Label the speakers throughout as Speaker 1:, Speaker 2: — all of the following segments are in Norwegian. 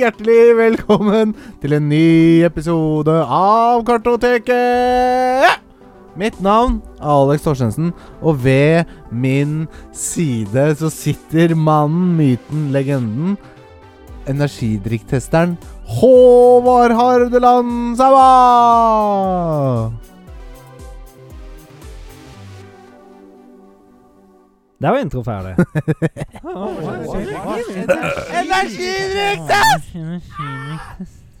Speaker 1: hjertelig velkommen til en ny episode av Kartoteket! Mitt navn er Alex Torstensen, og ved min side så sitter mannen, myten, legenden, energidrikktesteren Håvard Hardeland Saua!
Speaker 2: Der var intro ferdig.
Speaker 1: Energidrikktest!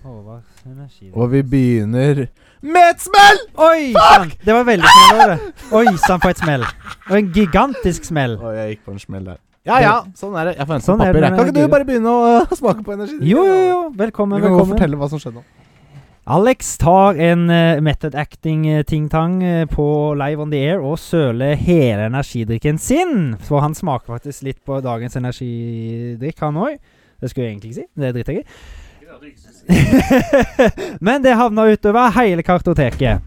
Speaker 2: Håvard, energi
Speaker 1: Og vi begynner med et smell!
Speaker 2: Oi sann! Det var veldig smell over det. Oi sann, for et smell. Og en gigantisk smell.
Speaker 1: Å, jeg gikk på en smell der. Ja ja, sånn er det. Jeg får hente
Speaker 2: Sånn er det
Speaker 1: papir. jeg.
Speaker 2: med
Speaker 1: Kan ikke
Speaker 2: guru.
Speaker 1: du bare begynne å øh, smake på energidrikk?
Speaker 2: Jo, jo, jo.
Speaker 1: Du
Speaker 2: Velkommen,
Speaker 1: kan godt
Speaker 2: velkommen.
Speaker 1: fortelle hva som skjedde nå.
Speaker 2: Alex tar en eh, method acting-ting-tang eh, på Live on the Air og søler hele energidrikken sin. For han smaker faktisk litt på dagens energidrikk, han òg. Det skulle jeg egentlig ikke si. Det driter jeg i. Men det havna utover hele kartoteket.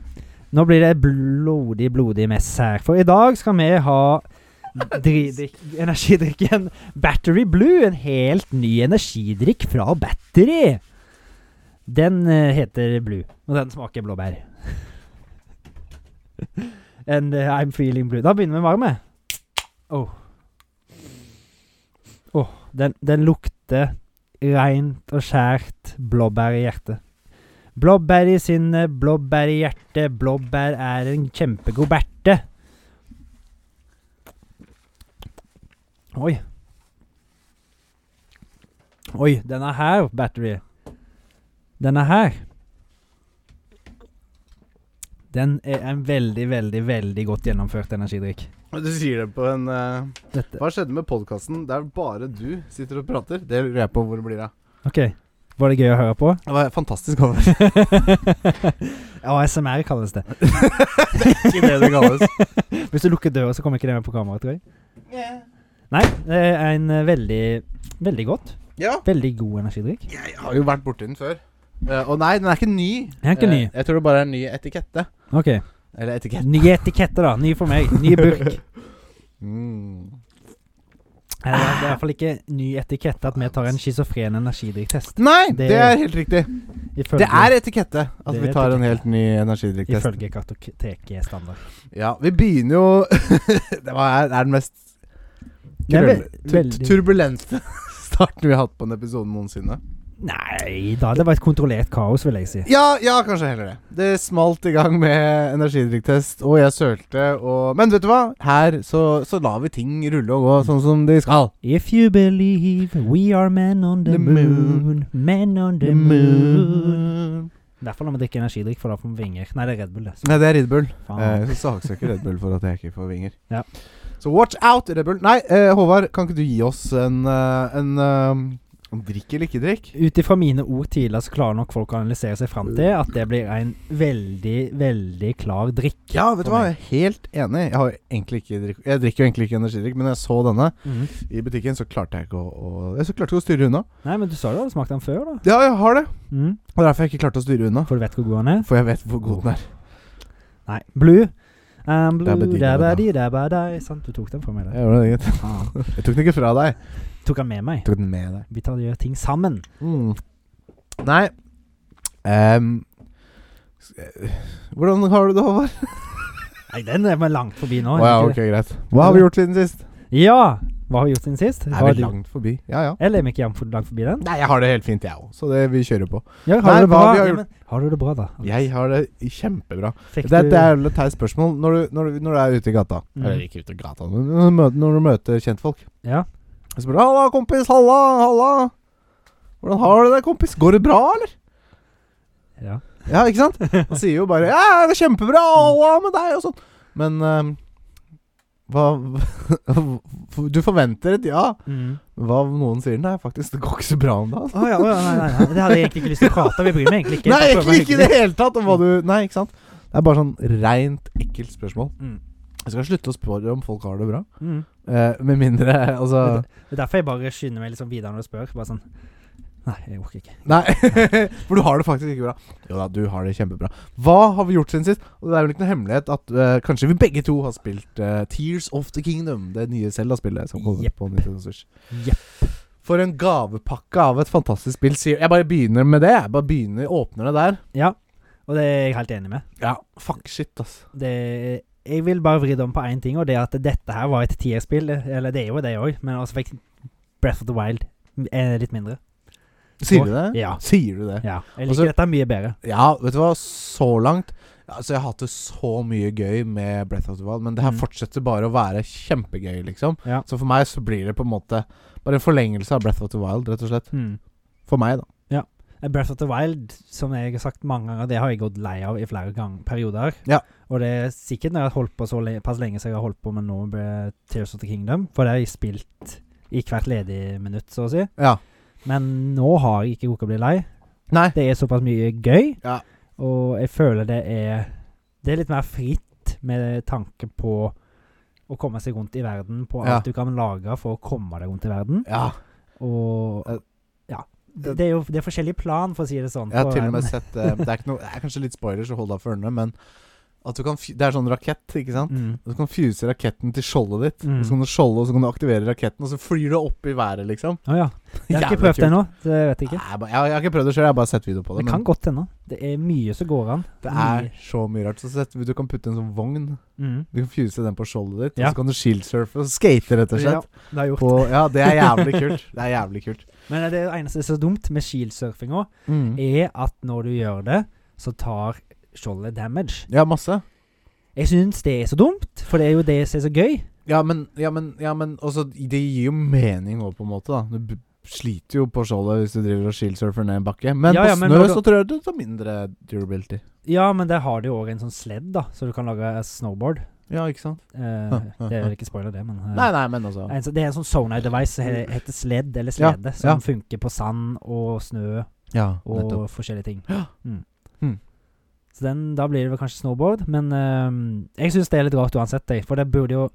Speaker 2: Nå blir det blodig, blodig mess her. For i dag skal vi ha dridrikk, energidrikken Battery Blue. En helt ny energidrikk fra Battery. Den eh, heter Blue, og den smaker blåbær. And eh, I'm feeling blue. Da begynner vi bare med. Åh. Åh, den, den lukter rent og skjært blåbær i hjertet. Blåbær i sinnet, blåbær i hjertet, blåbær er en kjempegod berte. Oi. Oi, denne her, battery. Denne her. Den er en veldig, veldig, veldig godt gjennomført energidrikk.
Speaker 1: Du sier det på en eh,
Speaker 2: Dette.
Speaker 1: Hva skjedde med podkasten der bare du sitter og prater? Det lurer jeg på hvor det blir av.
Speaker 2: Ok, var det gøy å høre på?
Speaker 1: Det var fantastisk over.
Speaker 2: ASMR kalles det.
Speaker 1: Ikke det det kalles.
Speaker 2: Hvis du lukker døra, så kommer ikke det med på kamera, tror jeg. Nei, det er en eh, veldig Veldig godt.
Speaker 1: Ja,
Speaker 2: Veldig god energidrikk.
Speaker 1: jeg har jo vært borti den før. Eh, og nei, den er ikke ny.
Speaker 2: Den er ikke ny.
Speaker 1: Eh, jeg tror det bare er en ny etikette.
Speaker 2: Ok.
Speaker 1: Eller etikett.
Speaker 2: Nye etiketter, da. Ny for meg. Ny burk. Nei,
Speaker 1: Mm.
Speaker 2: Det er det er i hvert fall ikke ny etikette at vi tar en schizofren energidrikktest.
Speaker 1: Nei, det,
Speaker 2: Det-
Speaker 1: er helt riktig.
Speaker 2: Ifølge,
Speaker 1: Det er etikette at
Speaker 2: Det er
Speaker 1: vi tar en
Speaker 2: etikette.
Speaker 1: helt ny energidrikktest.
Speaker 2: ifølge kartoteket-standard.
Speaker 1: Ja, vi begynner jo Det var, er den mest
Speaker 2: Det er
Speaker 1: krøll-
Speaker 2: ve-
Speaker 1: tu-
Speaker 2: veldig-
Speaker 1: turbulente starten vi har hatt på en episode noensinne.
Speaker 2: Nei da, det var et kontrollert kaos, vil jeg si.
Speaker 1: Ja, ja, kanskje heller det. Det smalt i gang med energidrikktest, og jeg sølte og Men vet du hva? Her så, så lar vi ting rulle og gå sånn som de skal.
Speaker 2: If you believe we are men on the,
Speaker 1: The moon.
Speaker 2: moon. Men on the moon. Derfor når vi drikker energidrikk, for da får vi vinger. Nei, det er Red Bull, det.
Speaker 1: Nei, det er Red Bull.
Speaker 2: Faen.
Speaker 1: Eh, så saksøker Red Bull for at jeg ikke får vinger.
Speaker 2: Ja.
Speaker 1: Så watch out, Red Bull. Nei, eh, Håvard, kan ikke du gi oss en, eh, en, eh, en drikk eller ikke drikk?
Speaker 2: Ut ifra mine ord tidligere så klarer nok folk å analysere seg fram til at det blir en veldig, veldig klar drikk.
Speaker 1: Ja, vet du
Speaker 2: for
Speaker 1: hva, jeg
Speaker 2: meg.
Speaker 1: er helt enig. Jeg, har egentlig ikke drikk, jeg drikker jo egentlig ikke energidrikk, men når jeg så denne i butikken, så klarte jeg ikke å, å, jeg så klarte ikke å styre unna.
Speaker 2: Nei, men du sa jo du hadde smakt den før, da.
Speaker 1: Ja, jeg har det.
Speaker 2: Mhm.
Speaker 1: Og derfor jeg ikke klarte å styre unna.
Speaker 2: For du vet hvor god den er?
Speaker 1: For jeg vet hvor god den er.
Speaker 2: Nei. Blue. Um, blue,
Speaker 1: Dabba di, dabba
Speaker 2: dabba di, dabba di. Sant, du tok den fra meg der.
Speaker 1: Jeg, gjorde det, gitt.
Speaker 2: Faen.
Speaker 1: jeg tok den ikke fra deg.
Speaker 2: Tok den med meg.
Speaker 1: Jeg tok den med deg.
Speaker 2: Vi tar og gjør ting sammen.
Speaker 1: Mm. Nei Ehm, s- eh, Hvordan har du det, Håvard?
Speaker 2: Nei, den er vi langt forbi nå.
Speaker 1: Å
Speaker 2: er
Speaker 1: ja,
Speaker 2: vi
Speaker 1: ok,
Speaker 2: ikke det?
Speaker 1: greit. Hva har vi gjort siden sist?
Speaker 2: ja! Hva har vi gjort siden sist?
Speaker 1: Er
Speaker 2: Har
Speaker 1: vi
Speaker 2: du-
Speaker 1: langt forbi? Ja, ja.
Speaker 2: Eller er vi ikke jam- for- langt forbi den?
Speaker 1: Nei, jeg har det helt fint, jeg òg, så det, vi kjører på.
Speaker 2: Ja, har
Speaker 1: Nei,
Speaker 2: du det
Speaker 1: hva
Speaker 2: bra?
Speaker 1: vi har
Speaker 2: Ja,
Speaker 1: gjort-
Speaker 2: men, har du det bra, da?
Speaker 1: Jeg har det kjempebra. Det,
Speaker 2: Fikk du-
Speaker 1: det er jo et teit spørsmål når du, når, du, når du er ute i gata.
Speaker 2: Mm.
Speaker 1: Eller ikke ute i gata, men når du møter, når du møter kjentfolk.
Speaker 2: Ja.
Speaker 1: Og spør du, 'Halla, kompis. Halla, halla. Hvordan har du det, kompis? Går det bra, eller?'
Speaker 2: ja.
Speaker 1: Ja, ikke sant? Han sier jo bare 'Ja, det er kjempebra. Halla med deg', og sånn. Men ehm, hva Du forventer et ja.
Speaker 2: Mhm.
Speaker 1: Hva om noen sier 'Nei, faktisk, det går ikke så bra om dagen'.
Speaker 2: Å ja, å ja, nei, nei, nei. Det hadde jeg egentlig ikke lyst til å prate om. Jeg bryr meg egentlig ikke.
Speaker 1: Nei,
Speaker 2: Jeg prøver å
Speaker 1: egentlig
Speaker 2: være
Speaker 1: ikke i det hele tatt om hva du Nei, ikke sant? Det er bare sånn reint ekkelt spørsmål.
Speaker 2: Mm.
Speaker 1: Jeg skal slutte å spørre om folk har det bra.
Speaker 2: hyggelig. Mm.
Speaker 1: Eh, med mindre Altså
Speaker 2: Det er derfor jeg bare skynder meg litt sånn videre når du spør. Bare sånn Nei, jeg orker ikke.
Speaker 1: Nei, for du har det faktisk ikke bra. Jo da, du har det kjempebra. Hva har vi gjort siden sist? Og det er vel ikke noe hemmelighet at eh, kanskje vi begge to har spilt eh, Tears of the Kingdom, det nye Zelda-spillet som kommer
Speaker 2: Jepp.
Speaker 1: på Nintendo Switch.
Speaker 2: Jepp.
Speaker 1: For en gavepakke av et fantastisk spill. sier- Jeg bare begynner med det. Jeg bare begynner, åpner det der.
Speaker 2: Ja, og det er jeg helt enig med.
Speaker 1: Ja, fuck shit, ass.
Speaker 2: Det, jeg vil bare vri det om på én ting, og det er at dette her var et tierspill. Eller det er jo det òg, men altså fikk Breath of the Wild eh, litt mindre.
Speaker 1: Sier du det?
Speaker 2: Ja.
Speaker 1: Sier du det?
Speaker 2: ja. Jeg liker
Speaker 1: Altså-
Speaker 2: dette mye bedre.
Speaker 1: Ja, vet du hva, så langt Altså, jeg har hatt det så mye gøy med Breath of the Wild, men det her
Speaker 2: Mm.
Speaker 1: fortsetter bare å være kjempegøy, liksom.
Speaker 2: Ja.
Speaker 1: Så for meg så blir det på en måte bare en forlengelse av Breath of the Wild, rett og slett.
Speaker 2: Mm.
Speaker 1: For meg, da.
Speaker 2: Breath of the Wild, som jeg har sagt mange ganger, det har jeg gått lei av i flere gang, perioder.
Speaker 1: Ja.
Speaker 2: Og det er sikkert når jeg har holdt på så le pass lenge som jeg har holdt på med nå med Tears of the Kingdom, for det har jeg spilt i hvert ledig minutt, så å si.
Speaker 1: Ja.
Speaker 2: Men nå har jeg ikke rukket å bli lei.
Speaker 1: Nei.
Speaker 2: Det er såpass mye gøy,
Speaker 1: Ja.
Speaker 2: og jeg føler det er Det er litt mer fritt med tanke på å komme seg rundt i verden, på
Speaker 1: Ja.
Speaker 2: alt du kan lage for å komme deg rundt i verden.
Speaker 1: Ja.
Speaker 2: Og
Speaker 1: Eh,
Speaker 2: ja. Det det er jo det er forskjellig plan, for å si det sånn.
Speaker 1: Jeg har
Speaker 2: på
Speaker 1: til og med
Speaker 2: verden.
Speaker 1: sett eh, Det er, ikke noe, det er kanskje litt spoilers å holde av for ørene, men at du kan fy- Det er sånn rakett, ikke sant?
Speaker 2: mm.
Speaker 1: Du kan fuse raketten til skjoldet ditt.
Speaker 2: Mm.
Speaker 1: Og så kan du skjolde, og så kan du aktivere raketten, og så flyr du opp i været, liksom.
Speaker 2: Å ja. Jeg har
Speaker 1: Jævla
Speaker 2: ikke prøvd det
Speaker 1: kult.
Speaker 2: ennå. Det vet
Speaker 1: Nei,
Speaker 2: jeg ikke.
Speaker 1: jeg, bare- jeg har ikke prøvd det sjøl, jeg har bare sett video på det.
Speaker 2: Det kan godt hende. Det er mye som går an.
Speaker 1: Det er så mye rart. Så sett, du kan putte en sånn vogn.
Speaker 2: Mye. mm.
Speaker 1: Du kan fuse den på skjoldet ditt,
Speaker 2: Ja.
Speaker 1: og så kan du shieldsurfe og skate, rett og
Speaker 2: Ja,
Speaker 1: slett.
Speaker 2: det er
Speaker 1: Ja,
Speaker 2: gjort.
Speaker 1: på, ja det er jævlig kult. Det er jævlig kult.
Speaker 2: Men det eneste som er så dumt med shieldsurfinga,
Speaker 1: Mm.
Speaker 2: er at når du gjør det, så tar skjoldet damage.
Speaker 1: Ja, masse.
Speaker 2: Jeg syns det er så dumt, for det er jo det som er så gøy.
Speaker 1: Ja, men, ja, men, ja, men også, Det gir jo mening nå, på en måte. da Du b- sliter jo på skjoldet hvis du driver og shieldsurfer ned en bakke. Men
Speaker 2: Ja, ja,
Speaker 1: på
Speaker 2: men
Speaker 1: snø
Speaker 2: når du-
Speaker 1: så tror jeg det tar mindre durability.
Speaker 2: Ja, men der har du jo òg en sånn sledd, da, så du kan lage eh, snowboard.
Speaker 1: Ja, ikke sant?
Speaker 2: Eh, det er vel ikke spoiler, det, men eh,
Speaker 1: Nei, nei, men altså
Speaker 2: En, så- det er en sånn sonar device som he- heter sledd, eller
Speaker 1: Ja,
Speaker 2: slede, som
Speaker 1: ja.
Speaker 2: funker på sand og snø
Speaker 1: Ja,
Speaker 2: og
Speaker 1: nettopp.
Speaker 2: forskjellige ting.
Speaker 1: Ja.
Speaker 2: Mm.
Speaker 1: Mm.
Speaker 2: Så den, da blir det vel kanskje snowboard, men ehm, jeg syns det er litt rart uansett, jeg, for det burde jo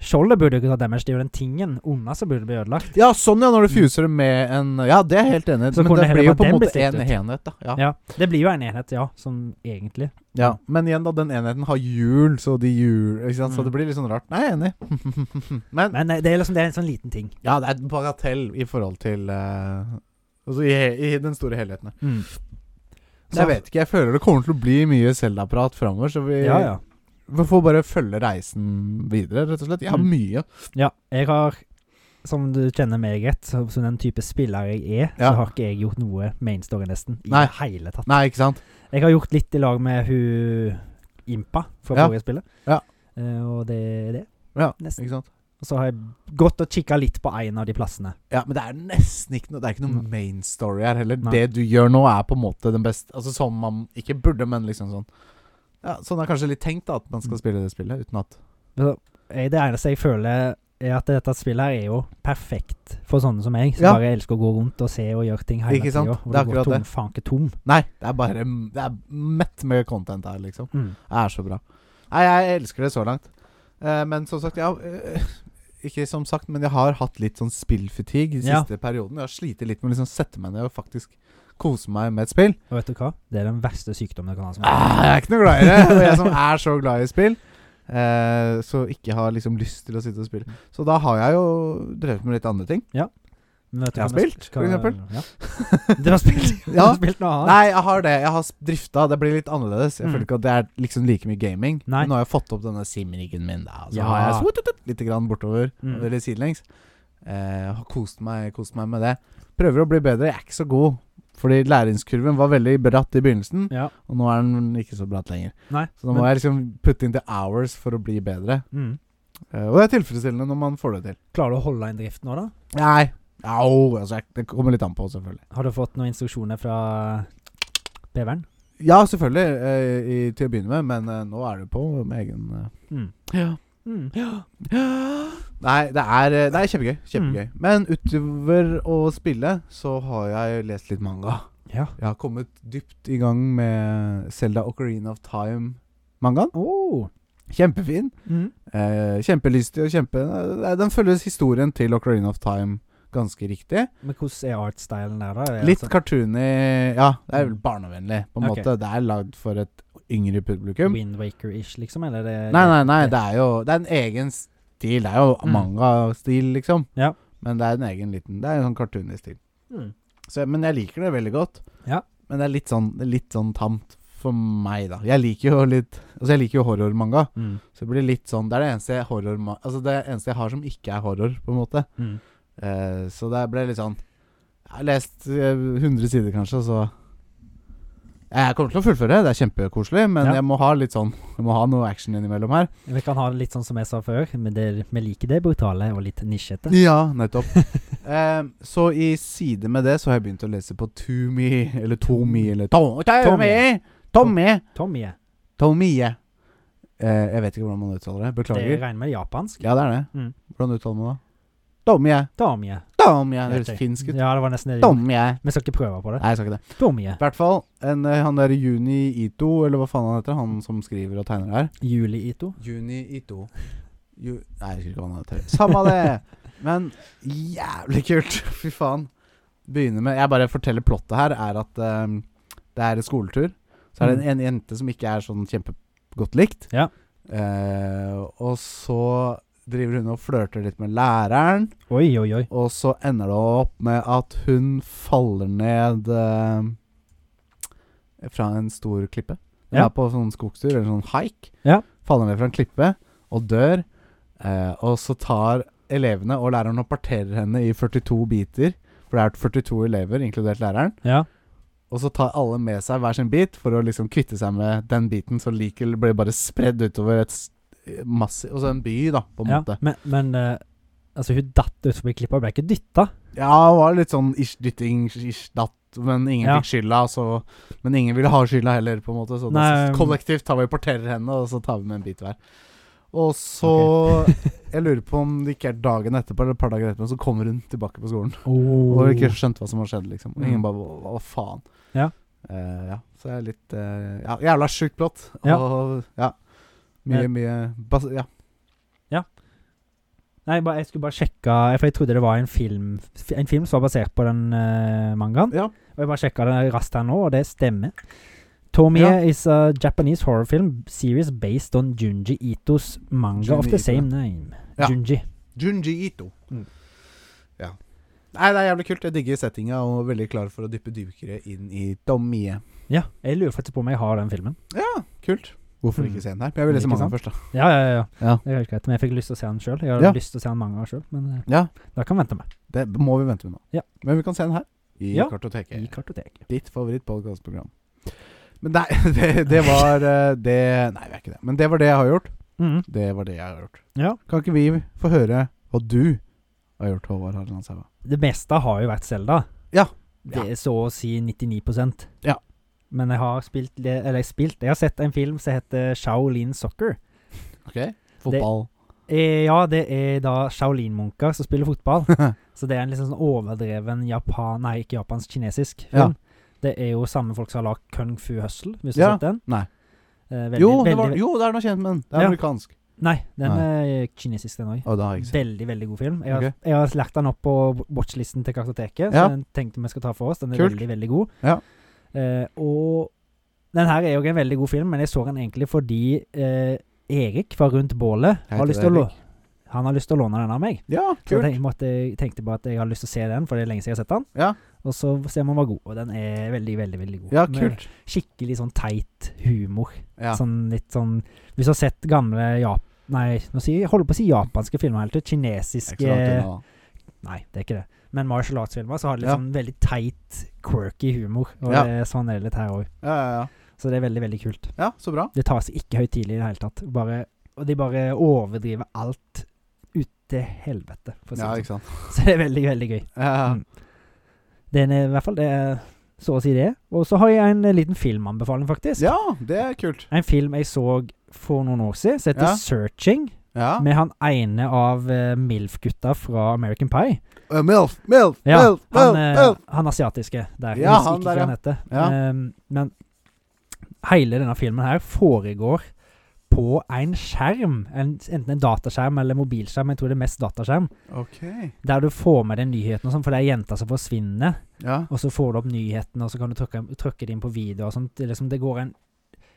Speaker 2: Skjoldet burde jo ikke ta damage, det er jo den tingen under som burde bli ødelagt.
Speaker 1: Ja, sånn ja, når du fuser med en Ja, det er jeg helt enig i,
Speaker 2: Mm. Så
Speaker 1: men
Speaker 2: kunne
Speaker 1: det
Speaker 2: heller
Speaker 1: blir jo
Speaker 2: bare
Speaker 1: på en
Speaker 2: den bli
Speaker 1: måte en
Speaker 2: slitt ut.
Speaker 1: enhet, da. Ja.
Speaker 2: Ja, Det blir jo en enhet, ja, som egentlig.
Speaker 1: Ja, men igjen da, den enheten har hjul, så de hjul ikke sant? Så
Speaker 2: Mm.
Speaker 1: det blir litt sånn rart. Nei, jeg er enig. men
Speaker 2: Men eh, det er liksom det er en sånn liten ting.
Speaker 1: ja, det er en bagatell i forhold til eh, Altså i, he- i den store helheten. her. Så
Speaker 2: Så-
Speaker 1: jeg vet ikke, jeg føler det kommer til å bli mye Zelda-prat framover, så vi,
Speaker 2: Ja, ja.
Speaker 1: vi får bare følge reisen videre, rett og slett. Jeg har
Speaker 2: Mm.
Speaker 1: mye.
Speaker 2: Ja, jeg har Som du kjenner meg rett, som som den type spiller jeg er,
Speaker 1: Ja.
Speaker 2: så har ikke jeg gjort noe main story nesten i
Speaker 1: Nei.
Speaker 2: det hele tatt.
Speaker 1: Nei, ikke sant?
Speaker 2: Jeg har gjort litt i lag med hun Impa fra
Speaker 1: Ja.
Speaker 2: forrige spillet,
Speaker 1: Ja.
Speaker 2: Eh, og det er det.
Speaker 1: Ja,
Speaker 2: Nesten.
Speaker 1: ikke sant?
Speaker 2: Og så har jeg gått og kikka litt på en av de plassene.
Speaker 1: Ja, men det er nesten ikke noe Det er ikke noe
Speaker 2: Mm.
Speaker 1: main story her heller.
Speaker 2: Nei.
Speaker 1: Det du gjør nå, er på en måte den beste Altså som man ikke burde, men liksom sånn Ja, Sånn er kanskje litt tenkt, da, at man skal spille det spillet uten at
Speaker 2: Jeg, eh, det eneste jeg føler, er at dette spillet her er jo perfekt for sånne som meg, som
Speaker 1: Ja.
Speaker 2: bare elsker å gå rundt og se og gjøre ting hele
Speaker 1: Ikke
Speaker 2: tida.
Speaker 1: sant?
Speaker 2: Og
Speaker 1: Det er
Speaker 2: du
Speaker 1: akkurat
Speaker 2: går
Speaker 1: det.
Speaker 2: tom, faen ikke tom.
Speaker 1: Nei, det er bare Det er mett med content her, liksom.
Speaker 2: Mm.
Speaker 1: Det er så bra. Nei, jeg elsker det så langt. Eh, men som sagt, ja eh, Ikke som sagt, men jeg har hatt litt sånn spillfatigue i
Speaker 2: Ja.
Speaker 1: siste perioden. Jeg har slitt litt med å liksom sette meg ned og faktisk kose meg med et spill.
Speaker 2: Og vet du hva? Det er den verste sykdommen du kan ha. som
Speaker 1: Ah, jeg er ikke noe glad i det. Og jeg som er så glad i spill, eh, så ikke har liksom lyst til å sitte og spille. Så da har jeg jo drevet med litt andre ting.
Speaker 2: Men vet du
Speaker 1: Jeg har
Speaker 2: hva vi
Speaker 1: spilt,
Speaker 2: skal-
Speaker 1: for eksempel.
Speaker 2: Ja. Du har spilt, du
Speaker 1: Ja.
Speaker 2: har spilt noe annet?
Speaker 1: Nei, jeg har det. Jeg har s- drifta. Det blir litt annerledes. Jeg
Speaker 2: Mm.
Speaker 1: føler ikke at det er liksom like mye gaming.
Speaker 2: Nei.
Speaker 1: Men nå har jeg fått opp denne simriggen min, da. Og så
Speaker 2: Ja.
Speaker 1: har jeg swututut litt grann bortover,
Speaker 2: Mm.
Speaker 1: eller sidelengs. Eh, har kost meg, kost meg med det. Prøver å bli bedre. Jeg er ikke så god. Fordi læringskurven var veldig bratt i begynnelsen,
Speaker 2: Ja.
Speaker 1: og nå er den ikke så bratt lenger.
Speaker 2: Nei.
Speaker 1: Så nå må jeg liksom putte inn the hours for å bli bedre.
Speaker 2: mm.
Speaker 1: Eh, Og det er tilfredsstillende når man får det til.
Speaker 2: Klarer du å holde en drift nå, da?
Speaker 1: Nei. Au, altså, jeg- det kommer litt an på, selvfølgelig.
Speaker 2: Har du fått noen instruksjoner fra beveren?
Speaker 1: Ja, selvfølgelig, eh, i, til å begynne med, men eh, nå er du på med egen eh.
Speaker 2: Mm. Mm.
Speaker 1: Nei, det er, eh, det er kjempegøy.
Speaker 2: Mm.
Speaker 1: kjempegøy. Men utover å spille, så har jeg lest litt manga.
Speaker 2: Ja.
Speaker 1: Jeg har kommet dypt i gang med Selda Ocarina of Time-mangaen.
Speaker 2: Oh.
Speaker 1: Kjempefin.
Speaker 2: Mm.
Speaker 1: Eh, kjempelystig og kjempe... Den følges historien til Ocarina of Time ganske riktig.
Speaker 2: Men hvordan er artstylen der, da? Er det
Speaker 1: Litt
Speaker 2: altså
Speaker 1: cartoony Ja, det er vel
Speaker 2: Mm.
Speaker 1: barnevennlig, på en
Speaker 2: Ok.
Speaker 1: måte. Det er lagd for et yngre publikum.
Speaker 2: Wind Waker-ish, liksom? Eller er det
Speaker 1: Nei, nei, nei, det er jo Det er en egen stil. Det er jo
Speaker 2: Mm.
Speaker 1: manga-stil, liksom.
Speaker 2: Ja.
Speaker 1: Men det er en egen liten Det er en sånn cartoonist stil.
Speaker 2: Mm.
Speaker 1: Så, men jeg liker det veldig godt.
Speaker 2: Ja.
Speaker 1: Men det er litt sånn, det er litt sånn tamt for meg, da. Jeg liker jo litt Altså, jeg liker jo horrormanga.
Speaker 2: Mm.
Speaker 1: Så det blir litt sånn Det er det eneste horror Altså det eneste jeg har som ikke er horror, på en måte.
Speaker 2: Mm.
Speaker 1: Eh, så det ble litt sånn Jeg har lest eh, 100 sider, kanskje, og så Jeg kommer til å fullføre, det er kjempekoselig, men
Speaker 2: Ja.
Speaker 1: jeg må ha litt sånn Jeg må ha noe action innimellom her.
Speaker 2: Vi kan ha det litt sånn som jeg sa før, men det, vi liker det brutale og litt nisjete.
Speaker 1: Ja, nettopp. Eh, så i side med det så har jeg begynt å lese på Tumi, eller Tomi, eller Tom, Tommy! Tommy!
Speaker 2: Tommy, ja.
Speaker 1: Tomie. Eh, jeg vet ikke hvordan man uttaler det.
Speaker 2: det
Speaker 1: Beklager.
Speaker 2: regner med japansk.
Speaker 1: Ja, det er det.
Speaker 2: Mm.
Speaker 1: Hvordan uttaler man det? Tomie.
Speaker 2: Tommy. ja.
Speaker 1: Tomie. Det
Speaker 2: Vet jeg.
Speaker 1: høres finsk ut.
Speaker 2: Ja, det var nesten det. Tommy.
Speaker 1: Tomie.
Speaker 2: Vi skal ikke prøve på det.
Speaker 1: Nei, jeg sa ikke det.
Speaker 2: Tommy. ja.
Speaker 1: I hvert fall en, eh, han der Juni Ito, eller hva faen han heter, han som skriver og tegner her.
Speaker 2: Juli Ito.
Speaker 1: Juni Ito. Ju Nei, jeg husker ikke hva han heter. Samme det! Men jævlig kult! Fy faen. Begynner med Jeg bare forteller plottet her, er at eh, det er en skoletur. Så er det en, en jente som ikke er sånn kjempegodt likt.
Speaker 2: Ja.
Speaker 1: Eh, og så driver hun og flørter litt med læreren.
Speaker 2: Oi, oi, oi.
Speaker 1: Og så ender det opp med at hun faller ned eh, fra en stor klippe. Hun
Speaker 2: Ja.
Speaker 1: er på sånn skogstur, eller sånn hike.
Speaker 2: Ja.
Speaker 1: Faller ned fra en klippe og dør. Eh, og så tar elevene og læreren og parterer henne i 42 biter. For det er 42 elever, inkludert læreren.
Speaker 2: Ja.
Speaker 1: Og så tar alle med seg hver sin bit for å liksom kvitte seg med den biten, så liket blir bare spredd utover et s- massiv Altså en by, da, på en
Speaker 2: ja.
Speaker 1: måte.
Speaker 2: Men, men eh, altså, hun datt ut forbi klippa og ble ikke dytta.
Speaker 1: Ja, det var litt sånn ish dytting, ish datt, men ingen
Speaker 2: Ja.
Speaker 1: fikk skylda. Så, men ingen ville ha skylda heller, på en måte. Så da,
Speaker 2: Nei,
Speaker 1: så kollektivt tar vi og parterer henne, og så tar vi med en bit hver. Og så Jeg lurer på om det ikke er dagen etterpå eller et par dager etterpå, så kommer hun tilbake på skolen. Og
Speaker 2: Oh.
Speaker 1: har ikke skjønt hva som har skjedd, liksom. Og ingen
Speaker 2: Mm.
Speaker 1: bare Hva, hva faen?
Speaker 2: Ja.
Speaker 1: Eh, ja. Så jeg er litt eh, ja, Jævla sjukt blått.
Speaker 2: Ja. Eh.
Speaker 1: Og ja.
Speaker 2: Ja.
Speaker 1: Mye, mye bas Ja.
Speaker 2: Nei, bare, jeg skulle bare sjekke For jeg trodde det var en film f- En film som var basert på den eh, mangaen.
Speaker 1: Ja.
Speaker 2: Og jeg bare sjekka det raskt her nå, og det stemmer. Tomie
Speaker 1: Ja.
Speaker 2: is a Japanese horror film series based on Junji Itos manga of
Speaker 1: Junji
Speaker 2: the
Speaker 1: Ito,
Speaker 2: same name.
Speaker 1: Ja.
Speaker 2: Junji.
Speaker 1: Junji Ito.
Speaker 2: Mm.
Speaker 1: Ja. Nei, det er jævlig kult. Jeg digger settinga og er veldig klar for å dyppe dykere inn i Domie.
Speaker 2: Ja, jeg lurer faktisk på om jeg har den filmen.
Speaker 1: Kult. Hvorfor
Speaker 2: Mm.
Speaker 1: ikke se den her? Men Jeg vil lese
Speaker 2: Ikke
Speaker 1: mange
Speaker 2: sant?
Speaker 1: først, da.
Speaker 2: Ja, ja, ja.
Speaker 1: Ja.
Speaker 2: Det er helt greit, men jeg fikk lyst til å se den sjøl. Jeg har
Speaker 1: Ja.
Speaker 2: lyst til å se den mange ganger sjøl, men eh,
Speaker 1: Ja.
Speaker 2: da kan jeg vente meg.
Speaker 1: Det må vi vente med nå.
Speaker 2: Ja.
Speaker 1: Men vi kan se den her. I
Speaker 2: Ja. I
Speaker 1: Kartoteket.
Speaker 2: kartoteket.
Speaker 1: Ditt favorittpodkastprogram. Men nei, det, det var eh, det Nei, vi er ikke det. Men det var det jeg har gjort.
Speaker 2: Mhm.
Speaker 1: Det var det jeg har gjort.
Speaker 2: Ja.
Speaker 1: Kan ikke vi få høre hva du har gjort, Håvard Harland Saua?
Speaker 2: Det meste har jo vært Selda.
Speaker 1: Ja.
Speaker 2: Det er så å si 99
Speaker 1: Ja.
Speaker 2: Men jeg har spilt det- Eller jeg har spilt Jeg har sett en film som heter Shaolin Soccer.
Speaker 1: Okay. Fotball.
Speaker 2: Eh, ja, det er da Shaolin-munker som spiller fotball. så det er en liksom sånn overdreven japan... Nei, ikke japansk-kinesisk film. Det er jo samme folk som har lagd Kung Fu Hustle, hvis du
Speaker 1: Ja.
Speaker 2: har sett den.
Speaker 1: Nei.
Speaker 2: Eh, veldig,
Speaker 1: jo, det
Speaker 2: veldig,
Speaker 1: var, jo, det er noe kjent med den. Det er
Speaker 2: Ja.
Speaker 1: amerikansk.
Speaker 2: Nei, den er kinesisk, den òg.
Speaker 1: Å, det har jeg ikke sett.
Speaker 2: Veldig, veldig god film. Jeg har,
Speaker 1: Ok.
Speaker 2: jeg har lært den opp på watchlisten til Kartoteket,
Speaker 1: Ja.
Speaker 2: så den tenkte vi skal ta for oss. Den er
Speaker 1: Kult.
Speaker 2: veldig, veldig god.
Speaker 1: Ja.
Speaker 2: Eh, og den her er jo en veldig god film, men jeg så den egentlig fordi eh, Erik fra Rundt bålet
Speaker 1: Heter
Speaker 2: har lyst til å
Speaker 1: Erik.
Speaker 2: lå- han har lyst til å låne den av meg.
Speaker 1: Ja,
Speaker 2: Så
Speaker 1: kult.
Speaker 2: jeg måtte, jeg tenkte bare at jeg har lyst til å se den, for det er lenge siden jeg har sett den.
Speaker 1: Ja.
Speaker 2: Og så ser man var god, og den er veldig, veldig veldig god.
Speaker 1: Ja,
Speaker 2: Med
Speaker 1: kult.
Speaker 2: Skikkelig sånn teit humor.
Speaker 1: Ja.
Speaker 2: Sånn litt sånn Hvis du har sett gamle Jap... Nei, nå sier, jeg holder på å si japanske filmer hele tiden.
Speaker 1: Det er
Speaker 2: Kinesiske
Speaker 1: ikke så langt unna, da.
Speaker 2: Nei, det er ikke det. Men martial arts-filmer så har det
Speaker 1: Ja.
Speaker 2: liksom veldig teit, quirky humor. Og
Speaker 1: Ja.
Speaker 2: det, sånn er det litt her òg.
Speaker 1: Ja, ja, ja.
Speaker 2: Så det er veldig, veldig kult.
Speaker 1: ja, så bra.
Speaker 2: Det tas ikke høytidelig i det hele tatt. Bare, og de bare overdriver alt ut til helvete, for å si
Speaker 1: Ja,
Speaker 2: det sånn.
Speaker 1: ikke sant.
Speaker 2: Så det er veldig, veldig gøy.
Speaker 1: Ja, ja.
Speaker 2: Mm. Den er i hvert fall det er så å si det. Og så har jeg en eh, liten filmanbefaling, faktisk.
Speaker 1: ja, det er kult.
Speaker 2: En film jeg så for noen år siden, som heter
Speaker 1: Ja.
Speaker 2: 'Searching',
Speaker 1: Ja.
Speaker 2: med han ene av eh, MILF-gutta fra American Pie.
Speaker 1: Eh, Milf, Milf,
Speaker 2: Ja,
Speaker 1: Milf,
Speaker 2: han,
Speaker 1: Milf,
Speaker 2: eh,
Speaker 1: Milf.
Speaker 2: han asiatiske der. Jeg
Speaker 1: Ja,
Speaker 2: husker
Speaker 1: han
Speaker 2: ikke
Speaker 1: der,
Speaker 2: hva
Speaker 1: ja.
Speaker 2: han heter.
Speaker 1: Ja.
Speaker 2: Ehm, men hele denne filmen her foregår på en skjerm. En, enten en dataskjerm eller mobilskjerm. Jeg tror det er mest dataskjerm.
Speaker 1: Ok.
Speaker 2: Der du får med deg nyheten og sånn, for det er jenter som forsvinner.
Speaker 1: Ja.
Speaker 2: Og så får du opp nyhetene, og så kan du trykke, trykke det inn på video og sånt. Det, er liksom, det går en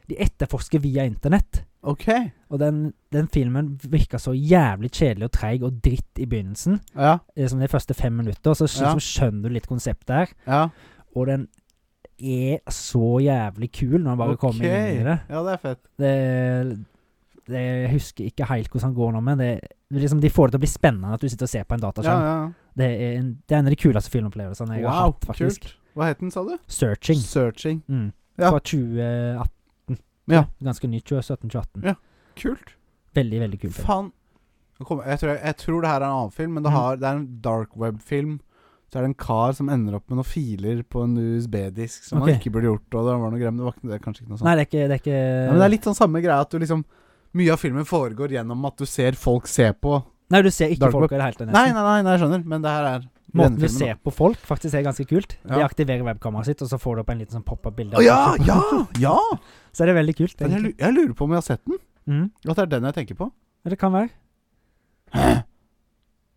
Speaker 2: De etterforsker via internett.
Speaker 1: OK.
Speaker 2: Og den, den filmen virka så jævlig kjedelig og treig og dritt i begynnelsen.
Speaker 1: Ja.
Speaker 2: Liksom de første fem minutter, så
Speaker 1: Ja.
Speaker 2: liksom skjønner du litt konseptet her.
Speaker 1: Ja.
Speaker 2: Og den er så jævlig kul når han bare kommer inn i det.
Speaker 1: Ja, det er fett.
Speaker 2: det, det Jeg husker ikke helt hvordan han går nå, men det, liksom, de får det til å bli spennende at du sitter og ser på en
Speaker 1: Ja,
Speaker 2: dataskjerm.
Speaker 1: ja.
Speaker 2: Det, er en, det er en av de kuleste filmopplevelsene jeg har
Speaker 1: Wow,
Speaker 2: hatt, faktisk.
Speaker 1: kult. Hva het den, sa du?
Speaker 2: Searching.
Speaker 1: Searching.
Speaker 2: Mm.
Speaker 1: Ja.
Speaker 2: Fra 2018.
Speaker 1: Ja.
Speaker 2: Ganske ny. 2017-2018.
Speaker 1: Ja. Kult.
Speaker 2: Veldig, veldig kul film.
Speaker 1: Faen. Nå kommer- Jeg, tror jeg, jeg tror det her er en annen film, men det,
Speaker 2: Mhm.
Speaker 1: har, det er en dark web-film. Så er det en kar som ender opp med noen filer på en USB-disk som
Speaker 2: Ok.
Speaker 1: han ikke burde gjort. Og det var noe grem, det var ikke, det er kanskje ikke noe sånn sånt.
Speaker 2: Nei, det er ikke, det er ikke
Speaker 1: Ja, men det er litt sånn samme greia at du liksom Mye av filmen foregår gjennom at du ser folk se på.
Speaker 2: Nei, du ser ikke
Speaker 1: Dark
Speaker 2: folk i det hele tatt.
Speaker 1: Nei,
Speaker 2: nesten.
Speaker 1: nei, nei, nei, jeg skjønner, men det her er
Speaker 2: Måten du
Speaker 1: denne filmen,
Speaker 2: ser på folk, faktisk er ganske kult. De
Speaker 1: Ja.
Speaker 2: aktiverer webkameraet sitt, og så får du opp en liten sånn pop-up-bilde.
Speaker 1: da. Å ja! Ja! Ja!
Speaker 2: Så er det veldig kult.
Speaker 1: Men jeg,
Speaker 2: egentlig.
Speaker 1: lu- jeg lurer på om jeg har sett den.
Speaker 2: Mm.
Speaker 1: At det er den jeg tenker på.
Speaker 2: Ja, Det kan være.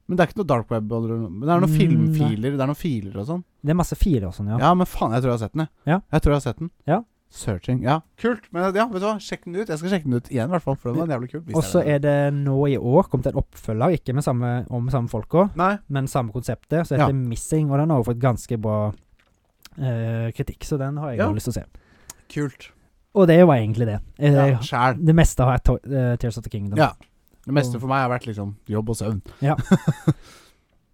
Speaker 1: Men det er ikke noe dark web. eller noe- Men det er noen
Speaker 2: Mm,
Speaker 1: filmfiler Det er noen filer og sånn.
Speaker 2: Det er masse filer og sånn,
Speaker 1: Ja.
Speaker 2: ja.
Speaker 1: men faen, jeg tror jeg har sett den, jeg.
Speaker 2: Ja.
Speaker 1: Jeg tror jeg har sett den.
Speaker 2: Ja.
Speaker 1: Searching. Ja, kult. Men ja, vet du hva, sjekk den ut. Jeg skal sjekke den ut igjen, i hvert fall, for den var jævlig kul. hvis
Speaker 2: Og så
Speaker 1: det er
Speaker 2: er det nå i år kommet en oppfølger, ikke med samme, om samme folka,
Speaker 1: det. Nei.
Speaker 2: men samme konseptet, som heter
Speaker 1: Ja.
Speaker 2: Missing, og den har jo fått ganske bra eh, kritikk, så den har jeg
Speaker 1: Ja.
Speaker 2: også lyst til å se.
Speaker 1: Kult.
Speaker 2: Og det var egentlig det. Eh,
Speaker 1: Ja, Sjæl.
Speaker 2: Det meste har jeg to eh, Tears of the Kingdom.
Speaker 1: Ja. Det meste for meg har vært liksom jobb og søvn.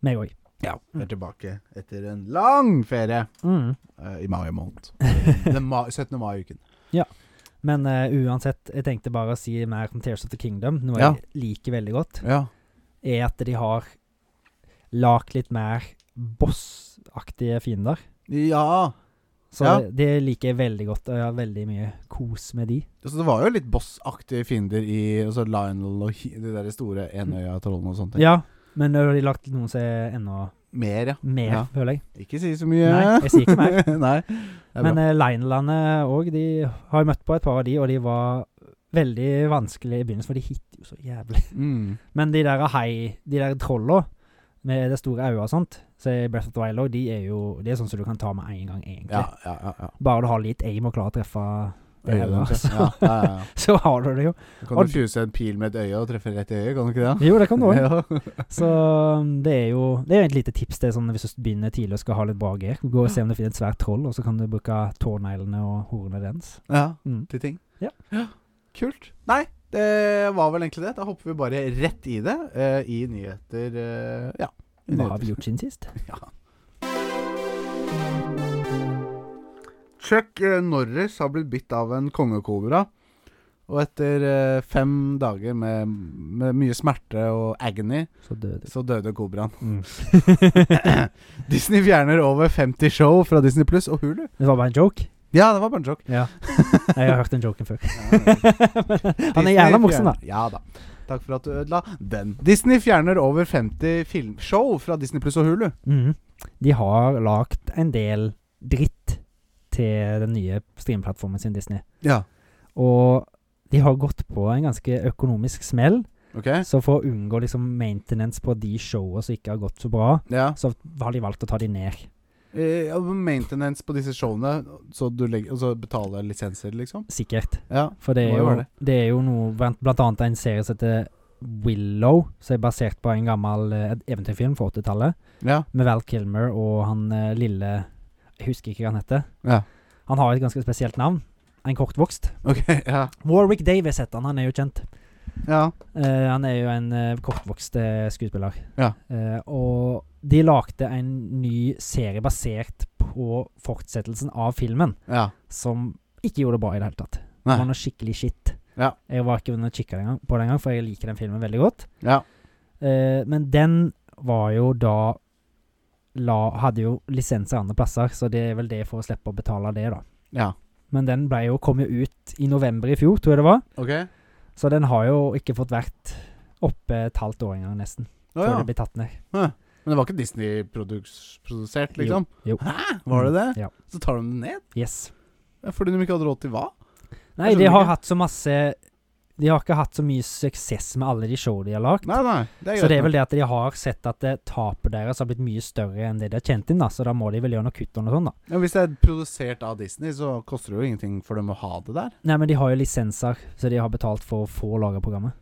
Speaker 2: Meg òg.
Speaker 1: Ja. Vi Mm. er tilbake etter en lang ferie
Speaker 2: Mm.
Speaker 1: eh, i mai måned. Den ma 17. mai-uken.
Speaker 2: Men eh, uansett, jeg tenkte bare å si mer om Tears of the Kingdom, noe
Speaker 1: Ja.
Speaker 2: jeg liker veldig godt,
Speaker 1: Ja.
Speaker 2: er at de har lagd litt mer bossaktige fiender.
Speaker 1: Ja.
Speaker 2: Så
Speaker 1: Ja.
Speaker 2: det, det liker jeg veldig godt, og jeg har veldig mye kos med de.
Speaker 1: Så Altså, det var jo litt bossaktige fiender i altså Lionel og he- de der store enøya-trollene og sånne ting.
Speaker 2: Ja, men nå har de lagt noen som er enda
Speaker 1: Mer, ja.
Speaker 2: mer,
Speaker 1: Ja.
Speaker 2: føler jeg.
Speaker 1: Ikke si så mye.
Speaker 2: Nei, jeg sier ikke mer.
Speaker 1: Nei. Det er
Speaker 2: Men
Speaker 1: bra.
Speaker 2: eh, Linelandet òg, de har jeg møtt på et par av de, og de var veldig vanskelige i begynnelsen, for de hitter jo så jævlig.
Speaker 1: Mm.
Speaker 2: Men de der hei, de der trolla med det store øyet og sånt, så er Breath of the Wild òg, de er jo de er sånn som du kan ta med en gang, egentlig.
Speaker 1: Ja, ja, ja. ja.
Speaker 2: Bare du har litt aim og klarer å treffe det
Speaker 1: Øyet
Speaker 2: øyet,
Speaker 1: deres,
Speaker 2: så,
Speaker 1: ja. Ja, ja, ja.
Speaker 2: så har du det jo.
Speaker 1: Du Kan
Speaker 2: Og-
Speaker 1: du fuse en pil med et øye og treffe rett i øyet, kan du ikke det?
Speaker 2: Jo, det kan du òg.
Speaker 1: Ja.
Speaker 2: Så um, det er jo Det er jo et lite tips til sånn, hvis du begynner tidlig og skal ha litt bra gear. Gå og se om du finner et svært troll, og så kan du bruke tåneglene og horene dens.
Speaker 1: ja.
Speaker 2: Mm.
Speaker 1: Til ting.
Speaker 2: Ja.
Speaker 1: Kult. Nei, det var vel egentlig det. Da hopper vi bare rett i det eh, i nyheter. eh, ja. i
Speaker 2: Hva har vi
Speaker 1: nyheter.
Speaker 2: gjort siden sist?
Speaker 1: Chuck eh, Norris har blitt bitt av en kongekobra. Og etter eh, fem dager med, med mye smerte og agony,
Speaker 2: Så døde
Speaker 1: så døde kobraen.
Speaker 2: Mm.
Speaker 1: Disney fjerner over 50 show fra Disney Pluss og Hulu.
Speaker 2: Det var bare en joke?
Speaker 1: Ja, det var bare en joke.
Speaker 2: Ja. Jeg har hørt den joken før.
Speaker 1: Ja,
Speaker 2: Han er
Speaker 1: Disney
Speaker 2: jævla morsom, da.
Speaker 1: fjerner- Ja da. Takk for at du ødela den. Disney fjerner over 50 filmshow fra Disney Pluss og Hulu.
Speaker 2: Mhm. De har lagd en del dritt til den nye streamplattformen sin, Disney.
Speaker 1: Ja.
Speaker 2: Og de har gått på en ganske økonomisk smell,
Speaker 1: Ok?
Speaker 2: så for å unngå liksom maintenance på de showene som ikke har gått så bra,
Speaker 1: Ja.
Speaker 2: så har de valgt å ta de ned.
Speaker 1: Eh, ja, maintenance på disse showene, så du legger, og så betaler lisenser, liksom?
Speaker 2: Sikkert.
Speaker 1: Ja.
Speaker 2: For det
Speaker 1: Må
Speaker 2: er,
Speaker 1: jo
Speaker 2: jo,
Speaker 1: være
Speaker 2: det. er jo noe blant, blant annet en serie som heter Willow, som er basert på en gammel eh, eventyrfilm fra 80-tallet,
Speaker 1: Ja.
Speaker 2: med Val Kilmer og han eh, lille Jeg husker ikke hva han heter.
Speaker 1: Ja.
Speaker 2: Han har et ganske spesielt navn. En kortvokst.
Speaker 1: Ok, ja.
Speaker 2: Warwick Davis heter han. Han er jo kjent.
Speaker 1: Ja.
Speaker 2: Eh, han er jo en eh, kortvokst eh, skuespiller.
Speaker 1: Ja.
Speaker 2: Eh, og de lagde en ny serie basert på fortsettelsen av filmen,
Speaker 1: ja.
Speaker 2: som ikke gjorde det bra i det hele tatt. Det var
Speaker 1: Nei.
Speaker 2: noe skikkelig shit.
Speaker 1: Ja.
Speaker 2: Jeg var ikke under kikka den gang- på den gang, for jeg liker den filmen veldig godt.
Speaker 1: Ja.
Speaker 2: Eh, men den var jo da la, Hadde jo lisenser andre plasser, så det er vel det for å slippe å betale det, da.
Speaker 1: ja.
Speaker 2: Men den ble jo, kom jo ut i november i fjor, tror jeg det var.
Speaker 1: Ok.
Speaker 2: Så den har jo ikke fått vært oppe et halvt år engang, nesten.
Speaker 1: Å,
Speaker 2: før
Speaker 1: ja.
Speaker 2: det blir tatt ned.
Speaker 1: Men det var ikke Disney-produsert, liksom?
Speaker 2: Jo, Mm. jo.
Speaker 1: Hæ? Var det det?
Speaker 2: Ja.
Speaker 1: Så tar de det ned?
Speaker 2: Yes.
Speaker 1: Fordi de ikke hadde råd til hva?
Speaker 2: Nei,
Speaker 1: skjønner
Speaker 2: de har
Speaker 1: ikke.
Speaker 2: hatt så masse De har ikke hatt så mye suksess med alle de show de har lagd.
Speaker 1: Nei, nei. Det er
Speaker 2: Så det
Speaker 1: greit.
Speaker 2: er vel det at de har sett at eh, tapet deres har blitt mye større enn det de har tjent inn, da. Så da må de vel gjøre noe kutt og noe sånt, da.
Speaker 1: Ja, hvis det er produsert av Disney, så koster det jo ingenting for dem å ha det der.
Speaker 2: Nei, men de har jo lisenser, så de har betalt for å få laga programmet.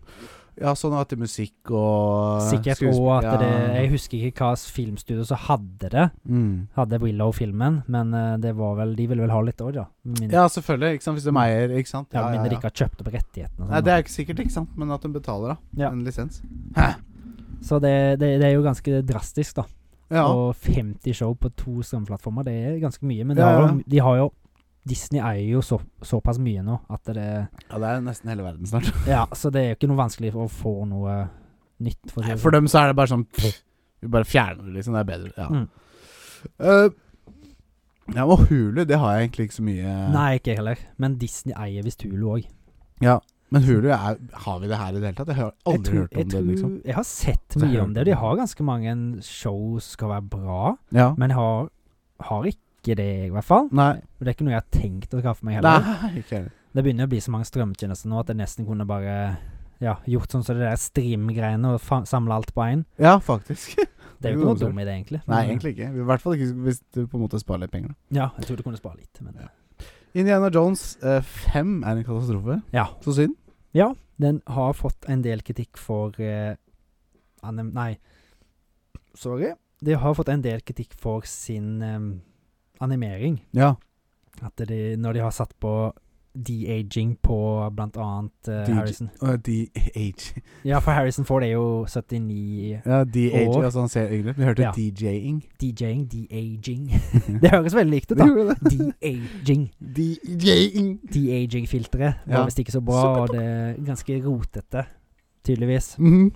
Speaker 1: Ja, sånn at det er musikk og
Speaker 2: Sikkert
Speaker 1: skuespill-
Speaker 2: og
Speaker 1: ja.
Speaker 2: at det Jeg husker ikke hva s- filmstudio som hadde det.
Speaker 1: Mm.
Speaker 2: Hadde Willow-filmen, men eh, det var vel De ville vel ha litt òg, da. Med mindre,
Speaker 1: Ja, selvfølgelig. Ikke sant? Hvis de eier, ikke sant.
Speaker 2: Mm. ja, med mindre de
Speaker 1: ja.
Speaker 2: ikke har kjøpt opp rettighetene. og
Speaker 1: Nei, det
Speaker 2: sånn, da.
Speaker 1: er ikke sikkert, ikke sant. Men at de betaler, da.
Speaker 2: Ja.
Speaker 1: En lisens.
Speaker 2: Så det, det, det er jo ganske drastisk, da.
Speaker 1: Ja.
Speaker 2: Og 50 show på to strømplattformer, det er ganske mye. Men de,
Speaker 1: Ja, ja.
Speaker 2: Har, jo, de har jo Disney eier jo så, såpass mye nå at det
Speaker 1: ja, det er nesten hele verden snart.
Speaker 2: Ja, så det er jo ikke noe vanskelig å få noe nytt. For, å si
Speaker 1: Nei,
Speaker 2: det
Speaker 1: for
Speaker 2: sånn.
Speaker 1: dem så er det bare sånn pff, Vi bare fjerner det, liksom. Det er bedre. Ja.
Speaker 2: Mm.
Speaker 1: Eh, ja, og Hulu, det har jeg egentlig ikke så mye
Speaker 2: Nei, ikke jeg heller. Men Disney eier visst Hulu òg.
Speaker 1: Ja, Men Hulu, er, har vi det her i det hele tatt? Jeg har aldri hørt om det, liksom.
Speaker 2: Jeg har sett
Speaker 1: Så jeg
Speaker 2: mye
Speaker 1: hørte
Speaker 2: om det. og De har ganske mange show som skal være bra,
Speaker 1: Ja.
Speaker 2: men har, har ikke det, i hvert fall.
Speaker 1: Nei.
Speaker 2: Og Det er ikke noe jeg har tenkt å skaffe meg heller.
Speaker 1: Nei, ikke heller.
Speaker 2: Det begynner å bli så mange strømmetjenester nå at jeg nesten kunne bare ja, gjort sånn som det der stream-greiene og fa- samle alt på én.
Speaker 1: Ja, faktisk.
Speaker 2: Det er jo ikke noe dum idé, egentlig.
Speaker 1: Nei,
Speaker 2: Men,
Speaker 1: egentlig ikke. I hvert fall ikke hvis du på en måte sparer litt penger. da.
Speaker 2: Ja, jeg tror du kunne spare litt, men
Speaker 1: Indiana Jones 5 er en katastrofe.
Speaker 2: Ja.
Speaker 1: Så synd.
Speaker 2: Ja, den har fått en del kritikk for eh, anim, Nei. Sorry. De har fått en del kritikk for sin em, animering.
Speaker 1: Ja.
Speaker 2: At de, når de har satt på de-aging på blant annet eh,
Speaker 1: De-
Speaker 2: Harrison.
Speaker 1: Uh, DH.
Speaker 2: Ja, for Harrison Ford er jo 79
Speaker 1: Ja, DH,
Speaker 2: Og-
Speaker 1: altså han ser yngre ut. Vi hørte
Speaker 2: Ja.
Speaker 1: DJ-ing.
Speaker 2: DJ-ing. De-aging. Det høres veldig likt ut, da.
Speaker 1: gjorde
Speaker 2: De-aging.
Speaker 1: DJ-ing.
Speaker 2: De-aging-filteret var
Speaker 1: Ja.
Speaker 2: visst ikke så bra, og det er ganske rotete, tydeligvis.
Speaker 1: Mhm.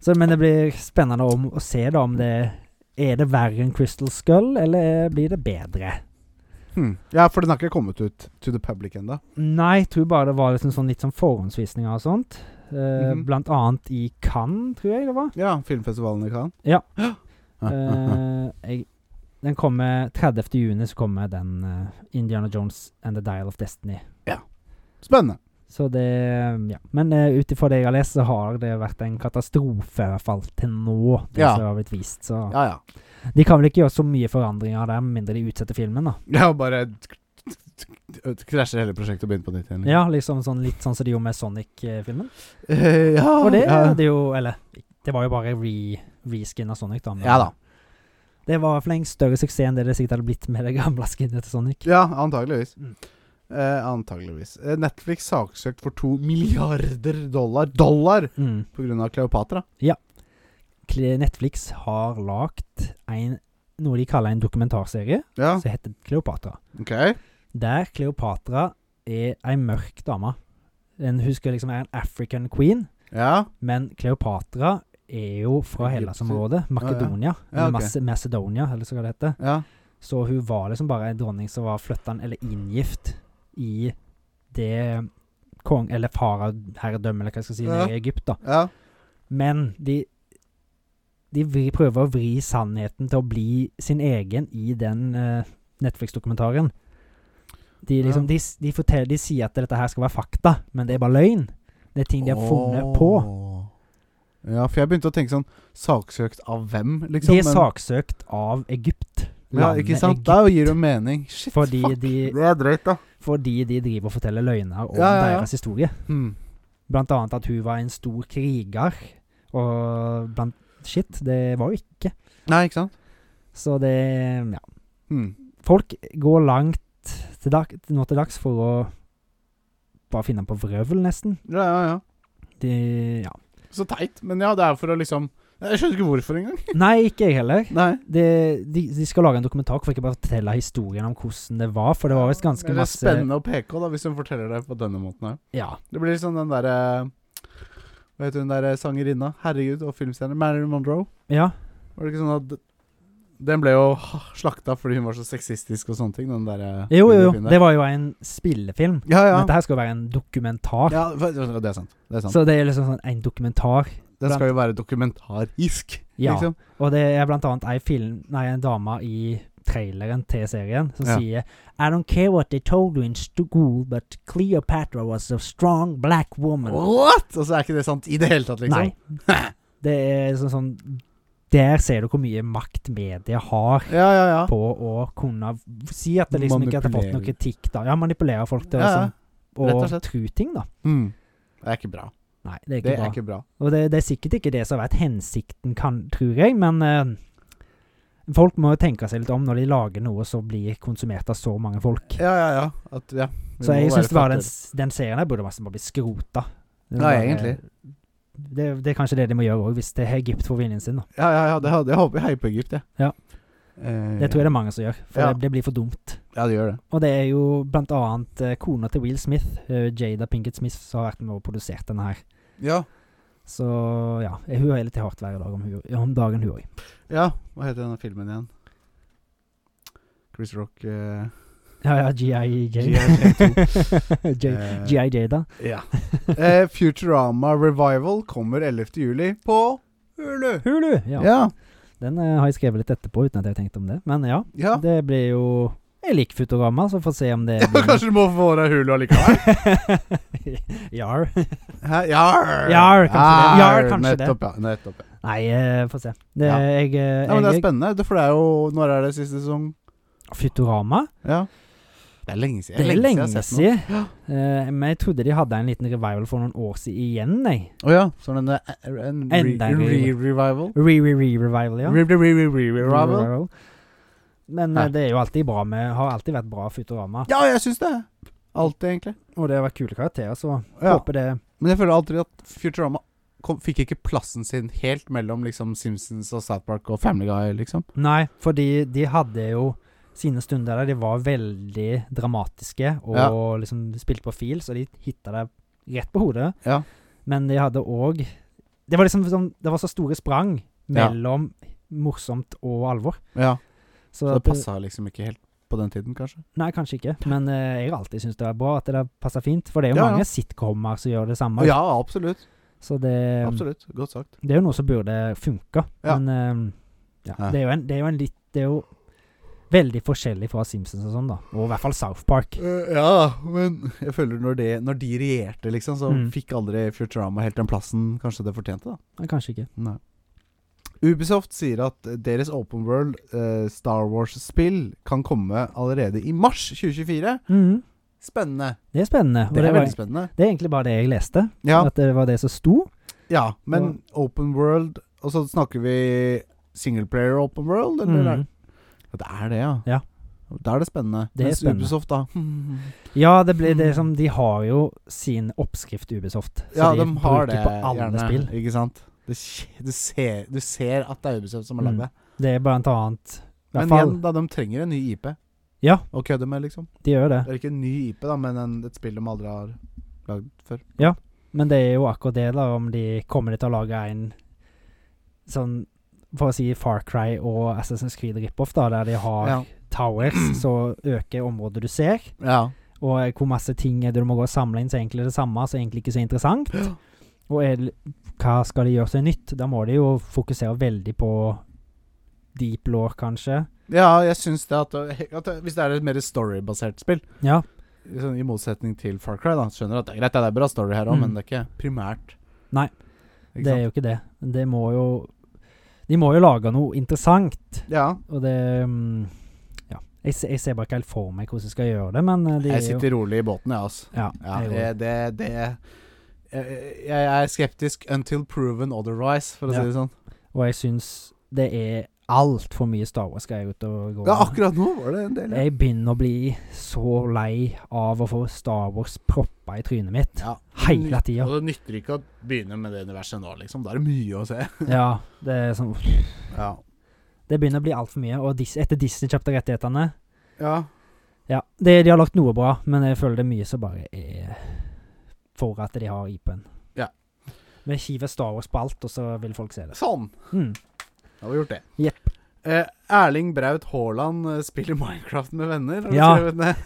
Speaker 2: Så, men det blir spennende om å se da om det Er det verre enn Crystal Skull, eller blir det bedre?
Speaker 1: Hmm. Ja, for den har ikke kommet ut to the public ennå.
Speaker 2: Nei, jeg tror bare det var liksom sånn litt sånn forhåndsvisninger og sånt. Eh,
Speaker 1: Mhm.
Speaker 2: Blant annet i Cannes, tror jeg det var.
Speaker 1: Ja, filmfestivalen i Cannes.
Speaker 2: Ja.
Speaker 1: Eh,
Speaker 2: Eh, jeg, den kommer 30. juni, så kommer den eh, Indiana Jones and the Dial of Destiny.
Speaker 1: Spennende.
Speaker 2: Så det Ja. Men uh, ut ifra det jeg har lest, så har det vært en katastrofe, i hvert fall til nå, det
Speaker 1: Ja.
Speaker 2: som har blitt vist. Så
Speaker 1: Ja, ja.
Speaker 2: de kan vel ikke gjøre så mye forandringer der, med mindre de utsetter filmen, da.
Speaker 1: Ja, bare k- k- k- krasjer hele prosjektet og begynner på nytt igjen.
Speaker 2: Ja, liksom sånn, litt sånn som de gjorde med Sonic-filmen.
Speaker 1: Eh, ja,
Speaker 2: Og det
Speaker 1: ja.
Speaker 2: hadde jo Eller, det var jo bare re, reskin av Sonic, da. men
Speaker 1: ja da.
Speaker 2: Det var for lenge større suksess enn det det sikkert hadde blitt med det gamle skinnet til Sonic.
Speaker 1: Ja, antageligvis.
Speaker 2: Mm.
Speaker 1: Eh, antageligvis. Eh, Netflix saksøkt for to milliarder dollar Dollar!
Speaker 2: Mm.
Speaker 1: På grunn av Kleopatra.
Speaker 2: Kle- Netflix har lagt en, noe de kaller en dokumentarserie,
Speaker 1: Ja,
Speaker 2: som heter Kleopatra.
Speaker 1: ok.
Speaker 2: Der Kleopatra er ei mørk dame. En husker liksom er en African queen,
Speaker 1: Ja.
Speaker 2: men Kleopatra er jo fra
Speaker 1: Egypt,
Speaker 2: Hellas-området. Makedonia.
Speaker 1: Ja,
Speaker 2: eller
Speaker 1: ok.
Speaker 2: Mas- Macedonia, eller hva det heter.
Speaker 1: ja.
Speaker 2: Så hun var liksom bare en dronning som var flytta eller inngift i det kong... Eller faraherredømmet, eller hva jeg skal si,
Speaker 1: Ja.
Speaker 2: nede i Egypt, da.
Speaker 1: Ja.
Speaker 2: Men de de vri, prøver å vri sannheten til å bli sin egen i den eh, Netflix-dokumentaren. De, liksom,
Speaker 1: Ja.
Speaker 2: de, s- de, forteller, de sier at dette her skal være fakta, men det er bare løgn. Det er ting de har funnet på.
Speaker 1: Åh. Ja, for jeg begynte å tenke sånn Saksøkt av hvem, liksom?
Speaker 2: De er
Speaker 1: men-
Speaker 2: saksøkt av Egypt.
Speaker 1: Ja,
Speaker 2: Landet
Speaker 1: ikke sant?
Speaker 2: Egypt.
Speaker 1: Da gir det jo mening. Shit,
Speaker 2: Fordi
Speaker 1: fuck.
Speaker 2: de,
Speaker 1: Det er drøyt, da.
Speaker 2: fordi de driver og forteller løgner om
Speaker 1: Ja, ja, ja.
Speaker 2: deres historie.
Speaker 1: Hmm.
Speaker 2: Blant annet at hun var en stor kriger, og blant Shit, det var hun ikke.
Speaker 1: Nei, ikke sant?
Speaker 2: Så det Ja.
Speaker 1: Hmm.
Speaker 2: Folk går langt til dag, nå til dags for å bare finne på vrøvl, nesten.
Speaker 1: Ja, ja, ja.
Speaker 2: De Ja.
Speaker 1: Så teit. Men ja, det er for å liksom Jeg skjønner ikke hvorfor engang.
Speaker 2: Nei, ikke jeg heller.
Speaker 1: Nei.
Speaker 2: De, de, de skal lage en dokumentar for ikke bare å fortelle historien om hvordan det var, for det var visst ganske
Speaker 1: Men det er
Speaker 2: masse
Speaker 1: spennende å PK, da, hvis hun forteller det på denne måten her.
Speaker 2: Ja.
Speaker 1: Det blir liksom den derre Hva heter hun derre sangerinna? Herregud, og filmstjerne. Marilyn Monroe.
Speaker 2: ja.
Speaker 1: Var det ikke sånn at d- Den ble jo ha- slakta fordi hun var så sexistisk og sånne ting, den derre
Speaker 2: Jo, jo, jo.
Speaker 1: videofilmen der.
Speaker 2: Det var jo en spillefilm.
Speaker 1: Ja, ja.
Speaker 2: Dette her skal jo være en dokumentar.
Speaker 1: ja. for- Det er sant. Det er sant.
Speaker 2: Så det er liksom sånn en dokumentar.
Speaker 1: Den skal jo være dokumentarisk,
Speaker 2: Ja.
Speaker 1: liksom.
Speaker 2: Og det er blant annet ei film Nei, en dame i traileren til serien, som
Speaker 3: Ja.
Speaker 2: sier I don't care what they told you in school, but Cleopatra was a strong black woman.
Speaker 3: What?!
Speaker 1: Og så er ikke det sant i det hele tatt, liksom?
Speaker 2: Nei. Det er sånn, sånn Der ser du hvor mye makt media har
Speaker 1: Ja, ja, ja.
Speaker 2: på å kunne v- si at det liksom ikke hadde fått noe
Speaker 3: Manipulere.
Speaker 2: kritikk, da. Ja, manipulere folk til å
Speaker 1: Ja, ja.
Speaker 2: sånn,
Speaker 1: Rett og
Speaker 2: å
Speaker 1: slett.
Speaker 2: tro ting, da.
Speaker 1: Mm. Det er ikke bra.
Speaker 2: Nei, det er ikke
Speaker 1: Det
Speaker 2: bra.
Speaker 1: er ikke bra.
Speaker 2: Og det, det er sikkert ikke det som har vært hensikten, kan, tror jeg, men eh, folk må jo tenke seg litt om når de lager noe som blir konsumert av så mange folk.
Speaker 1: Ja, ja, ja. At, ja. Vi
Speaker 2: så
Speaker 1: må
Speaker 2: jeg
Speaker 1: være
Speaker 2: syns det var den,
Speaker 1: faktor.
Speaker 2: s- den serien der burde masse bare bli skrota.
Speaker 1: Ja, egentlig.
Speaker 2: Det, det er kanskje det de må gjøre òg, hvis det er Egypt får viljen sin. da.
Speaker 1: Ja, ja, ja. Det hadde jeg håper jeg heier på Egypt, jeg.
Speaker 2: Ja.
Speaker 1: Eh,
Speaker 2: Det tror jeg det er mange som gjør, for
Speaker 1: Ja.
Speaker 2: det, det blir for dumt.
Speaker 1: Ja, det gjør det.
Speaker 2: Og det er jo blant annet eh, kona til Will Smith, eh, Jada Pinkett Smith, som har vært med og produsert denne her.
Speaker 1: Ja.
Speaker 2: Så ja, hun har litt hardt hver dag om, hun- om dagen, hun òg.
Speaker 1: ja. Hva heter denne filmen igjen? Chris Rock eh,
Speaker 2: Ja, ja, GI Jada.
Speaker 1: eh,
Speaker 2: GI Jada.
Speaker 1: Ja. Eh, Futurama Revival kommer 11. juli på Hulu.
Speaker 2: Hulu! Ja.
Speaker 1: Ja.
Speaker 2: Den eh, har jeg skrevet litt etterpå uten at jeg har tenkt om det. Men ja,
Speaker 1: ja.
Speaker 2: det blir jo Jeg liker Futorama, så får vi se om det
Speaker 1: Kanskje du må få deg Hulu allikevel?
Speaker 2: Jar.
Speaker 1: Hæ? Jar!
Speaker 2: Jar, kanskje det. Jar, kanskje det.
Speaker 1: nettopp, Ja, nettopp, ja.
Speaker 2: Nei, eh, får se. Det,
Speaker 1: Ja.
Speaker 2: jeg, eh,
Speaker 1: ja. Men det er
Speaker 2: jeg,
Speaker 1: spennende, det- for det er jo Når er det siste sesong?
Speaker 2: Futorama?
Speaker 1: Ja. Det er lenge siden.
Speaker 2: Det er
Speaker 1: jeg
Speaker 2: lenge
Speaker 1: har sett noe.
Speaker 2: siden. Eh, men jeg trodde de hadde en liten revival for noen år siden igjen, jeg.
Speaker 1: Å ja. Sånn en, eh, en re-
Speaker 2: Enda en re-
Speaker 1: re-revival?
Speaker 2: Re-re-re-revival, ja.
Speaker 1: Re-re-re-re-revival?
Speaker 2: Revival. Men eh, det er jo alltid bra med Har alltid vært bra Futorama.
Speaker 1: Ja, jeg syns det. Alltid, egentlig.
Speaker 2: Og det har vært kule karakterer, så
Speaker 1: Ja.
Speaker 2: håper det
Speaker 1: Men jeg føler alltid at Futurama kom, fikk ikke plassen sin helt mellom liksom Simpsons og South Park og Family Guy, liksom.
Speaker 2: Nei, fordi de hadde jo sine stunder der de var veldig dramatiske og
Speaker 1: Ja.
Speaker 2: liksom spilte på fil, så de hitta det rett på hodet.
Speaker 1: Ja.
Speaker 2: Men de hadde òg Det var liksom sånn, det var så store sprang
Speaker 1: Ja.
Speaker 2: mellom morsomt og alvor.
Speaker 1: Ja. Så
Speaker 2: Så,
Speaker 1: det
Speaker 2: at det-
Speaker 1: passa liksom ikke helt på den tiden, kanskje.
Speaker 2: Nei, kanskje ikke, men eh, jeg har alltid syntes det var bra at det passer fint. For det er jo
Speaker 1: Ja, ja.
Speaker 2: mange sitcomer som gjør det samme.
Speaker 1: Ja, absolutt.
Speaker 2: Så det,
Speaker 1: Absolutt. Godt sagt.
Speaker 2: det er jo noe som burde funke.
Speaker 1: Ja.
Speaker 2: Men eh, ja,
Speaker 1: Ja.
Speaker 2: Det, er jo en, det er jo en litt Det er jo veldig forskjellig fra Simpsons og sånn, da. Og i hvert fall South Park.
Speaker 1: Eh, ja, men jeg føler når, det, når de regjerte, liksom, så
Speaker 2: Mm.
Speaker 1: fikk aldri Futurama helt den plassen kanskje det fortjente, da.
Speaker 2: Nei, Kanskje ikke.
Speaker 1: Nei. Ubisoft sier at deres Open World eh, Star Wars-spill kan komme allerede i mars 2024.
Speaker 2: Mhm.
Speaker 1: Spennende.
Speaker 2: Det er spennende. Og
Speaker 1: Det
Speaker 2: det,
Speaker 1: er
Speaker 2: var,
Speaker 1: veldig spennende.
Speaker 2: det er egentlig bare det jeg leste.
Speaker 1: Ja,
Speaker 2: At det var det som sto.
Speaker 1: ja men Open World Og så snakker vi singleplayer Open World, eller?
Speaker 2: Mhm.
Speaker 1: er- Ja, Det er det, ja.
Speaker 2: Ja.
Speaker 1: Da er det spennende.
Speaker 2: Det er
Speaker 1: Mens
Speaker 2: spennende.
Speaker 1: Ubisoft, da
Speaker 2: Ja, det blir det som De har jo sin oppskrift, Ubisoft.
Speaker 1: Mm.
Speaker 2: Så
Speaker 1: Ja,
Speaker 2: de,
Speaker 1: de, har
Speaker 2: bruker
Speaker 1: det
Speaker 2: på alle
Speaker 1: gjerne,
Speaker 2: spill.
Speaker 1: Ikke sant? Det, skje- du, ser, du ser at det er Ubisoft som har
Speaker 2: Mm,
Speaker 1: lagd det.
Speaker 2: Det er blant annet i hvert
Speaker 1: Men
Speaker 2: fall,
Speaker 1: igjen, da, de trenger en ny IP
Speaker 2: Ja.
Speaker 1: å kødde med, liksom.
Speaker 2: de gjør det.
Speaker 1: Det er ikke en ny IP, da, men en, et spill de aldri har lagd før.
Speaker 2: Men det er jo akkurat det, da, om de kommer de til å lage en sånn For å si Far Cry og Assassin's Creed rip-off, da, der de har
Speaker 1: Ja.
Speaker 2: towers, så øker området du ser.
Speaker 1: ja.
Speaker 2: Og eh, hvor masse ting er det du må gå og samle inn som egentlig er det samme, som egentlig ikke er så interessant. Og er, det- hva skal de gjøre seg nytt? Da må de jo fokusere veldig på deep law, kanskje.
Speaker 1: Ja, jeg syns det at, at Hvis det er et mer storybasert spill,
Speaker 2: Ja.
Speaker 1: liksom, i motsetning til Far Cry, da Skjønner at det er greit, det er bra story her òg,
Speaker 2: Mm.
Speaker 1: men det er ikke primært.
Speaker 2: Nei.
Speaker 1: Ikke
Speaker 2: Det er
Speaker 1: sant?
Speaker 2: jo ikke det. Det må jo De må jo lage noe interessant,
Speaker 1: Ja.
Speaker 2: og det mm, Ja. Jeg, se- jeg ser bare ikke helt for meg hvordan jeg skal gjøre det, men eh, de
Speaker 1: Jeg
Speaker 2: er jo-
Speaker 1: sitter rolig i båten, jeg, altså.
Speaker 2: Ja.
Speaker 1: Ja,
Speaker 2: jeg
Speaker 1: det,
Speaker 2: gjorde
Speaker 1: det, det jeg, jeg er skeptisk until proven otherwise, for å
Speaker 2: Ja.
Speaker 1: si det sånn.
Speaker 2: Og jeg syns det er altfor mye Star Wars-greier ute og går.
Speaker 1: Ja, akkurat nå var det en del. Ja.
Speaker 2: Jeg begynner å bli så lei av å få Star Wars proppa i trynet mitt.
Speaker 1: Ja.
Speaker 2: Hele tida.
Speaker 1: Og det nytter ikke å begynne med det universet nå, liksom. Da er det mye å se.
Speaker 2: Ja, det er sånn
Speaker 1: Ja.
Speaker 2: Det begynner å bli altfor mye. Og Dis etter Disney kjøpte rettighetene
Speaker 1: ja.
Speaker 2: Ja, det, de har lagt noe bra, men jeg føler det er mye som bare er for at de har IP-en.
Speaker 1: Ja.
Speaker 2: Vi hiver Star Wars på alt, og så vil folk se det.
Speaker 1: Sånn.
Speaker 2: Mm.
Speaker 1: Da har vi gjort det.
Speaker 2: Jepp.
Speaker 1: Eh, Erling Braut Haaland eh, spiller Minecraft med venner, har du
Speaker 2: Ja.
Speaker 1: skrevet ned?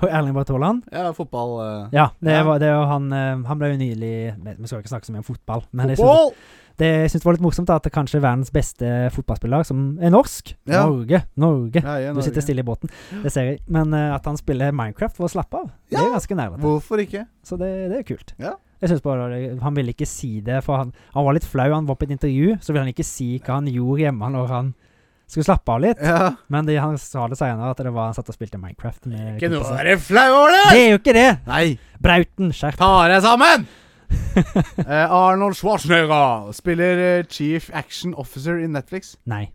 Speaker 2: Og Erling Braut Haaland?
Speaker 1: Ja, fotball. Eh.
Speaker 2: Ja, det
Speaker 1: Ja.
Speaker 2: var det var han eh, Han ble jo nylig Vi vi skal jo ikke snakke så mye om fotball, men jeg synes,
Speaker 1: Fotball!
Speaker 2: Det jeg synes det var litt morsomt da, at det kanskje er verdens beste fotballspiller, som er norsk
Speaker 1: Ja.
Speaker 2: Norge. Norge.
Speaker 1: Ja, jeg er
Speaker 2: Du sitter
Speaker 1: Norge.
Speaker 2: stille i båten, det ser jeg. Men eh, at han spiller Minecraft for å slappe av, det er ganske nærmere.
Speaker 1: Hvorfor ikke?
Speaker 2: Så det, det er kult.
Speaker 1: Ja.
Speaker 2: Jeg synes bare det- Han ville ikke si det, for han, han var litt flau. Han var på et intervju, så ville han ikke si hva han gjorde hjemme når han skulle slappe av litt.
Speaker 1: Ja.
Speaker 2: Men det, han sa det senere, at det var han satt og spilte Minecraft med
Speaker 3: Ikke noe
Speaker 2: kompiser.
Speaker 3: å være flau over det!
Speaker 2: Det er jo ikke det!
Speaker 3: Nei,
Speaker 2: Brauten, skjerp
Speaker 3: ta deg sammen!
Speaker 1: Eh, Arnold Schwarzenegger spiller eh, Chief Action Officer i Netflix.
Speaker 2: Nei.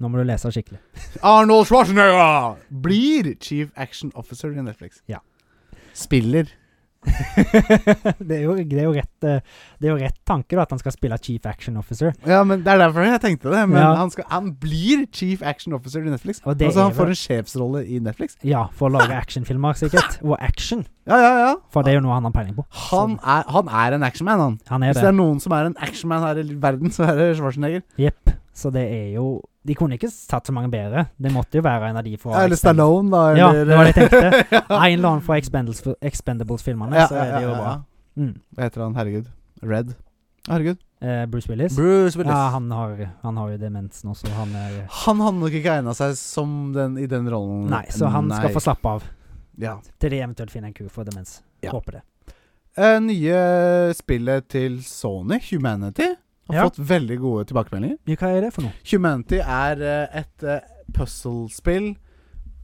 Speaker 2: Nå må du lese skikkelig.
Speaker 1: Arnold Schwarzenegger blir Chief Action Officer i Netflix.
Speaker 2: Ja.
Speaker 1: Spiller.
Speaker 2: det, er jo, det, er jo rett, eh, det er jo rett tanke, da, at han skal spille Chief Action Officer.
Speaker 1: Ja, men Det er derfor jeg tenkte det. Men
Speaker 2: Ja.
Speaker 1: han, skal, han blir Chief Action Officer i Netflix.
Speaker 2: Og det
Speaker 1: altså
Speaker 2: er
Speaker 1: Han får
Speaker 2: vel-
Speaker 1: en sjefsrolle i Netflix.
Speaker 2: Ja, for å lage actionfilmer, sikkert. Og action.
Speaker 1: Ja, ja, ja.
Speaker 2: For det er jo noe han har peiling på.
Speaker 1: Han er, han er en actionman, han.
Speaker 2: Han er
Speaker 1: Hvis det
Speaker 2: Sånn. det.
Speaker 1: er noen som er en actionman her i verden, så er det Schwarzenegger.
Speaker 2: Jepp. Så det er jo De kunne ikke tatt så mange bedre. Det måtte jo være en av de fra
Speaker 1: Ja, eller Stallone, da.
Speaker 2: Ja,
Speaker 1: eller,
Speaker 2: det var det jeg tenkte.
Speaker 1: ja.
Speaker 2: En eller annen fra Expendables- Expendables-filmene,
Speaker 1: Ja,
Speaker 2: så er det
Speaker 1: ja,
Speaker 2: jo
Speaker 1: ja,
Speaker 2: bra.
Speaker 1: ja.
Speaker 2: Mm.
Speaker 1: Hva heter han? Herregud. Red. Herregud.
Speaker 2: Eh, Bruce Willis.
Speaker 1: Bruce
Speaker 2: Ja, han har, han har jo demensen også. Han er
Speaker 1: Han hadde nok ikke egna seg som den i den rollen.
Speaker 2: Nei, så han skal
Speaker 1: Nei.
Speaker 2: få slappe av
Speaker 1: ja.
Speaker 2: til de eventuelt finner en kur for demens.
Speaker 1: Ja.
Speaker 2: Håper det.
Speaker 1: Eh, nye spillet til Sony, Humanity, har
Speaker 2: Ja.
Speaker 1: fått veldig gode tilbakemeldinger.
Speaker 2: Men Hva er det for noe?
Speaker 1: Humanity er eh, et eh, puzzlespill,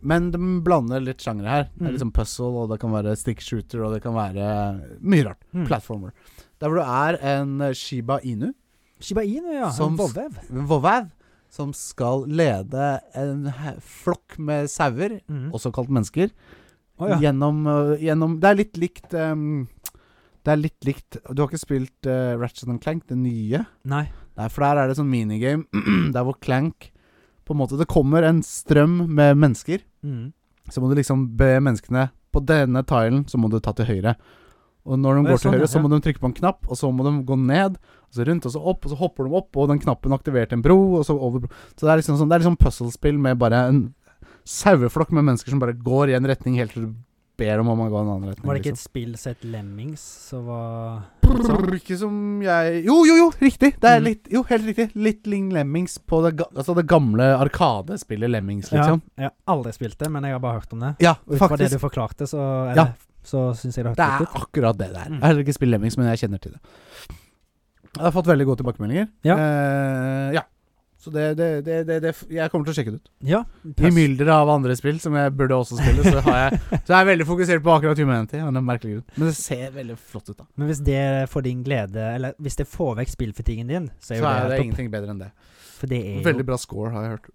Speaker 1: men de blander litt sjangre her. Det
Speaker 2: Mm.
Speaker 1: er liksom puzzle, og det kan være stick shooter, og det kan være eh, mye rart.
Speaker 2: Mm.
Speaker 1: Platformer. Der hvor du er en eh, Shiba Inu,
Speaker 2: Shiba Inu, ja.
Speaker 1: Som-
Speaker 2: en vollvev.
Speaker 1: vovav, som skal lede en he- flokk med sauer,
Speaker 2: Mm.
Speaker 1: også kalt mennesker,
Speaker 2: Å, ja.
Speaker 1: gjennom, øh, gjennom Det er litt likt ehm, Det er litt likt Du har ikke spilt øh, Ratchet and Clank, det nye?
Speaker 2: Nei.
Speaker 1: Nei, for der er det sånn minigame der hvor Clank På en måte Det kommer en strøm med mennesker.
Speaker 2: Mm.
Speaker 1: Så må du liksom be menneskene På denne tilen så må du ta til høyre. Og når de
Speaker 2: Å, ja,
Speaker 1: går til
Speaker 2: sånn,
Speaker 1: høyre,
Speaker 2: ja,
Speaker 1: så
Speaker 2: ja.
Speaker 1: må de trykke på en knapp, og så må de gå ned, og så rundt, og så opp, og så hopper de opp, og den knappen aktiverte en bro, og så over bro. Så det er liksom sånn Det er liksom puzzlespill med bare en saueflokk med mennesker som bare går i en retning helt til du ber om om man går i en annen retning.
Speaker 2: Var det ikke et spill som het Lemmings, som var
Speaker 1: liksom. Brrr, ikke som jeg Jo, jo, jo! Riktig! Det er
Speaker 2: Mm.
Speaker 1: litt Jo, helt riktig. Litt Ling Lemmings på det, ga altså det gamle Arkadespillet Lemmings,
Speaker 2: Ja,
Speaker 1: liksom.
Speaker 2: jeg har aldri spilt det, men jeg har bare hørt om det.
Speaker 1: Ja,
Speaker 2: Og ut fra det
Speaker 1: faktisk.
Speaker 2: du forklarte, så,
Speaker 1: Ja.
Speaker 2: eller, så syns jeg det
Speaker 1: Det
Speaker 2: hørtes
Speaker 1: er
Speaker 2: litt ut.
Speaker 1: akkurat det det er.
Speaker 2: Mm.
Speaker 1: Jeg har heller ikke spilt Lemmings, men jeg kjenner til det. Jeg har fått veldig gode tilbakemeldinger.
Speaker 2: Ja.
Speaker 1: Eh, ja. Så det, det, det, det, det Jeg kommer til å sjekke det ut.
Speaker 2: Ja,
Speaker 1: I mylderet av andre spill som jeg burde også spille, så, har jeg, så jeg er veldig fokusert på akkurat Humanity. Av en merkelig grunn. Men det ser veldig flott ut, da.
Speaker 2: Men hvis det får din glede, eller hvis det får vekk spillfatigen din,
Speaker 1: Så
Speaker 2: så er jo
Speaker 1: er
Speaker 2: det
Speaker 1: det
Speaker 2: helt topp.
Speaker 1: ingenting bedre enn det.
Speaker 2: For det er jo
Speaker 1: Veldig bra score, har jeg hørt.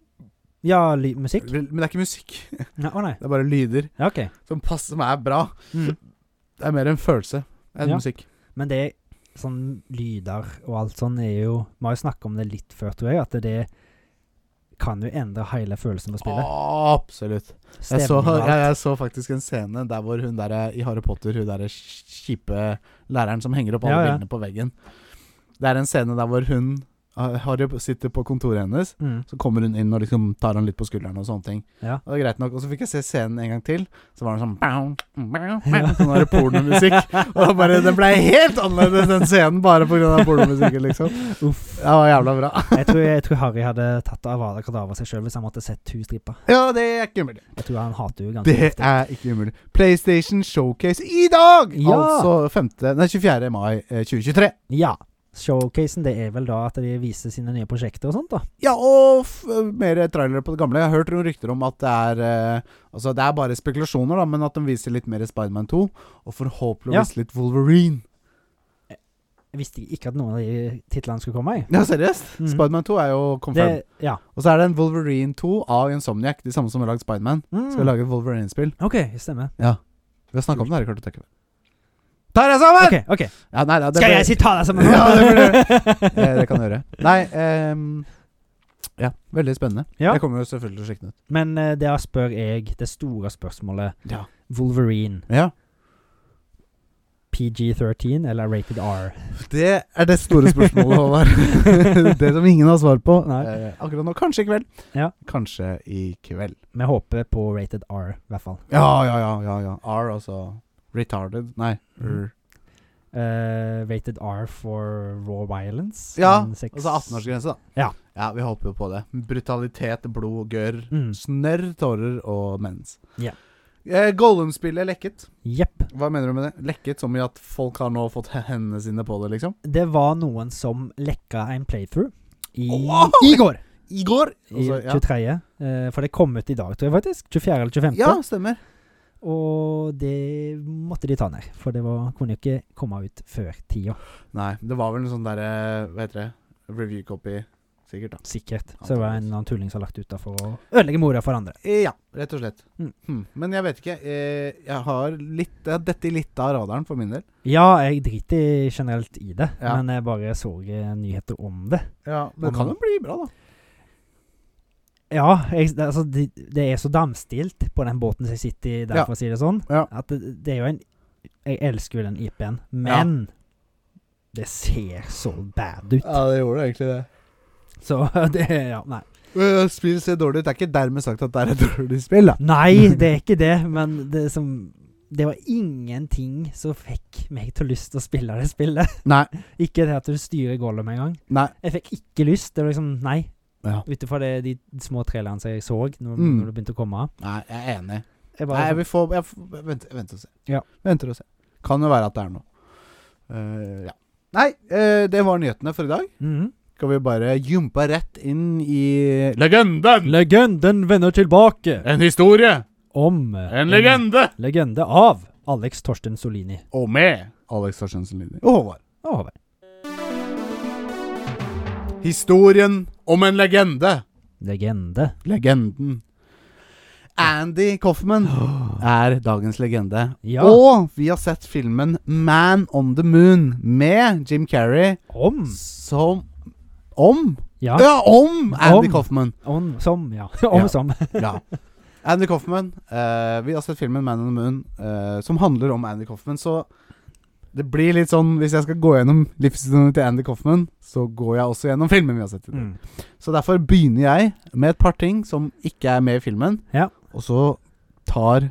Speaker 2: Ja, ly musikk?
Speaker 1: Vel- Men det er ikke musikk.
Speaker 2: Nei, Å nei.
Speaker 1: Det er bare lyder
Speaker 2: Ja, OK.
Speaker 1: som passer, som er bra.
Speaker 2: Mm.
Speaker 1: Det er mer en følelse enn
Speaker 2: Ja.
Speaker 1: musikk.
Speaker 2: Men det sånn lyder og alt sånn er jo Vi har jo snakka om det litt før, tror jeg, at det kan jo endre hele følelsen på spillet.
Speaker 1: Absolutt. Ah, Jeg
Speaker 2: Stemning
Speaker 1: så,
Speaker 2: og alt.
Speaker 1: jeg, jeg så faktisk en scene der hvor hun der i Harry Potter, hun der kjipe læreren som henger opp alle
Speaker 2: Ja, ja.
Speaker 1: bildene på veggen Det er en scene der hvor hun eh, Harry sitter på kontoret hennes,
Speaker 2: Mm.
Speaker 1: så kommer hun inn og liksom tar han litt på skulderen og sånne ting.
Speaker 2: Ja.
Speaker 1: Og det er greit nok Og så fikk jeg se scenen en gang til, så var det sånn bang, bang, bang, Sånn der pornomusikk. Og da bare Den ble helt annerledes, den scenen, bare pga. pornomusikken, liksom.
Speaker 2: Uff.
Speaker 1: Det var jævla bra.
Speaker 2: Jeg tror, jeg tror Harry hadde tatt Avada Kedavra seg sjøl hvis han måtte sett hun strippe.
Speaker 1: Ja, det er ikke mulig.
Speaker 2: Jeg tror han hater henne ganske
Speaker 1: Det
Speaker 2: heftig.
Speaker 1: er ikke umulig. PlayStation Showcase i dag!
Speaker 2: Ja!
Speaker 1: Altså 5. Nei, 24. mai eh, 2023.
Speaker 2: Ja. Showcasen det er vel da at de viser sine nye prosjekter og sånt, da.
Speaker 1: Ja, og f mer trailere på det gamle. Jeg har hørt noen rykter om at det er eh, Altså, det er bare spekulasjoner, da, men at de viser litt mer Spiderman 2. Og forhåpentligvis litt Wolverine.
Speaker 2: Jeg visste ikke at noen av de titlene skulle komme. Jeg.
Speaker 1: Ja, seriøst?
Speaker 2: Mhm.
Speaker 1: Spiderman 2 er jo
Speaker 2: Det,
Speaker 1: confirmed.
Speaker 2: ja.
Speaker 1: Og så er det en Wolverine 2 av Insomniac, de samme som har lagd Spiderman.
Speaker 2: Mm.
Speaker 1: Skal lage et Wolverine-spill.
Speaker 2: OK, stemmer.
Speaker 1: Vi har snakka om det her i kartoteket. Ta deg sammen!
Speaker 2: Ok, ok.
Speaker 1: Ja, nei, nei, det
Speaker 2: Skal
Speaker 1: ble-
Speaker 2: jeg si ta deg sammen?
Speaker 1: Ja, det burde Eh, det kan du gjøre. Nei ehm, Ja, veldig spennende.
Speaker 2: Ja.
Speaker 1: Jeg kommer jo selvfølgelig til å sjekke den ut.
Speaker 2: Men eh, det her spør jeg det store spørsmålet.
Speaker 1: Ja.
Speaker 2: Wolverine,
Speaker 1: Ja.
Speaker 2: PG-13 eller Rated R?
Speaker 1: Det er det store spørsmålet, Håvard. det som ingen har svar på
Speaker 2: Nei.
Speaker 1: eh, akkurat nå. Kanskje i kveld.
Speaker 2: Ja.
Speaker 1: Kanskje i kveld.
Speaker 2: Vi håper på Rated R, i hvert fall.
Speaker 1: Ja, ja, ja. ja, ja. R, altså retarded. Nei.
Speaker 2: Mhm.
Speaker 1: R.
Speaker 2: eh, rated R for raw violence.
Speaker 1: Ja,
Speaker 2: en sex-
Speaker 1: Altså 18-årsgrense, da.
Speaker 2: Ja.
Speaker 1: ja, vi håper jo på det. Brutalitet, blod, gørr,
Speaker 2: Mm.
Speaker 1: snørr, tårer og mens.
Speaker 2: Ja.
Speaker 1: Eh, Gollum-spillet lekket.
Speaker 2: Jepp.
Speaker 1: Hva mener du med det? Lekket som i at folk har nå fått hendene sine på det, liksom?
Speaker 2: Det var noen som lekka en playthrough i,
Speaker 1: Wow!
Speaker 2: i går.
Speaker 1: I går!
Speaker 2: I
Speaker 1: Altså, ja.
Speaker 2: 23. eh, for det kom ut i dag, tror jeg faktisk. 24. eller 25.
Speaker 1: ja, stemmer.
Speaker 2: Og det måtte de ta ned, for det var, kunne jo ikke komme ut før tida.
Speaker 1: Nei, det var vel en sånn derre Hva heter det? Review copy, sikkert, da.
Speaker 2: Sikkert. Så det var en eller annen tulling som har lagt ut da for å ødelegge mora for andre.
Speaker 1: Eh, Ja, rett og slett.
Speaker 2: Mm.
Speaker 1: Hmm. Men jeg vet ikke. eh, Jeg har litt Jeg har dette litt av radaren for min del.
Speaker 2: Ja, jeg driter generelt i det,
Speaker 1: Ja.
Speaker 2: men jeg bare så eh, nyheter om det.
Speaker 1: Ja,
Speaker 2: men-
Speaker 1: det kan jo bli bra, da.
Speaker 2: Ja, jeg, det, altså, det, det er så damstilt på den båten som jeg sitter i der,
Speaker 1: Ja.
Speaker 2: for å si det sånn,
Speaker 1: Ja.
Speaker 2: at det, det er jo en Jeg elsker jo den IP-en, men det ser så bad ut.
Speaker 1: Ja, det gjorde egentlig det.
Speaker 2: Så det Ja, nei.
Speaker 1: Øh, Spill ser dårlig ut. Det er ikke dermed sagt at det er et dårlig spill, da.
Speaker 2: Nei, det er ikke det, men det som det var ingenting som fikk meg til å lyst til å spille det spillet.
Speaker 1: Nei.
Speaker 2: Ikke det at du styrer Gollum engang.
Speaker 1: Nei.
Speaker 2: Jeg fikk ikke lyst. Det var liksom Nei.
Speaker 1: Ja.
Speaker 2: Ut ifra det- de små trailerne som jeg så når,
Speaker 1: Mm.
Speaker 2: når det begynte å komme.
Speaker 1: Nei, jeg er enig.
Speaker 2: Jeg
Speaker 1: Nei,
Speaker 2: bare, sånn,
Speaker 1: jeg vil få Jeg, får- jeg venter, jeg venter og ser.
Speaker 2: Ja.
Speaker 1: Venter og ser. Kan jo være at det er noe. Eh, ja. Nei, eh, det var nyhetene for i dag.
Speaker 2: Mhm.
Speaker 1: Skal vi bare jumpe rett inn i Legenden!
Speaker 2: Legenden vender tilbake
Speaker 1: En historie!
Speaker 2: om eh, legende av Alex Torsten Solini.
Speaker 1: Og med Alex Torstensen Lindli. Og Håvard.
Speaker 2: Å, Håvard.
Speaker 1: Historien om en legende.
Speaker 2: Legende.
Speaker 1: Legenden. Andy Coffman er dagens legende.
Speaker 2: Ja.
Speaker 1: Og vi har sett filmen Man on the Moon med Jim Carrey
Speaker 2: Om.
Speaker 1: som Om?
Speaker 2: Ja.
Speaker 1: Mm. Ja, om Andy
Speaker 2: Om.
Speaker 1: Coffman.
Speaker 2: Om, som, ja. Om
Speaker 1: Ja.
Speaker 2: som.
Speaker 1: Ja. Andy Coffman. eh, vi har sett filmen Man on the Moon, eh, som handler om Andy Coffman, så det blir litt sånn Hvis jeg skal gå gjennom livshistorien til Andy Coffman, så går jeg også gjennom filmen vi har sett. i dag.
Speaker 2: Mm.
Speaker 1: Så derfor begynner jeg med et par ting som ikke er med i filmen.
Speaker 2: Ja.
Speaker 1: Og så tar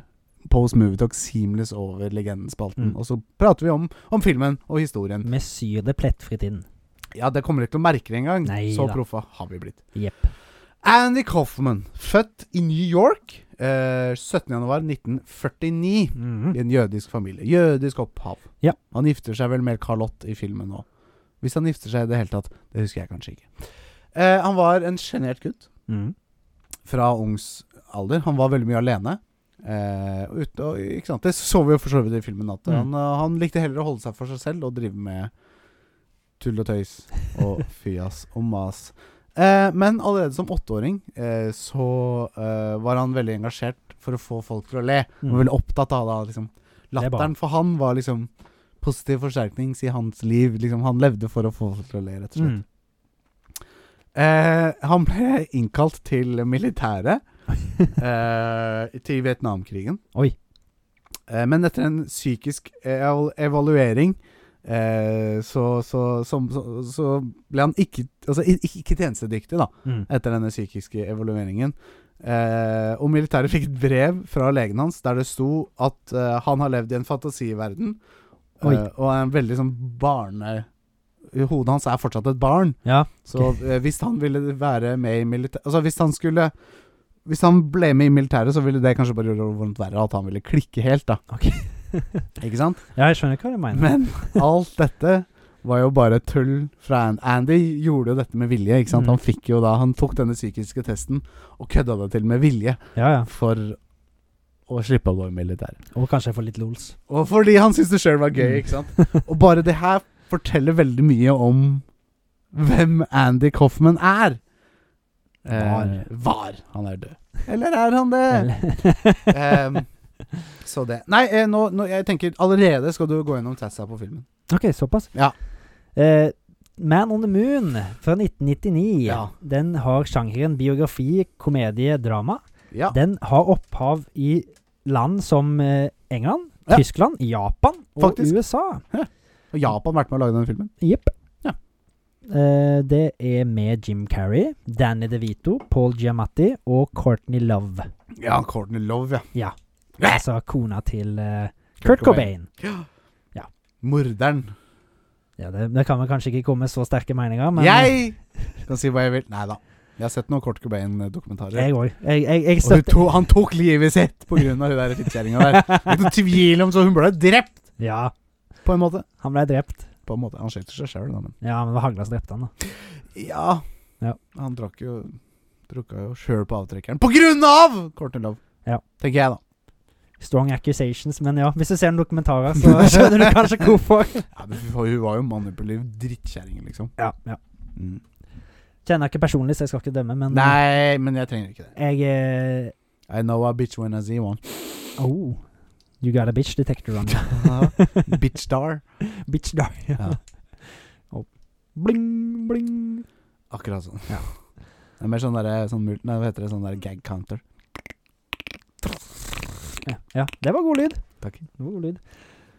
Speaker 1: Post Movietalk seamless over legendenspalten.
Speaker 2: Mm.
Speaker 1: Og så prater vi om, om filmen og historien.
Speaker 2: Vi syr det plettfritt inn.
Speaker 1: Ja, det kommer dere ikke til å merke det engang.
Speaker 2: Nei
Speaker 1: Så
Speaker 2: da.
Speaker 1: proffa har vi blitt.
Speaker 2: Jepp.
Speaker 1: Andy Coffman, født i New York eh, 17.1.1949 i en jødisk familie. Jødisk opphav.
Speaker 2: Ja.
Speaker 1: Han gifter seg vel med Carlotte i filmen nå. Hvis han gifter seg i det hele tatt. Det husker jeg kanskje ikke. Eh, han var en sjenert gutt.
Speaker 2: Mm.
Speaker 1: fra ungs alder. Han var veldig mye alene. Eh, ute, og, ikke sant? Det så vi jo for så vidt i filmen. At
Speaker 2: Mm.
Speaker 1: han, eh, han likte heller å holde seg for seg selv og drive med tull og tøys og fjas og mas. Eh, men allerede som åtteåring eh, så eh, var han veldig engasjert for å få folk til å le. Han var
Speaker 2: Mm.
Speaker 1: veldig opptatt av da, liksom.
Speaker 2: er bra.
Speaker 1: Latteren for han var liksom positiv forsterkning i hans liv. Liksom, han levde for å få folk til å le, rett og slett.
Speaker 2: Mm.
Speaker 1: Eh, han ble innkalt til militæret eh, til Vietnamkrigen.
Speaker 2: Oi.
Speaker 1: Eh, men etter en psykisk eval evaluering eh, så, så, som, så, så ble han ikke, altså, i- ikke, ikke tjenestedyktig, da,
Speaker 2: Mm.
Speaker 1: etter denne psykiske evalueringen. Eh, og militæret fikk et brev fra legen hans der det sto at eh, han har levd i en fantasiverden,
Speaker 2: Oi.
Speaker 1: eh, og er en veldig sånn barne... Hodet hans er fortsatt et barn.
Speaker 2: Ja.
Speaker 1: Så eh, hvis han ville være med i militæret Altså hvis han skulle Hvis han ble med i militæret, så ville det kanskje bare gjøre det vondt verre at han ville klikke helt, da.
Speaker 2: Ok.
Speaker 1: Ikke sant?
Speaker 2: ja, jeg skjønner hva du mener.
Speaker 1: Men alt dette var jo bare tull fra An- Andy gjorde jo dette med vilje, ikke sant?
Speaker 2: Mm.
Speaker 1: Han fikk jo da Han tok denne psykiske testen og kødda det til med vilje
Speaker 2: Ja, ja.
Speaker 1: for å slippe å gå i militæret.
Speaker 2: Og kanskje jeg får litt lols.
Speaker 1: Og fordi han syntes det sjøl var gøy, ikke sant? Og bare det her forteller veldig mye om hvem Andy Coffman er. Eh,
Speaker 2: Var.
Speaker 1: var. Han er død. Eller er han det?
Speaker 2: Eller-
Speaker 1: Em, så det Nei, eh, nå, nå, jeg tenker allerede skal du gå gjennom tassa på filmen.
Speaker 2: OK, såpass.
Speaker 1: Ja.
Speaker 2: Eh, Man on the Moon fra 1999.
Speaker 1: Ja.
Speaker 2: Den har sjangeren biografi, komedie, drama.
Speaker 1: Ja.
Speaker 2: Den har opphav i land som eh, England,
Speaker 1: Ja.
Speaker 2: Tyskland, Japan og
Speaker 1: Faktisk.
Speaker 2: USA.
Speaker 1: Og Japan har vært med å lage den filmen.
Speaker 2: Jepp.
Speaker 1: Ja.
Speaker 2: Eh, det er med Jim Carrey, Danny DeVito, Paul Giamatti og Courtney Love.
Speaker 1: Ja, Courtney Love, ja.
Speaker 2: Altså kona til eh, Kurt Cobain. Ja.
Speaker 1: Morderen.
Speaker 2: Ja, det, det kan vel kanskje ikke komme så sterke meninger, men
Speaker 1: Jeg kan si hva jeg vil. Nei da. Jeg har sett noen Kurt Cobain-dokumentarer.
Speaker 2: Jeg òg. Jeg, jeg, jeg
Speaker 1: Og hun
Speaker 2: støtter
Speaker 1: to, han tok livet sitt pga. hun der fittkjerringa der. Det er ikke noe tvil om, så hun ble drept,
Speaker 2: Ja,
Speaker 1: på en måte.
Speaker 2: han ble drept.
Speaker 1: På en måte. Han skjøt seg sjøl, da, men
Speaker 2: Ja, men det var hagla som drepte han, da.
Speaker 1: Ja.
Speaker 2: Ja.
Speaker 1: Han drakk jo Drukka jo sjøl på avtrekkeren. På grunn av Courtney Love,
Speaker 2: Ja.
Speaker 1: tenker jeg, da.
Speaker 2: Strong accusations, men ja. Hvis du ser noen dokumentarer, så skjønner du kanskje hvorfor.
Speaker 1: Ja, men fy faen, hun var jo manipulativ drittkjerring, liksom.
Speaker 2: Ja, ja. Mm. Kjenner jeg ikke personlig, så jeg skal ikke dømme, men eh,
Speaker 1: Nei, men jeg trenger ikke det.
Speaker 2: jeg eh,
Speaker 1: I know a bitch when I see one.
Speaker 2: Oh. You got a bitch detector on you.
Speaker 1: bitch star.
Speaker 2: bitch da.
Speaker 1: Ja.
Speaker 2: Og bling, bling.
Speaker 1: Akkurat sånn.
Speaker 2: Ja.
Speaker 1: Det er mer sånn derre sånn, mul- Nei, hva heter det? Sånn derre gag counter.
Speaker 2: Ja, ja, det var god lyd.
Speaker 1: Takk.
Speaker 2: Det var god lyd.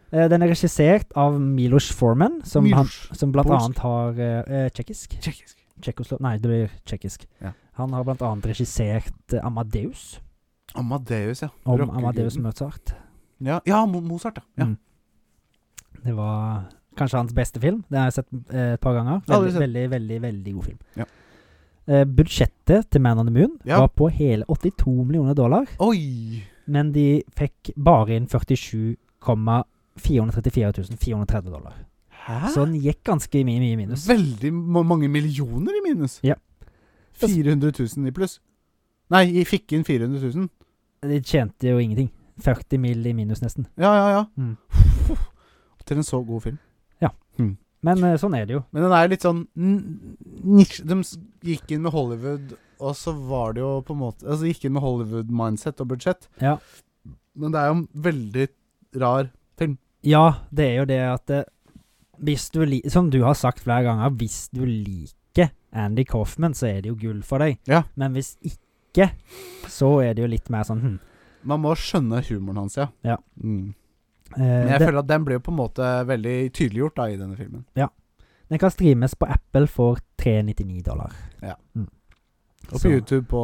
Speaker 2: Eh, den er regissert av Milos Forman, som, han,
Speaker 1: Miloš.
Speaker 2: som blant
Speaker 1: Polsk.
Speaker 2: annet har eh, eh, Tsjekkisk?
Speaker 1: Tjekkisk.
Speaker 2: Tsjekkoslo... Nei, det blir tsjekkisk.
Speaker 1: Ja.
Speaker 2: Han har blant annet regissert eh, Amadeus.
Speaker 1: Amadeus, ja.
Speaker 2: Om
Speaker 1: Rockeguden.
Speaker 2: Amadeus Mozart.
Speaker 1: Ja, ja Mo- Mozart, ja. ja.
Speaker 2: Mm. Det var kanskje hans beste film. Den har jeg sett eh, et par ganger.
Speaker 1: Aldri
Speaker 2: Veldig,
Speaker 1: sett.
Speaker 2: veldig, veldig veldig god film.
Speaker 1: Ja.
Speaker 2: Eh, budsjettet til Man on the Moon
Speaker 1: Ja.
Speaker 2: var på hele 82 millioner dollar,
Speaker 1: Oi!
Speaker 2: men de fikk bare inn 47,434 430 dollar.
Speaker 1: Hæ?
Speaker 2: Så den gikk ganske mye, mye i minus.
Speaker 1: Veldig ma mange millioner i minus.
Speaker 2: Ja.
Speaker 1: 400 000 i pluss. Nei, jeg fikk inn 400 000.
Speaker 2: De tjente jo ingenting. 40 mill. i minus, nesten.
Speaker 1: Ja, ja, ja.
Speaker 2: Mm.
Speaker 1: Til en så god film.
Speaker 2: Men eh, sånn er det jo.
Speaker 1: Men den er jo litt sånn n- nisje De s- gikk inn med Hollywood, og så var det jo på en måte Altså gikk inn med Hollywood-mindset og budsjett.
Speaker 2: Ja.
Speaker 1: Men det er jo en veldig rar
Speaker 2: Ja, det er jo det at eh, hvis du li Som du har sagt flere ganger, hvis du liker Andy Coffman, så er det jo gull for deg.
Speaker 1: Ja.
Speaker 2: Men hvis ikke, så er det jo litt mer sånn hm.
Speaker 1: Man må skjønne humoren hans, ja.
Speaker 2: Ja.
Speaker 1: Mm.
Speaker 2: Eh,
Speaker 1: Men jeg
Speaker 2: den,
Speaker 1: føler at den ble jo på en måte veldig tydeliggjort da i denne filmen.
Speaker 2: den kan streames på Apple for 399 dollar.
Speaker 1: Ja.
Speaker 2: Mm.
Speaker 1: Og på
Speaker 2: Så-
Speaker 1: YouTube på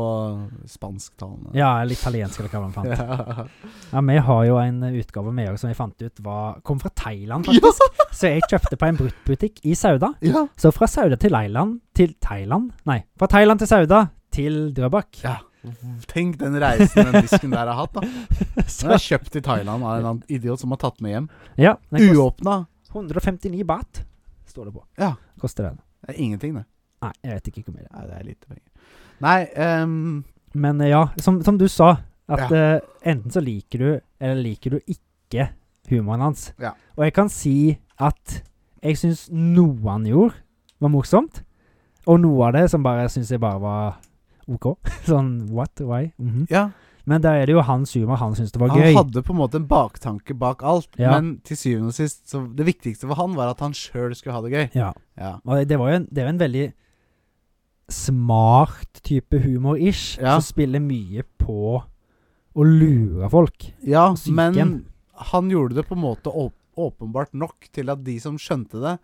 Speaker 1: spansktalende.
Speaker 2: Ja, eller italiensk, eller hva man fant.
Speaker 1: Ja.
Speaker 2: Ja, Vi har jo en eh, utgave med oss som vi fant ut var, kom fra Thailand,
Speaker 1: Ja.
Speaker 2: faktisk. Så jeg kjøpte på en bruktbutikk i Sauda.
Speaker 1: Ja.
Speaker 2: Så fra Sauda til Thailand Til Thailand? Nei, fra Thailand til Sauda til Drøbak.
Speaker 1: ja. Tenk den reisen den disken der har hatt, da. Den
Speaker 2: Så,
Speaker 1: er kjøpt i Thailand av en eller annen idiot som har tatt med hjem.
Speaker 2: ja, den kost-
Speaker 1: Uåpna.
Speaker 2: 159 bat, står det på.
Speaker 1: Ja.
Speaker 2: Koster den.
Speaker 1: Det er ingenting, det.
Speaker 2: Nei, jeg vet ikke hvor mye det er.
Speaker 1: Nei, det er lite penger. Nei, ehm,
Speaker 2: Men eh, ja, som, som du sa, at eh, enten så liker du, eller liker du ikke humoren hans.
Speaker 1: Ja.
Speaker 2: Og jeg kan si at jeg syns noe han gjorde, var morsomt. Og noe av det som bare syns jeg bare var OK. Sånn what, why? Mhm.
Speaker 1: ja.
Speaker 2: Men da er det jo hans humor han syns det var
Speaker 1: Han
Speaker 2: gøy.
Speaker 1: hadde på en måte en baktanke bak alt,
Speaker 2: Ja.
Speaker 1: men til syvende og sist så Det viktigste for han var at han sjøl skulle ha det gøy.
Speaker 2: Ja.
Speaker 1: Ja.
Speaker 2: Og det var jo en, det er jo en veldig smart type humor-ish,
Speaker 1: Ja.
Speaker 2: som spiller mye på å lure folk.
Speaker 1: Ja,
Speaker 2: Og syken.
Speaker 1: men han gjorde det på en måte åp åpenbart nok til at de som skjønte det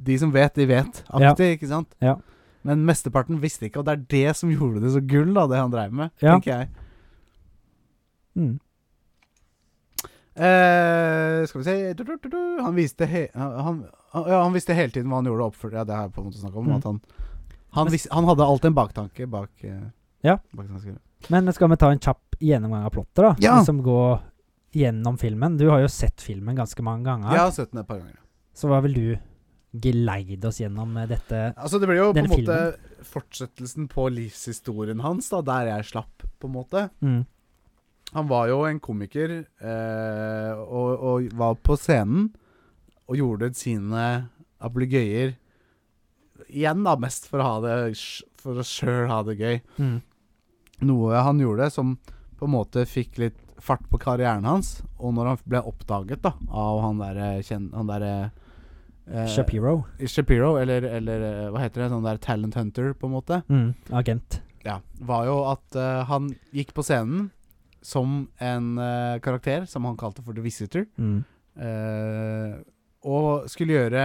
Speaker 1: De som vet, de vet. Aktig, ikke sant?
Speaker 2: Ja.
Speaker 1: Men mesteparten visste ikke, og det er det som gjorde det så gull, da, det han dreiv med,
Speaker 2: Ja.
Speaker 1: tenker jeg.
Speaker 2: Mm.
Speaker 1: Eh, skal vi se du, du, du, du. Han viste he han, han- ja, han visste hele tiden hva han gjorde og oppførte Ja, det har jeg på en måte snakka om.
Speaker 2: Mm.
Speaker 1: At han, han, vis, han hadde alltid en baktanke bak eh,
Speaker 2: Ja.
Speaker 1: bak tanken.
Speaker 2: Men skal vi ta en kjapp gjennomgang av plottet, da?
Speaker 1: Ja.
Speaker 2: Som går gjennom filmen. Du har jo sett filmen ganske mange ganger.
Speaker 1: Jeg har sett den et par ganger.
Speaker 2: Så hva vil du geleide oss gjennom eh, dette?
Speaker 1: Altså, det blir jo på en
Speaker 2: Denne
Speaker 1: måte fortsettelsen på livshistorien hans, da, der jeg slapp, på en måte.
Speaker 2: Mm.
Speaker 1: Han var jo en komiker eh, og, og var på scenen og gjorde sine ablegøyer igjen, da, mest for å ha det sj- For å sjøl ha det gøy.
Speaker 2: Mm.
Speaker 1: Noe han gjorde som på en måte fikk litt fart på karrieren hans, og når han ble oppdaget da av han derre kjen- Han derre eh,
Speaker 2: Shapiro.
Speaker 1: Shapiro, eller, eller eh, hva heter det, sånn der talent hunter, på en måte
Speaker 2: Mm. Agent.
Speaker 1: ja, var jo at eh, han gikk på scenen som en eh, karakter som han kalte for The Visitor,
Speaker 2: Mm.
Speaker 1: eh, og skulle gjøre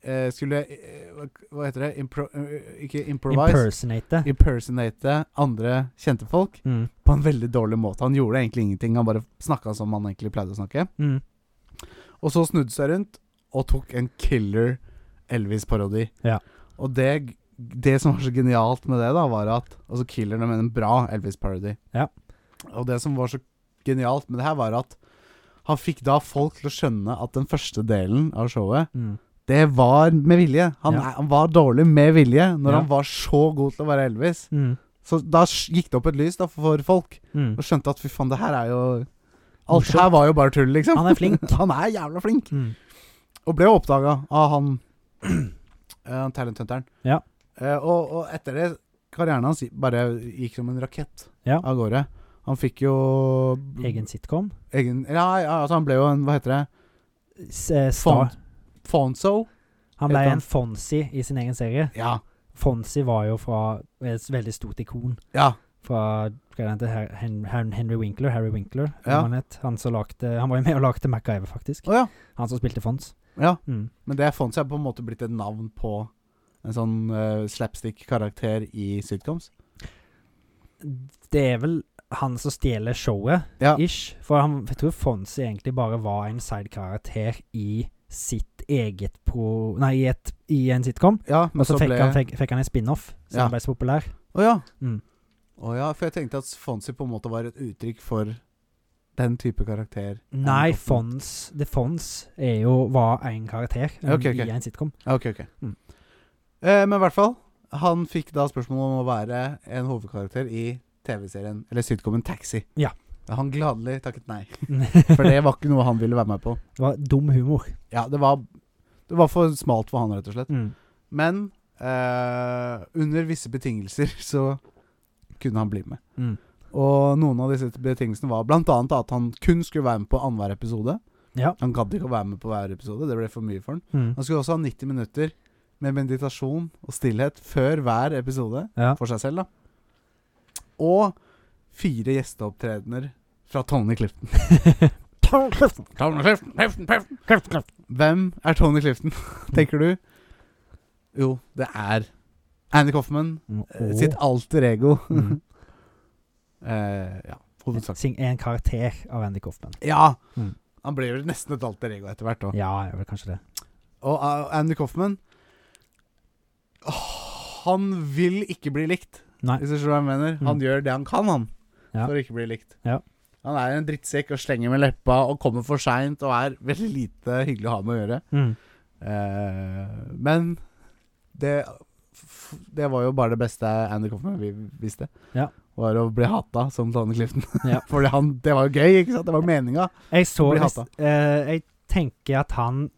Speaker 1: eh, Skulle eh, hva- Hva heter det? Impro eh, ikke improvise.
Speaker 2: Impersonate.
Speaker 1: Impersonate andre kjente folk
Speaker 2: Mm.
Speaker 1: på en veldig dårlig måte. Han gjorde egentlig ingenting, han bare snakka som han egentlig pleide å snakke.
Speaker 2: Mm.
Speaker 1: Og så snudde seg rundt og tok en killer Elvis-parodi.
Speaker 2: Ja.
Speaker 1: Og det, det som var så genialt med det, da, var at Altså, killer det med en bra Elvis-parodi.
Speaker 2: Ja.
Speaker 1: Og det som var så genialt med det her, var at han fikk da folk til å skjønne at den første delen av showet
Speaker 2: Mm.
Speaker 1: det var med vilje. Han,
Speaker 2: Ja.
Speaker 1: er- han var dårlig med vilje når
Speaker 2: Ja.
Speaker 1: han var så god til å være Elvis.
Speaker 2: Mm.
Speaker 1: Så da sj- gikk det opp et lys da for folk,
Speaker 2: Mm.
Speaker 1: og skjønte at fy faen, det her er jo Alt
Speaker 2: Morsomt.
Speaker 1: her var jo bare tull, liksom.
Speaker 2: Han er flink.
Speaker 1: han er jævla flink.
Speaker 2: Mm.
Speaker 1: Og ble oppdaga av han uh, talenthunteren.
Speaker 2: Ja.
Speaker 1: Eh, og, og etter det Karrieren hans bare gikk som en rakett
Speaker 2: Ja.
Speaker 1: av gårde. Han fikk jo
Speaker 2: Egen sitcom.
Speaker 1: egen ja, ja, altså han ble jo en Hva heter det?
Speaker 2: S eh,
Speaker 1: Fon,
Speaker 2: Star.
Speaker 1: Fonzo?
Speaker 2: Han ble
Speaker 1: Heter han.
Speaker 2: en Fonsi i sin egen serie.
Speaker 1: Ja.
Speaker 2: Fonsi var jo fra et veldig stort ikon.
Speaker 1: Ja.
Speaker 2: Fra hva er det, han heter? Hen- Hen- Henry Winkler, Harry Winkler,
Speaker 1: Ja.
Speaker 2: som han het. Han, som lagde, han var jo med og lagde MacGyver, faktisk.
Speaker 1: Å ja.
Speaker 2: Han som spilte Fons.
Speaker 1: ja.
Speaker 2: Mm.
Speaker 1: Men det Fonzie er på en måte blitt et navn på en sånn eh, slapstick-karakter i sitcoms.
Speaker 2: Det er vel han som stjeler showet,
Speaker 1: Ja.
Speaker 2: ish. For han, jeg tror Fonsi egentlig bare var en sidekarakter i sitt eget pro... Nei, i, et, i en sitcom.
Speaker 1: Ja,
Speaker 2: Og så fikk, Altså han, fikk, fikk han en spin-off, så
Speaker 1: Ja.
Speaker 2: han ble så populær.
Speaker 1: Å ja.
Speaker 2: Mm.
Speaker 1: Å ja, for jeg tenkte at Fonzie på en måte var et uttrykk for den type karakter.
Speaker 2: Nei,
Speaker 1: Anne Hoffman.
Speaker 2: Fons The Fons er jo, var en karakter um,
Speaker 1: Ok, ok.
Speaker 2: i en sitcom.
Speaker 1: Ja, Ok, ok.
Speaker 2: Mm.
Speaker 1: Eh, men i hvert fall, han fikk da spørsmål om å være en hovedkarakter i TV-serien, eller sitcomen Taxi.
Speaker 2: Ja.
Speaker 1: Han gladelig takket nei, for
Speaker 2: det
Speaker 1: det var ikke noe han ville være med på.
Speaker 2: var dum humor.
Speaker 1: Ja, det var, det var for smalt for han, rett og slett.
Speaker 2: Mm.
Speaker 1: Men eh, under visse betingelser så kunne han bli med.
Speaker 2: Mm.
Speaker 1: Og noen av disse betingelsene var bl.a. at han kun skulle være med på annenhver episode.
Speaker 2: Ja.
Speaker 1: Han gadd ikke å være med på hver episode, det ble for mye for han.
Speaker 2: Mm.
Speaker 1: Han skulle også ha 90 minutter med meditasjon og stillhet før hver episode
Speaker 2: Ja.
Speaker 1: for seg selv, da. Og fire gjesteopptredener fra Tony Clifton. Eh, Tony Clifton, Clifton, Clifton. Hvem er Tony Clifton, tenker du? Jo, det er Andy Coffman. eh,
Speaker 2: Og-
Speaker 1: Sitt alter ego.
Speaker 2: Mm.
Speaker 1: Eh, ja, hovedsak.
Speaker 2: Sing er en karakter av Andy Coffman.
Speaker 1: Ja!
Speaker 2: Mm.
Speaker 1: Han ble vel nesten et alter ego etter hvert. da.
Speaker 2: Ja, jeg vil kanskje det.
Speaker 1: Og uh, Andy Coffman Han vil ikke bli likt,
Speaker 2: Nei.
Speaker 1: hvis du skjønner hva jeg mener. Han
Speaker 2: Mm.
Speaker 1: gjør det han kan, han,
Speaker 2: Ja.
Speaker 1: for å ikke bli likt.
Speaker 2: Ja.
Speaker 1: Han er en drittsekk og slenger med leppa og kommer for seint og er veldig lite hyggelig å ha med å gjøre.
Speaker 2: Mm.
Speaker 1: Eh, men det f- Det var jo bare det beste Andy Coffman vi visste.
Speaker 2: Ja.
Speaker 1: Var å bli hata som Tony Clifton.
Speaker 2: Ja.
Speaker 1: Fordi han Det var jo gøy, ikke sant? Det var jo meninga.
Speaker 2: Jeg så
Speaker 1: Blir
Speaker 2: nest-
Speaker 1: hata.
Speaker 2: eh, Jeg tenker at han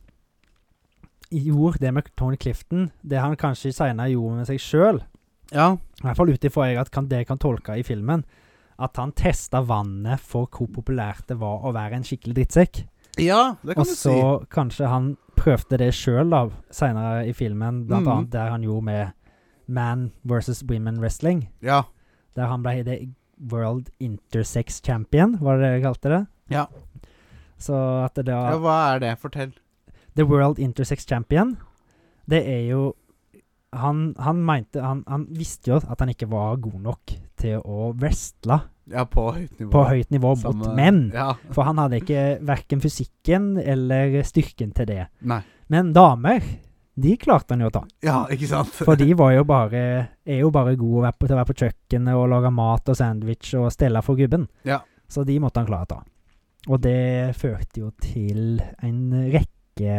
Speaker 2: gjorde det med Tony Clifton, det han kanskje seinere gjorde med seg sjøl.
Speaker 1: Ja.
Speaker 2: I hvert fall ut ifra jeg at kan, det jeg kan tolke i filmen, at han testa vannet for hvor populært det var å være en skikkelig drittsekk.
Speaker 1: ja, det kan
Speaker 2: Og
Speaker 1: du
Speaker 2: så
Speaker 1: si.
Speaker 2: kanskje han prøvde det sjøl seinere i filmen, blant
Speaker 1: Mhm.
Speaker 2: annet der han gjorde med Man versus Women Wrestling.
Speaker 1: Ja.
Speaker 2: Der han ble det World Intersex Champion, var det det jeg kalte det?
Speaker 1: Ja.
Speaker 2: Så at det da
Speaker 1: ja. Hva er det? Fortell.
Speaker 2: The World Intersex Champion, det er jo han, han mente han, han visste jo at han ikke var god nok til å wrestle
Speaker 1: Ja, på høyt nivå.
Speaker 2: på høyt nivå mot
Speaker 1: Samme-
Speaker 2: menn.
Speaker 1: Ja.
Speaker 2: For han hadde ikke verken fysikken eller styrken til det.
Speaker 1: Nei.
Speaker 2: Men damer, de klarte han jo å ta.
Speaker 1: Ja, ikke sant?
Speaker 2: For de var jo bare, er jo bare gode å være på, til å være på kjøkkenet og lage mat og sandwich og stelle for gubben.
Speaker 1: Ja.
Speaker 2: Så de måtte han klare å ta. Og det førte jo til en rekke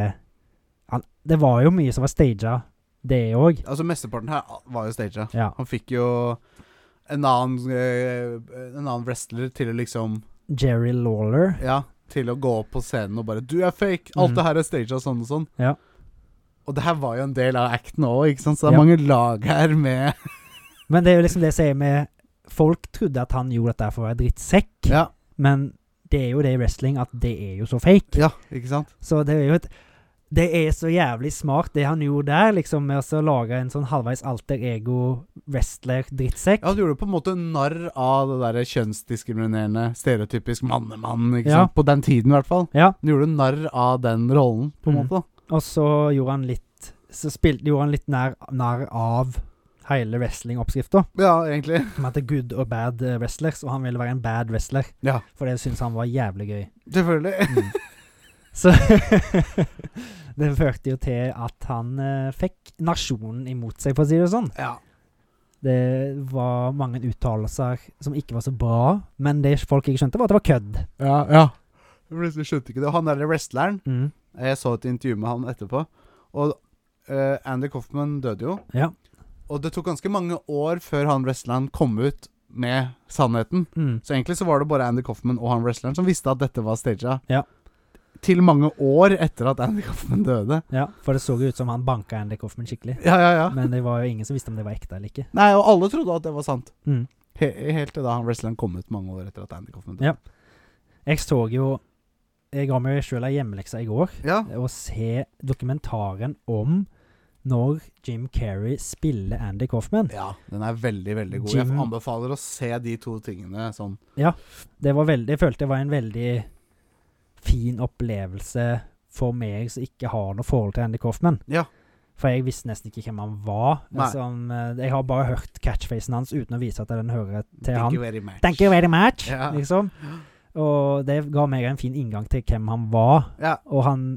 Speaker 2: han, Det var jo mye som var staga, det òg.
Speaker 1: Altså, mesteparten her var jo staged.
Speaker 2: Ja.
Speaker 1: Han fikk jo en annen, eh, en annen wrestler til å liksom
Speaker 2: Jerry Lawler.
Speaker 1: Ja, til å gå opp på scenen og bare 'Du er fake! Alt
Speaker 2: Mhm.
Speaker 1: det her er staged sånn og sånn'.
Speaker 2: Ja.
Speaker 1: Og det her var jo en del av acten òg, ikke sant? Så det er
Speaker 2: Ja.
Speaker 1: mange lag her med
Speaker 2: Men det er jo liksom det jeg sier med Folk trodde at han gjorde dette for å være drittsekk,
Speaker 1: Ja,
Speaker 2: men det er jo det i wrestling at det er jo så fake.
Speaker 1: ja ikke sant?
Speaker 2: Så det er jo et Det er så jævlig smart, det han gjorde der, liksom, med å så lage en sånn halvveis alter ego-wrestler-drittsekk.
Speaker 1: Ja, du gjorde på en måte narr av det derre kjønnsdiskriminerende, stereotypisk mannemann, ikke
Speaker 2: Ja.
Speaker 1: sant? På den tiden, i hvert fall.
Speaker 2: Ja.
Speaker 1: Du gjorde narr av den rollen, på en
Speaker 2: Mhm.
Speaker 1: måte. da.
Speaker 2: Og så gjorde han litt Så spilte, gjorde han litt nær, nær av hele wrestlingoppskrifta.
Speaker 1: Ja, egentlig.
Speaker 2: Som heter good og bad eh, wrestlers, og han ville være en bad wrestler.
Speaker 1: Ja.
Speaker 2: For det syntes han var jævlig gøy.
Speaker 1: Selvfølgelig.
Speaker 2: Mm. Så det førte jo til at han eh, fikk nasjonen imot seg, for å si det sånn.
Speaker 1: Ja.
Speaker 2: Det var mange uttalelser som ikke var så bra, men det folk ikke skjønte, var at det var kødd.
Speaker 1: Ja, ja. Jeg plutselig skjønte ikke det. Og han derre wrestleren
Speaker 2: Mm.
Speaker 1: Jeg så et intervju med han etterpå, og eh, Andy Coffman døde jo.
Speaker 2: Ja.
Speaker 1: Og det tok ganske mange år før han wrestleren kom ut med sannheten.
Speaker 2: Mm.
Speaker 1: Så egentlig så var det bare Andy Coffman og han wrestleren som visste at dette var staged.
Speaker 2: Ja.
Speaker 1: Til mange år etter at Andy Coffman døde.
Speaker 2: ja. For det så jo ut som han banka Andy Coffman skikkelig.
Speaker 1: Ja, ja, ja.
Speaker 2: Men det var jo ingen som visste om det var ekte eller ikke.
Speaker 1: Nei, og alle trodde at det var sant.
Speaker 2: Mm.
Speaker 1: He helt til da han wrestleren kom ut mange år etter at Andy Coffman døde.
Speaker 2: Ja. Jeg så jo Jeg ga meg sjøl ei hjemmelekse i går.
Speaker 1: Ja.
Speaker 2: å se dokumentaren om når Jim Carrey spiller Andy Coffman.
Speaker 1: ja. Den er veldig, veldig god.
Speaker 2: Jim-
Speaker 1: Jeg anbefaler å se de to tingene sånn.
Speaker 2: Det var veldig, jeg følte det var en veldig fin opplevelse for meg som ikke har noe forhold til Andy Coffman.
Speaker 1: Ja.
Speaker 2: For jeg visste nesten ikke hvem han var.
Speaker 1: Nei.
Speaker 2: Altså, han, eh, jeg har bare hørt catchphrasen hans uten å vise at den hører til
Speaker 1: Thank
Speaker 2: han.
Speaker 1: you very much.
Speaker 2: Thank you very much!
Speaker 1: Ja.
Speaker 2: Liksom. Og det ga meg en fin inngang til hvem han var.
Speaker 1: Ja.
Speaker 2: Og han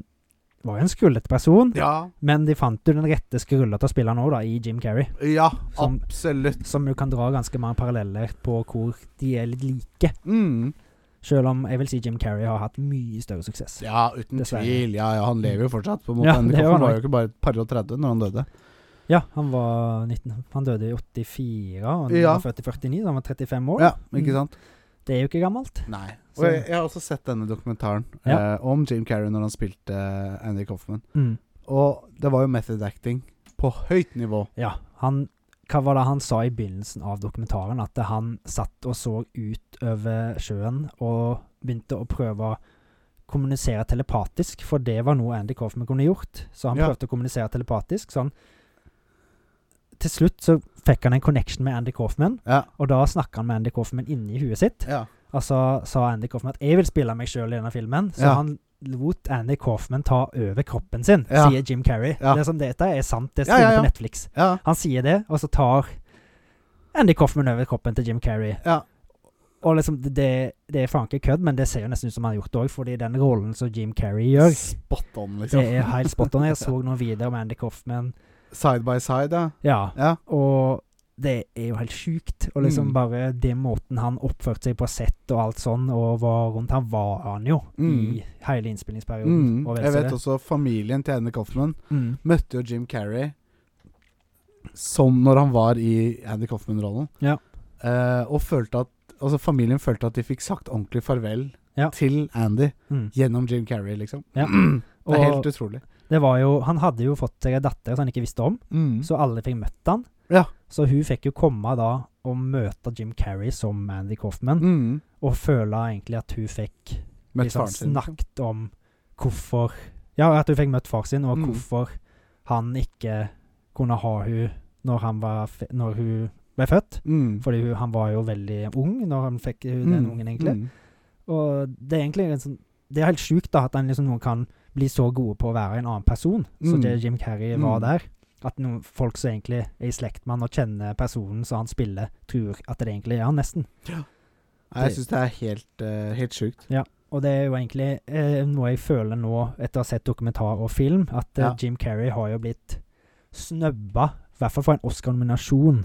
Speaker 2: var jo en skrullete person,
Speaker 1: Ja.
Speaker 2: men de fant jo den rette skrullete å spille nå, da, i Jim Carrey.
Speaker 1: Ja,
Speaker 2: Som-
Speaker 1: absolutt.
Speaker 2: Som jo kan dra ganske mange paralleller på hvor de er litt like.
Speaker 1: Mm.
Speaker 2: Selv om jeg vil si Jim Carrey har hatt mye større suksess.
Speaker 1: Ja, uten
Speaker 2: Dessverre.
Speaker 1: tvil. Ja, ja, han lever jo fortsatt. På en måte.
Speaker 2: Ja,
Speaker 1: Andy
Speaker 2: det gjør
Speaker 1: Kaufman
Speaker 2: han
Speaker 1: var
Speaker 2: nok.
Speaker 1: jo ikke bare et par og 30 når han døde.
Speaker 2: Ja, han var 19 Han døde i 84, og han
Speaker 1: Ja.
Speaker 2: var født i 49, så han var 35 år.
Speaker 1: Ja, ikke
Speaker 2: Mm.
Speaker 1: sant?
Speaker 2: Det er jo ikke gammelt.
Speaker 1: Nei.
Speaker 2: Så-
Speaker 1: Og jeg, jeg har også sett denne dokumentaren
Speaker 2: Ja.
Speaker 1: eh, om Jim Carrey når han spilte eh, Andy Coffman. Og det var jo method acting på høyt nivå.
Speaker 2: Ja, han Hva var det han sa i begynnelsen av dokumentaren? At han satt og så ut over sjøen og begynte å prøve å kommunisere telepatisk, for det var noe Andy Coffman kunne gjort. Så han
Speaker 1: Ja.
Speaker 2: prøvde å kommunisere telepatisk. Så han Til slutt så fikk han en connection med Andy Coffman,
Speaker 1: Ja.
Speaker 2: og da snakka han med Andy Coffman inni huet sitt.
Speaker 1: Ja.
Speaker 2: Og så sa Andy Coffman at 'jeg vil spille meg sjøl i denne filmen', så
Speaker 1: Ja.
Speaker 2: han lot Andy Coffman ta over kroppen sin,
Speaker 1: Ja.
Speaker 2: sier Jim Carrey.
Speaker 1: Ja.
Speaker 2: Det er som dette er sant, det
Speaker 1: Ja,
Speaker 2: står
Speaker 1: ja, ja.
Speaker 2: på Netflix.
Speaker 1: ja.
Speaker 2: Han sier det, og så tar Andy Coffman over kroppen til Jim Carrey.
Speaker 1: Ja.
Speaker 2: Og liksom, det, det er faen ikke kødd, men det ser jo nesten ut som han har gjort det òg, fordi den rollen som Jim Carrey gjør,
Speaker 1: Spot on,
Speaker 2: det
Speaker 1: liksom.
Speaker 2: er helt spot on. Jeg så noen videoer med Andy Coffman,
Speaker 1: Side by side, ja.
Speaker 2: ja,
Speaker 1: Ja.
Speaker 2: og det er jo helt sjukt. Og liksom
Speaker 1: Mm.
Speaker 2: bare det måten han oppførte seg på sett og alt sånn, og var rundt Han var han jo
Speaker 1: Mm.
Speaker 2: i hele innspillingsperioden.
Speaker 1: Mm.
Speaker 2: og vel
Speaker 1: Jeg
Speaker 2: så
Speaker 1: vet
Speaker 2: det.
Speaker 1: også familien til Andy Coffman
Speaker 2: Mm.
Speaker 1: møtte jo Jim Carrey som når han var i Andy Coffman-rollen.
Speaker 2: Ja.
Speaker 1: Eh, og følte at Altså familien følte at de fikk sagt ordentlig farvel
Speaker 2: Ja.
Speaker 1: til Andy
Speaker 2: Mm.
Speaker 1: gjennom Jim Carrey, liksom.
Speaker 2: Ja.
Speaker 1: Det er helt
Speaker 2: Og
Speaker 1: utrolig.
Speaker 2: det var jo Han hadde jo fått seg en datter som han ikke visste om. Så alle fikk møtt han.
Speaker 1: Mm. Ja.
Speaker 2: Så hun fikk jo komme da og møte Jim Carrey som Andy Coffman,
Speaker 1: Mm.
Speaker 2: og føle egentlig at hun fikk
Speaker 1: Møtt
Speaker 2: liksom,
Speaker 1: faren sin. liksom.
Speaker 2: snakket om hvorfor Ja, at hun fikk møtt far sin, og
Speaker 1: Mm.
Speaker 2: hvorfor han ikke kunne ha hun når, han var, fe- når hun ble født.
Speaker 1: Mm.
Speaker 2: Fordi hun, han var jo veldig ung når han fikk hun, den
Speaker 1: Mm.
Speaker 2: ungen, egentlig.
Speaker 1: Mm.
Speaker 2: Og det er egentlig en sånn Det er helt sjukt da at han liksom noen kan bli så gode på å være en annen person. Så
Speaker 1: Mm.
Speaker 2: det Jim Carrey
Speaker 1: Mm.
Speaker 2: var der. At noen folk som egentlig er i slekt med han og kjenner personen som han spiller, tror at det egentlig er han, nesten.
Speaker 1: Nei, Jeg syns det er helt, eh, helt sjukt.
Speaker 2: Og det er jo egentlig eh, noe jeg føler nå, etter å ha sett dokumentar og film, at eh,
Speaker 1: Ja.
Speaker 2: Jim Carrey har jo blitt snøbba, i hvert fall for en Oscar-nominasjon.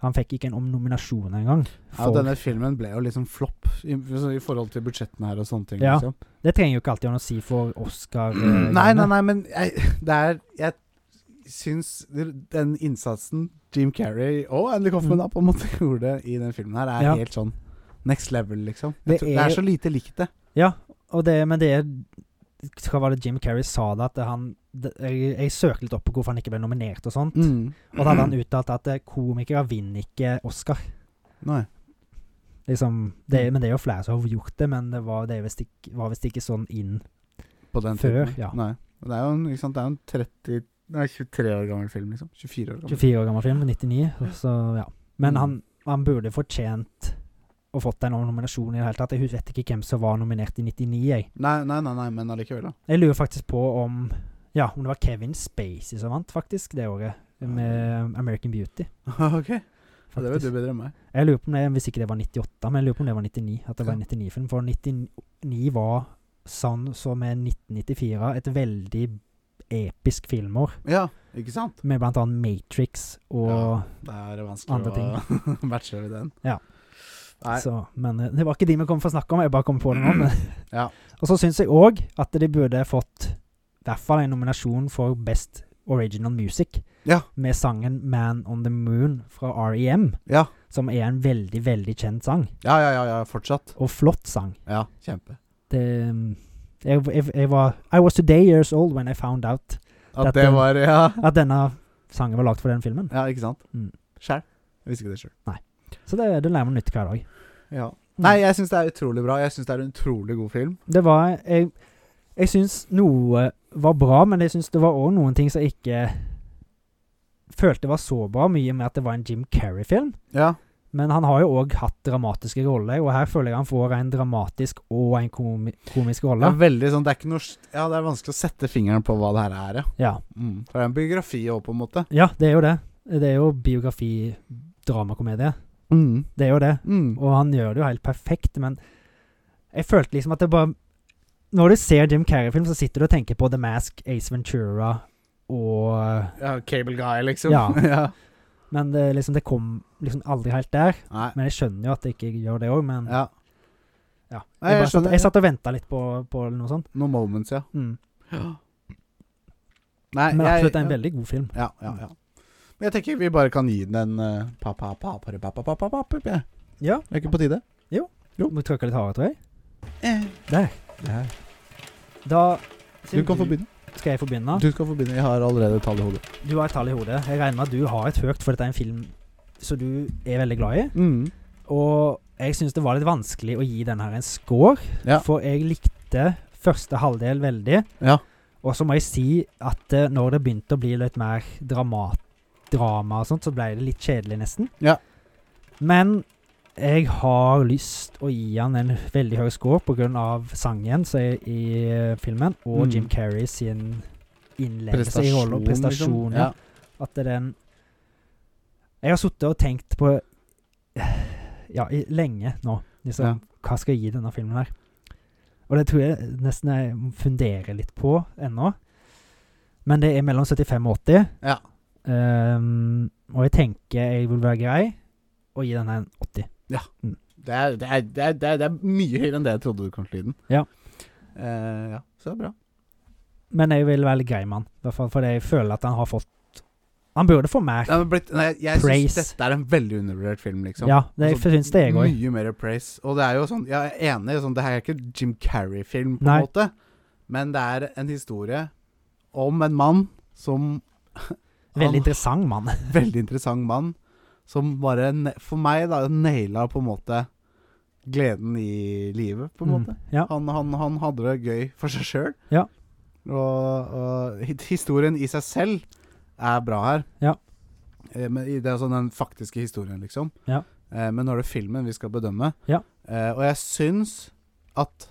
Speaker 2: Han fikk ikke en om- nominasjon engang.
Speaker 1: Ja,
Speaker 2: for-
Speaker 1: denne filmen ble jo liksom flopp i, altså, i forhold til budsjettene her og sånne ting.
Speaker 2: Ja.
Speaker 1: Liksom.
Speaker 2: Det trenger jo ikke alltid ha noe å si for Oscar. eh,
Speaker 1: Nei, nei,
Speaker 2: greiene.
Speaker 1: nei, men jeg, det er Jeg syns den innsatsen Jim Carrey og Andy Coffman da, på en måte gjorde i den filmen her, er
Speaker 2: Mm. Ja.
Speaker 1: helt sånn next level, liksom. Jeg
Speaker 2: Det
Speaker 1: tror, det
Speaker 2: er-
Speaker 1: er så lite likt, det.
Speaker 2: Og det, men det er Hva var det Jim Carrey sa da? At han det, jeg, jeg søkte litt opp på hvorfor han ikke ble nominert og sånt.
Speaker 1: Mm.
Speaker 2: Mm. Og da hadde han uttalt at eh, komikere vinner ikke Oscar.
Speaker 1: Nei.
Speaker 2: Liksom, det,
Speaker 1: Mm.
Speaker 2: men det er jo flere som har gjort det, men det var, det er visst ikke, var visst ikke sånn inn.
Speaker 1: På den
Speaker 2: Før,
Speaker 1: tiden.
Speaker 2: ja.
Speaker 1: Nei. Og Det er jo en, ikke sant? Det er jo en 30 Nei, 23 år gammel film, liksom. 24 år gammel.
Speaker 2: 24 år gammel film, 99, og så ja. Men
Speaker 1: Mm.
Speaker 2: han, han burde fortjent å fått en nominasjon i det hele tatt. Jeg vet ikke hvem som var nominert i 99, jeg.
Speaker 1: Nei, nei, nei, nei, men allikevel, da.
Speaker 2: Jeg lurer faktisk på om Ja, om det var Kevin Spacey som vant, faktisk, det året. Med American Beauty.
Speaker 1: ok. Ja, det vet du bedre enn meg.
Speaker 2: Jeg lurer på om det, Hvis ikke det var 98, men jeg lurer på om det var 99. At det var
Speaker 1: Ja.
Speaker 2: en 99-film. For 99 var sånn som er 1994, et veldig episk filmår,
Speaker 1: Ja, ikke sant?
Speaker 2: med blant annet Matrix og
Speaker 1: Ja. Det er vanskelig
Speaker 2: Andre
Speaker 1: å matche i den.
Speaker 2: Ja.
Speaker 1: Nei.
Speaker 2: Så, men eh, det var ikke de vi kom for å snakke om. Jeg bare kom på det nå. Men.
Speaker 1: Ja.
Speaker 2: Og så syns jeg òg at de burde fått i hvert fall en nominasjon for Best Original Music
Speaker 1: Ja.
Speaker 2: med sangen 'Man on the Moon' fra REM,
Speaker 1: Ja.
Speaker 2: som er en veldig, veldig kjent sang.
Speaker 1: Ja, ja, ja, ja, fortsatt.
Speaker 2: Og flott sang.
Speaker 1: Ja, kjempe.
Speaker 2: Det mm, jeg, jeg, jeg var I was today years old when I found out
Speaker 1: At
Speaker 2: Dette-
Speaker 1: det var Ja,
Speaker 2: at denne sangen var lagd for den filmen.
Speaker 1: ja ikke sant?
Speaker 2: Mm.
Speaker 1: Sjæl. Jeg visste ikke det sjøl.
Speaker 2: Så det, det lærer man nytt hver dag.
Speaker 1: Ja. Nei, jeg syns det er utrolig bra. Jeg syns det er en utrolig god film.
Speaker 2: Det var Jeg, jeg syns noe var bra, men jeg syns det var òg noen ting som jeg ikke følte var så bra, mye med at det var en Jim Carrey-film.
Speaker 1: Ja.
Speaker 2: Men han har jo òg hatt dramatiske roller, og her føler jeg han får en dramatisk og en komi komisk
Speaker 1: Det
Speaker 2: rolle.
Speaker 1: er veldig sånn Det er ikke noe s- Ja, det er vanskelig å sette fingeren på hva det her er, ja.
Speaker 2: Ja.
Speaker 1: Mm. For det er en biografi òg, på en måte.
Speaker 2: ja, det er jo det. Det er jo biografi, dramakomedie.
Speaker 1: Mm.
Speaker 2: Det er jo det.
Speaker 1: Mm.
Speaker 2: Og han gjør det jo helt perfekt, men jeg følte liksom at det bare Når du ser Jim Carrey-film, så sitter du og tenker på The Mask, Ace Ventura og
Speaker 1: Ja, Cable Guy, liksom.
Speaker 2: Ja.
Speaker 1: ja.
Speaker 2: Men det, liksom, det kom liksom aldri helt der.
Speaker 1: Nei.
Speaker 2: Men jeg skjønner jo at det ikke gjør det òg, men ja.
Speaker 1: Ja. Nei,
Speaker 2: Jeg,
Speaker 1: jeg
Speaker 2: bare satt,
Speaker 1: skjønner, ja.
Speaker 2: jeg satt og venta litt på, på noe sånt.
Speaker 1: No moments, ja.
Speaker 2: Mm.
Speaker 1: Nei,
Speaker 2: Men
Speaker 1: jeg-
Speaker 2: absolutt en
Speaker 1: ja.
Speaker 2: veldig god film.
Speaker 1: Ja, ja, ja. Men jeg tenker vi bare kan gi den en eh, pa, pa, pa, pa, pa, pa, pa, pa, pa, pa, pa.
Speaker 2: Ja.
Speaker 1: Er ikke på tide?
Speaker 2: Må trykke litt hardere, tror jeg.
Speaker 1: Eh.
Speaker 2: Der.
Speaker 1: Der.
Speaker 2: Da
Speaker 1: Du kan få begynne.
Speaker 2: Skal jeg få begynne?
Speaker 1: Du skal få begynne. Jeg har allerede et tall i hodet.
Speaker 2: Du har et tall i hodet. Jeg regner med at du har et høyt, for dette er en film som du er veldig glad i.
Speaker 1: Mm.
Speaker 2: Og jeg syns det var litt vanskelig å gi den her en score,
Speaker 1: Ja.
Speaker 2: for jeg likte første halvdel veldig.
Speaker 1: Ja.
Speaker 2: Og så må jeg si at eh, når det begynte å bli litt mer dramat, drama og sånt, så ble det litt kjedelig nesten.
Speaker 1: Ja.
Speaker 2: Men jeg har lyst å gi han en veldig høy score pga. sangen som er i eh, filmen, og
Speaker 1: Mm.
Speaker 2: Jim Carrey sin innlevelse liksom i rollen og
Speaker 1: liksom.
Speaker 2: prestasjon.
Speaker 1: Ja.
Speaker 2: Ja. At det er en Jeg har sittet og tenkt på Ja, i, lenge nå. Liksom,
Speaker 1: Ja.
Speaker 2: Hva skal jeg gi denne filmen her? Og det tror jeg nesten jeg må fundere litt på ennå. Men det er mellom 75 og 80.
Speaker 1: Ja.
Speaker 2: Ehm, og jeg tenker jeg vil være grei og gi denne en 80.
Speaker 1: Det, er, det, er, det, er, det, er, det er mye høyere enn det jeg trodde du kom til lyden.
Speaker 2: Ja.
Speaker 1: Eh, ja. Så det er bra.
Speaker 2: Men jeg vil være litt grei med han. I hvert fall fordi jeg føler at han har fått Han burde få mer.
Speaker 1: Det er blitt, nei, jeg syns
Speaker 2: Praise.
Speaker 1: dette er en veldig undervurdert film, liksom.
Speaker 2: Ja, det
Speaker 1: Altså,
Speaker 2: syns det jeg òg.
Speaker 1: Mye mer praise. Og det er jo sånn, jeg er enig, sånn, det her er ikke Jim Carrey-film, på
Speaker 2: Nei.
Speaker 1: en måte. Men det er en historie om en mann som
Speaker 2: Veldig interessant mann.
Speaker 1: Veldig interessant mann. Som bare, ne- for meg, da, naila på en måte gleden i livet, på en
Speaker 2: Mm.
Speaker 1: måte.
Speaker 2: Ja.
Speaker 1: Han, han, han hadde det gøy for seg sjøl.
Speaker 2: Ja.
Speaker 1: Og, og hi- historien i seg selv er bra her.
Speaker 2: Ja.
Speaker 1: Eh, men i- det er sånn den faktiske historien, liksom.
Speaker 2: Ja.
Speaker 1: Eh, men nå er det filmen vi skal bedømme.
Speaker 2: Ja.
Speaker 1: Eh, og jeg syns at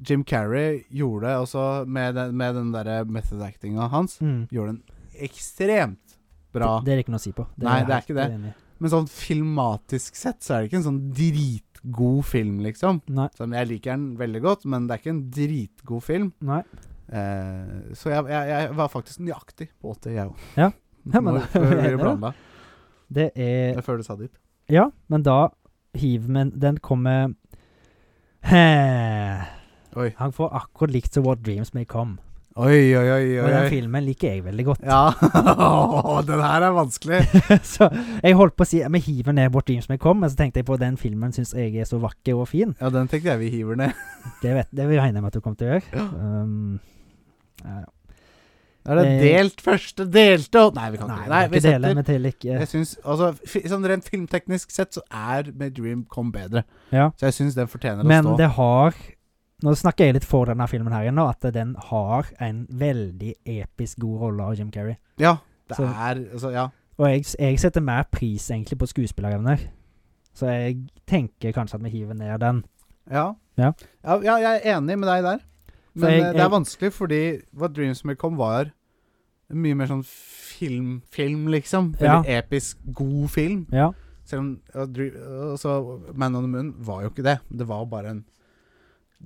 Speaker 1: Jim Carrey gjorde det også med den, med den derre method actinga hans.
Speaker 2: Mm.
Speaker 1: Gjorde den ekstremt bra.
Speaker 2: Det, det er det ikke noe å si på.
Speaker 1: Nei, det er ikke
Speaker 2: helt enig i.
Speaker 1: Men sånn filmatisk sett så er det ikke en sånn dritgod film, liksom.
Speaker 2: Nei.
Speaker 1: Sånn, jeg liker den veldig godt, men det er ikke en dritgod film.
Speaker 2: nei.
Speaker 1: Eh, så jeg, jeg, jeg var faktisk nøyaktig på 80, jeg òg.
Speaker 2: Ja. Ja, men
Speaker 1: Nå-
Speaker 2: da-
Speaker 1: før
Speaker 2: er
Speaker 1: vi
Speaker 2: det
Speaker 1: planla.
Speaker 2: Det er
Speaker 1: Før du sa ditt.
Speaker 2: Ja, men da hiver vi Den kommer Hæ.
Speaker 1: Oi.
Speaker 2: Han får akkurat likt som What Dreams May Come.
Speaker 1: Oi, oi, oi.
Speaker 2: Og
Speaker 1: oi,
Speaker 2: den
Speaker 1: oi.
Speaker 2: filmen liker jeg veldig godt.
Speaker 1: Ja, den her er vanskelig.
Speaker 2: så jeg holdt på å si Vi hiver ned What Dreams May Come, men så tenkte jeg på den filmen syns jeg er så vakker og fin.
Speaker 1: Ja, den tenkte jeg vi hiver ned.
Speaker 2: Det, vet, det regner jeg med at du kommer til å gjøre. Um, ja, ja.
Speaker 1: Er det
Speaker 2: Eh.
Speaker 1: delt første delte og- Nei, vi kan
Speaker 2: Nei,
Speaker 1: ikke.
Speaker 2: vi kan ikke dele
Speaker 1: setter-
Speaker 2: med til ikke
Speaker 1: Jeg syns Altså, fi, sånn rent filmteknisk sett så er Med Dream Come bedre.
Speaker 2: Ja.
Speaker 1: Så jeg syns den fortjener å
Speaker 2: Men
Speaker 1: stå.
Speaker 2: det har Nå snakker jeg litt for denne filmen her igjen, nå, at den har en veldig episk god rolle av Jim Carrey.
Speaker 1: Ja, det
Speaker 2: Så-
Speaker 1: er altså, Ja.
Speaker 2: Og jeg, jeg setter mer pris egentlig på skuespillerevner. Så jeg tenker kanskje at vi hiver ned den.
Speaker 1: Ja.
Speaker 2: Ja.
Speaker 1: ja, ja, jeg er enig med deg der. Men
Speaker 2: jeg-
Speaker 1: eh, det er
Speaker 2: jeg-
Speaker 1: vanskelig, fordi What Dreams May Come var mye mer sånn film, film liksom.
Speaker 2: Ja.
Speaker 1: Veldig episk, god film.
Speaker 2: Ja.
Speaker 1: Selv om ja, Dre- altså, Man on the Moon var jo ikke det. Det var bare en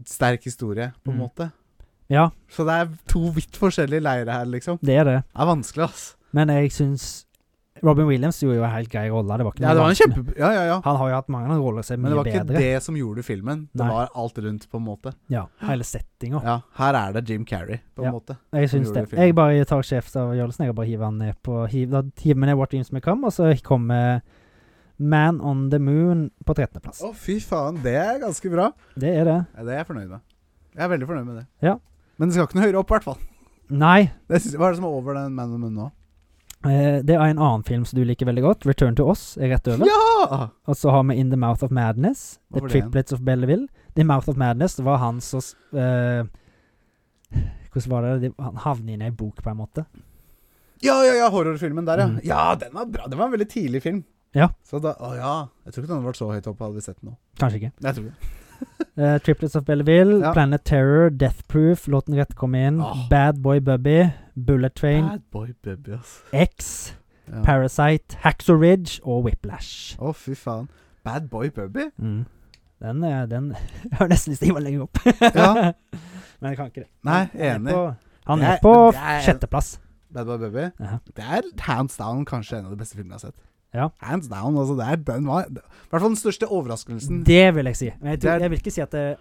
Speaker 1: sterk historie, på en
Speaker 2: Mm.
Speaker 1: måte.
Speaker 2: Ja,
Speaker 1: Så det er to vidt forskjellige leirer her, liksom.
Speaker 2: det er det.
Speaker 1: Det er vanskelig, ass.
Speaker 2: Men jeg syns Robin Williams gjorde jo en helt grei rolle. Det var ikke
Speaker 1: Ja,
Speaker 2: noe
Speaker 1: det var en
Speaker 2: vanskelig.
Speaker 1: kjempe... Ja, ja, ja.
Speaker 2: Han har jo hatt mange roller som er
Speaker 1: Men det
Speaker 2: mye
Speaker 1: var ikke
Speaker 2: bedre.
Speaker 1: det som gjorde filmen. Det
Speaker 2: Nei.
Speaker 1: var alt rundt, på en måte.
Speaker 2: Ja, hele settinga.
Speaker 1: Ja, her er det Jim Carrey, på en
Speaker 2: Ja.
Speaker 1: måte.
Speaker 2: Jeg
Speaker 1: som
Speaker 2: syns
Speaker 1: gjorde
Speaker 2: det.
Speaker 1: filmen.
Speaker 2: Jeg bare tar sjefsavgjørelsen. Jeg bare hiver han ned på hiv, Da hiver vi ned What Dreams May Come, og så kommer Man on the Moon på 13.-plass.
Speaker 1: Å, fy faen. Det er ganske bra.
Speaker 2: Det er det.
Speaker 1: Ja, det er jeg fornøyd med. Jeg er veldig fornøyd med det.
Speaker 2: Ja.
Speaker 1: Men det skal ikke noe høyere opp, i hvert fall.
Speaker 2: Nei,
Speaker 1: Det synes- Hva er det som er over den Man of Moon nå?
Speaker 2: eh, det er en annen film som du liker veldig godt. Return to Us er rett over.
Speaker 1: Ja!
Speaker 2: Og så har vi In the Mouth of Madness.
Speaker 1: Hva
Speaker 2: The
Speaker 1: var det igjen?
Speaker 2: Triplets of Belleville. The Mouth of Madness var han som s- eh, Hvordan var det? Det- Han havner inn i ei bok, på en måte.
Speaker 1: Ja, ja, ja, horrorfilmen der, ja.
Speaker 2: Mm.
Speaker 1: Ja, den var bra. Det var en veldig tidlig film.
Speaker 2: Ja.
Speaker 1: Så da, å ja. Jeg tror ikke den hadde vært så høyt oppe hadde vi sett den nå.
Speaker 2: Kanskje ikke.
Speaker 1: Jeg tror det.
Speaker 2: Eh, Triplets of Belleville,
Speaker 1: Ja.
Speaker 2: Planet Terror, Death Proof, låten rett kom inn,
Speaker 1: Ah.
Speaker 2: Bad Boy Bubby, Bullet Train,
Speaker 1: Bad boy baby, ass.
Speaker 2: X,
Speaker 1: Ja. Å,
Speaker 2: Parasite, Hacksaw Ridge og Whiplash.
Speaker 1: fy faen. Bad boy baby?
Speaker 2: Mm. Den, er- den Jeg har nesten lyst til å hive den lenger opp.
Speaker 1: Ja.
Speaker 2: Men jeg kan ikke det.
Speaker 1: Nei,
Speaker 2: Han er
Speaker 1: enig.
Speaker 2: på- Han
Speaker 1: Det
Speaker 2: er
Speaker 1: er-
Speaker 2: på
Speaker 1: det er-
Speaker 2: sjetteplass.
Speaker 1: Bad Boy Baby.
Speaker 2: Ja.
Speaker 1: Det er hands down kanskje en av de beste filmene jeg har sett.
Speaker 2: Ja.
Speaker 1: Hands down, altså. Det er den var I hvert fall den største overraskelsen.
Speaker 2: Det vil jeg si. Men jeg,
Speaker 1: Det er-
Speaker 2: tror, jeg vil ikke si at det,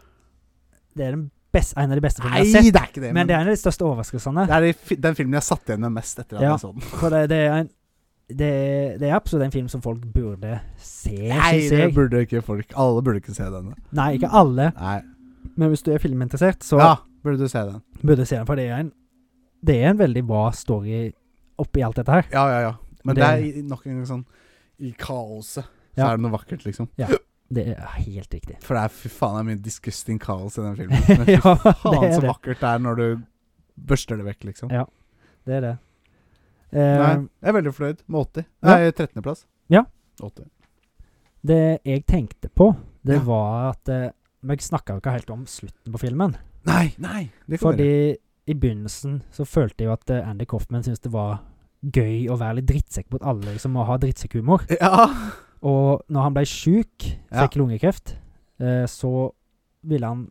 Speaker 2: det er den best, en av de beste filmene
Speaker 1: Nei,
Speaker 2: jeg har
Speaker 1: det
Speaker 2: sett.
Speaker 1: er ikke det.
Speaker 2: Men det er en av de største overraskelsene.
Speaker 1: det er de fi- den filmen jeg satt igjen med mest etter at
Speaker 2: Ja.
Speaker 1: jeg så den.
Speaker 2: For det, det, er en, det, det er absolutt en film som folk burde se,
Speaker 1: Nei,
Speaker 2: syns
Speaker 1: det
Speaker 2: jeg.
Speaker 1: burde ikke folk Alle burde ikke se denne.
Speaker 2: Nei, ikke alle,
Speaker 1: Nei.
Speaker 2: men hvis du er filminteressert, så
Speaker 1: Ja, burde du se den.
Speaker 2: burde du se den. For det er en, det er en veldig bra story oppi alt dette her.
Speaker 1: Ja, ja, ja. Men det,
Speaker 2: Det-
Speaker 1: er i- nok en gang sånn I kaoset så
Speaker 2: Ja.
Speaker 1: er det noe vakkert, liksom.
Speaker 2: Det er helt riktig.
Speaker 1: For det er fy faen det er mye disgusting kaos i den filmen. Men fy
Speaker 2: ja, det
Speaker 1: faen
Speaker 2: er
Speaker 1: så
Speaker 2: det.
Speaker 1: vakkert det er når du børster det vekk, liksom.
Speaker 2: Ja. det, er det. Eh,
Speaker 1: Nei, jeg er veldig fornøyd med 80.
Speaker 2: Ja.
Speaker 1: Nei, 13.-plass.
Speaker 2: Ja.
Speaker 1: 80.
Speaker 2: det jeg tenkte på, det
Speaker 1: Ja.
Speaker 2: var at eh, Vi snakka jo ikke helt om slutten på filmen.
Speaker 1: Nei, nei! Det kan være.
Speaker 2: Fordi i begynnelsen så følte jeg jo at eh, Andy Coffman syntes det var gøy å være litt drittsekk mot alle som må ha drittsekkhumor.
Speaker 1: Ja!
Speaker 2: Og når han ble sjuk,
Speaker 1: Ja.
Speaker 2: fikk lungekreft, eh, så ville han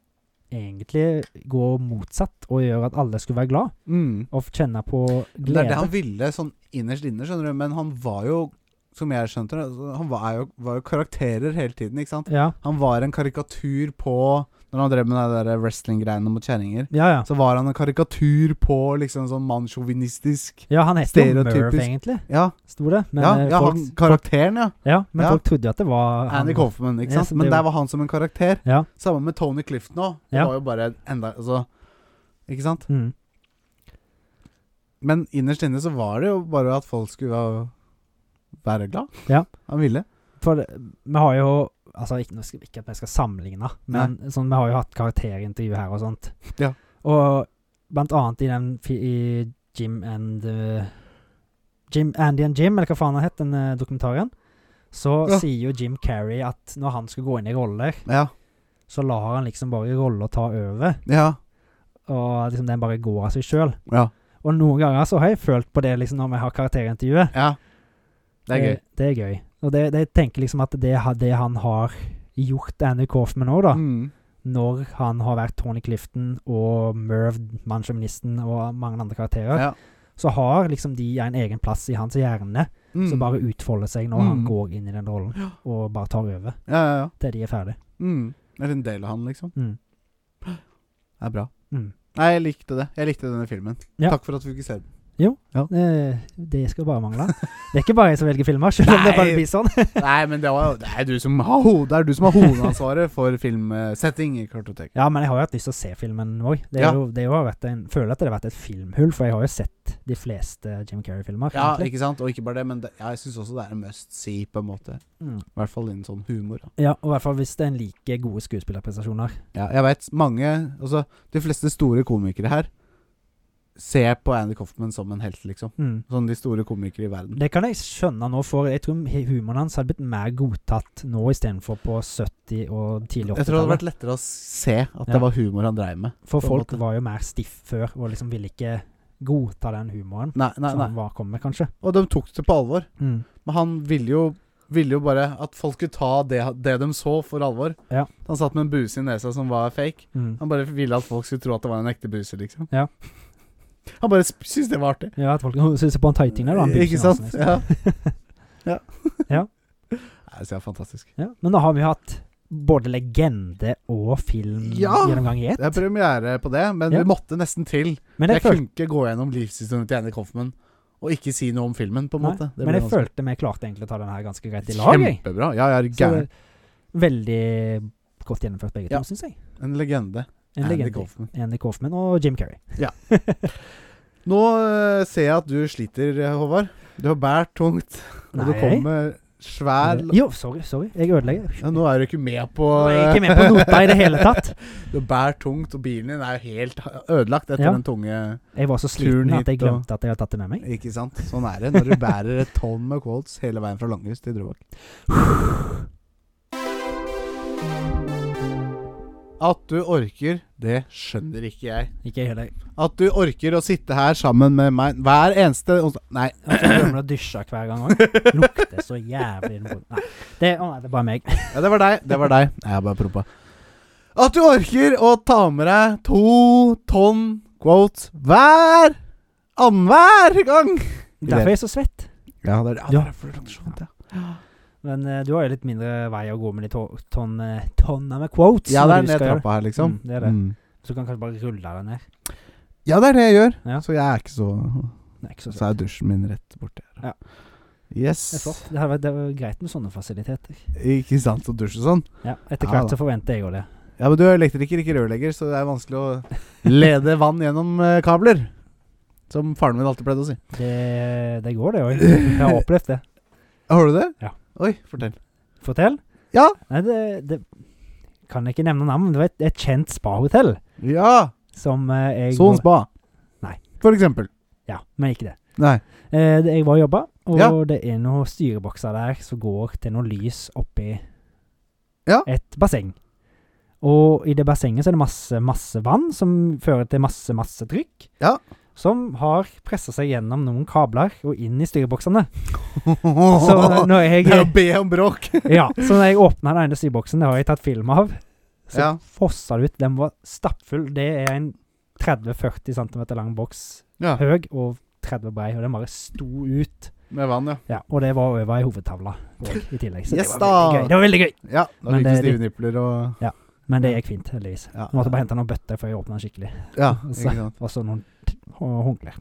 Speaker 2: egentlig gå motsatt og gjøre at alle skulle være glad
Speaker 1: Mm.
Speaker 2: og f- kjenne på
Speaker 1: Det er det
Speaker 2: glede.
Speaker 1: han ville sånn innerst inne, skjønner du. Men han var jo, som jeg skjønte det, altså, han var jo, var jo karakterer hele tiden, ikke sant.
Speaker 2: Ja,
Speaker 1: Han var en karikatur på Når han drev med de der wrestling-greiene mot kjerringer,
Speaker 2: ja. ja.
Speaker 1: så var han en karikatur på liksom sånn mannssjåvinistisk
Speaker 2: Ja, han heter jo Merv,
Speaker 1: Stereotypisk.
Speaker 2: egentlig,
Speaker 1: Ja,
Speaker 2: sto det. Men,
Speaker 1: ja,
Speaker 2: eh,
Speaker 1: ja
Speaker 2: folk,
Speaker 1: han, karakteren, ja.
Speaker 2: ja, men
Speaker 1: ja.
Speaker 2: folk trodde jo at det var han.
Speaker 1: Andy Coffman, ikke
Speaker 2: Ja,
Speaker 1: sant.
Speaker 2: som
Speaker 1: Men
Speaker 2: det-
Speaker 1: der var han som en karakter.
Speaker 2: Ja.
Speaker 1: Sammen med Tony Clifton òg. Det
Speaker 2: Ja.
Speaker 1: var jo bare enda Altså, ikke sant?
Speaker 2: Mm.
Speaker 1: Men innerst inne så var det jo bare at folk skulle ha- være glad.
Speaker 2: Ja.
Speaker 1: Han ville.
Speaker 2: For det- vi har jo Altså, ikke, nå skal- ikke at vi skal sammenligne, men sånn, vi har jo hatt karakterintervju her og sånt.
Speaker 1: Ja.
Speaker 2: Og blant annet i den fi- i Jim and eh, Jim, Andy and Jim, eller hva faen han het, den eh, dokumentaren, så
Speaker 1: Ja.
Speaker 2: sier jo Jim Carrey at når han skal gå inn i roller,
Speaker 1: Ja.
Speaker 2: så lar han liksom bare roller ta over,
Speaker 1: Ja.
Speaker 2: og liksom den bare går av seg sjøl.
Speaker 1: Ja.
Speaker 2: Og noen ganger så har jeg følt på det liksom når vi har karakterintervjuet.
Speaker 1: ja. Det er gøy.
Speaker 2: Eh, Det er gøy. Og det, det jeg tenker liksom at det, ha- det han har gjort Andy Coffman òg, da.
Speaker 1: Mm.
Speaker 2: Når han har vært Tony Clifton og Merv, mannssjåvinisten og mange andre karakterer,
Speaker 1: Ja.
Speaker 2: så har liksom de en egen plass i hans hjerne
Speaker 1: Mm.
Speaker 2: som bare utfolder seg når han
Speaker 1: Mm.
Speaker 2: går inn i den rollen, og bare tar over
Speaker 1: Ja, ja, ja.
Speaker 2: til de er ferdig.
Speaker 1: Mm. Eller en del av han, liksom.
Speaker 2: Mm.
Speaker 1: Det er bra.
Speaker 2: Mm.
Speaker 1: Nei, jeg likte det. Jeg likte denne filmen.
Speaker 2: Ja.
Speaker 1: Takk for at vi fikk se den.
Speaker 2: Det, Eh, det skal bare mangle. Det er ikke bare jeg som velger filmer, selv om det
Speaker 1: Nei.
Speaker 2: bare blir sånn.
Speaker 1: Nei, men det, var, det er du som har hodet Det er du som har hovedansvaret for filmsetting i Kartoteket.
Speaker 2: Ja, men jeg har jo hatt lyst til å se filmen òg. Det, er
Speaker 1: Ja.
Speaker 2: jo, det har vært en, føler at det har vært et filmhull, for jeg har jo sett de fleste Jim Carrey-filmer.
Speaker 1: Ja,
Speaker 2: egentlig.
Speaker 1: ikke sant? Og ikke bare det, men det, ja, jeg syns også det er en must see, på en måte.
Speaker 2: Mm.
Speaker 1: I hvert fall innen sånn humor. Da.
Speaker 2: ja, og i hvert fall hvis det er en like gode skuespillerprestasjoner.
Speaker 1: Ja, jeg veit mange Altså, de fleste store komikere her ser på Andy Coffman som en helt, liksom.
Speaker 2: Mm.
Speaker 1: Sånn de store komikere i verden.
Speaker 2: Det kan jeg skjønne nå, for jeg tror he- humoren hans hadde blitt mer godtatt nå istedenfor på 70- og tidlig
Speaker 1: Jeg tror det hadde
Speaker 2: 80-tallet.
Speaker 1: vært lettere å se at
Speaker 2: Ja.
Speaker 1: det var humor han dreiv med.
Speaker 2: For
Speaker 1: på en
Speaker 2: folk
Speaker 1: måte.
Speaker 2: var jo mer stiff før, og liksom ville ikke godta den humoren
Speaker 1: Nei, nei,
Speaker 2: som
Speaker 1: nei.
Speaker 2: han var kom med, kanskje.
Speaker 1: Og de tok det på alvor.
Speaker 2: Mm.
Speaker 1: Men han ville jo ville jo bare at folk skulle ta det, det de så, for alvor.
Speaker 2: Ja.
Speaker 1: Han satt med en buse i nesa som var fake.
Speaker 2: Mm.
Speaker 1: Han bare ville at folk skulle tro at det var en ekte buse, liksom.
Speaker 2: Ja.
Speaker 1: Han bare sp- syntes det var artig.
Speaker 2: Ja, at folk synes på en tighting der, da. han
Speaker 1: Ikke
Speaker 2: bygger
Speaker 1: sant?
Speaker 2: seg
Speaker 1: Ja. ja.
Speaker 2: Ja.
Speaker 1: Nei, så er det fantastisk.
Speaker 2: nesten. Ja. Men da har vi hatt både legende og film
Speaker 1: Ja!
Speaker 2: gjennomgang i ett.
Speaker 1: Det er premiere på det, men
Speaker 2: Ja.
Speaker 1: vi måtte nesten til.
Speaker 2: Men
Speaker 1: Jeg
Speaker 2: jeg, følte,
Speaker 1: kunne ikke gå gjennom livshistorien til Annie Coffman og ikke si noe om filmen, på en
Speaker 2: nei,
Speaker 1: måte. Det
Speaker 2: men
Speaker 1: ble
Speaker 2: jeg
Speaker 1: vanskelig.
Speaker 2: følte vi klarte egentlig å ta den her ganske greit i lag. jeg.
Speaker 1: Kjempebra. Ja, jeg er
Speaker 2: Så
Speaker 1: gæren.
Speaker 2: veldig godt gjennomført begge to,
Speaker 1: Ja.
Speaker 2: synes jeg.
Speaker 1: En legende.
Speaker 2: En
Speaker 1: Andy
Speaker 2: legende.
Speaker 1: Kaufman.
Speaker 2: Andy Kaufman og Jim Carrey.
Speaker 1: Nå øh, ser jeg at du sliter, eh, Håvard. Du har båret tungt, og du kommer med svær
Speaker 2: Jo, sorry, sorry. Jeg ødelegger.
Speaker 1: ja, Nå er du ikke med på
Speaker 2: Jeg er ikke med på nota i det hele tatt.
Speaker 1: Du bærer tungt, og bilen din er jo helt ødelagt etter
Speaker 2: Ja.
Speaker 1: den tunge
Speaker 2: Jeg var så
Speaker 1: Turen
Speaker 2: sliten at jeg
Speaker 1: hit og-
Speaker 2: glemte at jeg hadde tatt det med meg.
Speaker 1: Ikke sant? Sånn er det når du bærer et tonn med quotes hele veien fra Langhus til Drøbak. At du orker, det skjønner ikke jeg.
Speaker 2: Ikke jeg heller.
Speaker 1: At du orker å sitte her sammen med meg hver eneste onsdag Nei,
Speaker 2: Jeg glemmer å dusje hver gang òg. Lukter så jævlig innenfor. Nei. Det, å nei, det er bare meg.
Speaker 1: ja, det var deg. Det var deg. Nei, jeg bare prompa. At du orker å ta med deg to tonn quotes hver annenhver gang!
Speaker 2: Derfor er jeg så svett.
Speaker 1: Ja, det er
Speaker 2: Ja.
Speaker 1: derfor det er så vondt, ja.
Speaker 2: Men eh, du har jo litt mindre vei å gå med de to tonn, eh, tonna med quotes.
Speaker 1: Ja, det
Speaker 2: når
Speaker 1: er
Speaker 2: du
Speaker 1: ned
Speaker 2: skal gjøre
Speaker 1: trappa her, liksom.
Speaker 2: Mm, det er det.
Speaker 1: Mm.
Speaker 2: det. Så du kan kanskje bare rulle deg ned.
Speaker 1: Ja, det er det jeg gjør.
Speaker 2: Ja.
Speaker 1: Så jeg er ikke så
Speaker 2: Det er ikke så
Speaker 1: Så
Speaker 2: svett.
Speaker 1: er dusjen min rett borti her.
Speaker 2: Ja.
Speaker 1: Yes.
Speaker 2: Det, er flott. det, hadde vært, det var greit med sånne fasiliteter.
Speaker 1: Ikke sant å dusje sånn.
Speaker 2: Ja, Etter
Speaker 1: Ja,
Speaker 2: hvert
Speaker 1: da.
Speaker 2: så forventer jeg jo det.
Speaker 1: Ja, men du er elektriker, ikke rørlegger, så det er vanskelig å lede vann gjennom eh, kabler. Som faren min alltid pleide å si.
Speaker 2: Det, det går, det òg. Jeg har opplevd det.
Speaker 1: Har du det?
Speaker 2: Ja.
Speaker 1: Oi, fortell.
Speaker 2: Fortell?
Speaker 1: Ja.
Speaker 2: Nei, det, det kan jeg ikke nevne navn, men det var et, et kjent spahotell
Speaker 1: Ja!
Speaker 2: som eh, jeg
Speaker 1: Son Sånn spa.
Speaker 2: Nei.
Speaker 1: For eksempel.
Speaker 2: Ja, men ikke det.
Speaker 1: Nei.
Speaker 2: Eh, det jeg var og jobba, og
Speaker 1: Ja.
Speaker 2: det er noen styrebokser der som går til noe lys oppi
Speaker 1: Ja.
Speaker 2: et basseng. Og i det bassenget så er det masse, masse vann som fører til masse, masse trykk.
Speaker 1: Ja.
Speaker 2: Som har pressa seg gjennom noen kabler og inn i styreboksene. Så eh, når jeg
Speaker 1: Det er å be om bråk.
Speaker 2: Ja, så når jeg åpna den ene syboksen, det har jeg tatt film av, så
Speaker 1: Ja.
Speaker 2: fossa det ut. Den var stappfull. Det er en 30-40 cm lang boks,
Speaker 1: Ja.
Speaker 2: høy og 30 brei, og den bare sto ut.
Speaker 1: Med vann, ja.
Speaker 2: Ja, og det var over i hovedtavla og i tillegg. Så
Speaker 1: Yes
Speaker 2: det var
Speaker 1: da!
Speaker 2: veldig gøy. Det var veldig gøy.
Speaker 1: Ja, Da
Speaker 2: Men
Speaker 1: ryker
Speaker 2: det-
Speaker 1: stive nipler og
Speaker 2: Men det gikk fint, heldigvis.
Speaker 1: Ja.
Speaker 2: Jeg måtte bare hente noen bøtter før jeg åpna den skikkelig,
Speaker 1: Ja,
Speaker 2: Altså.
Speaker 1: ikke sant.
Speaker 2: og så noen t- og håndklær.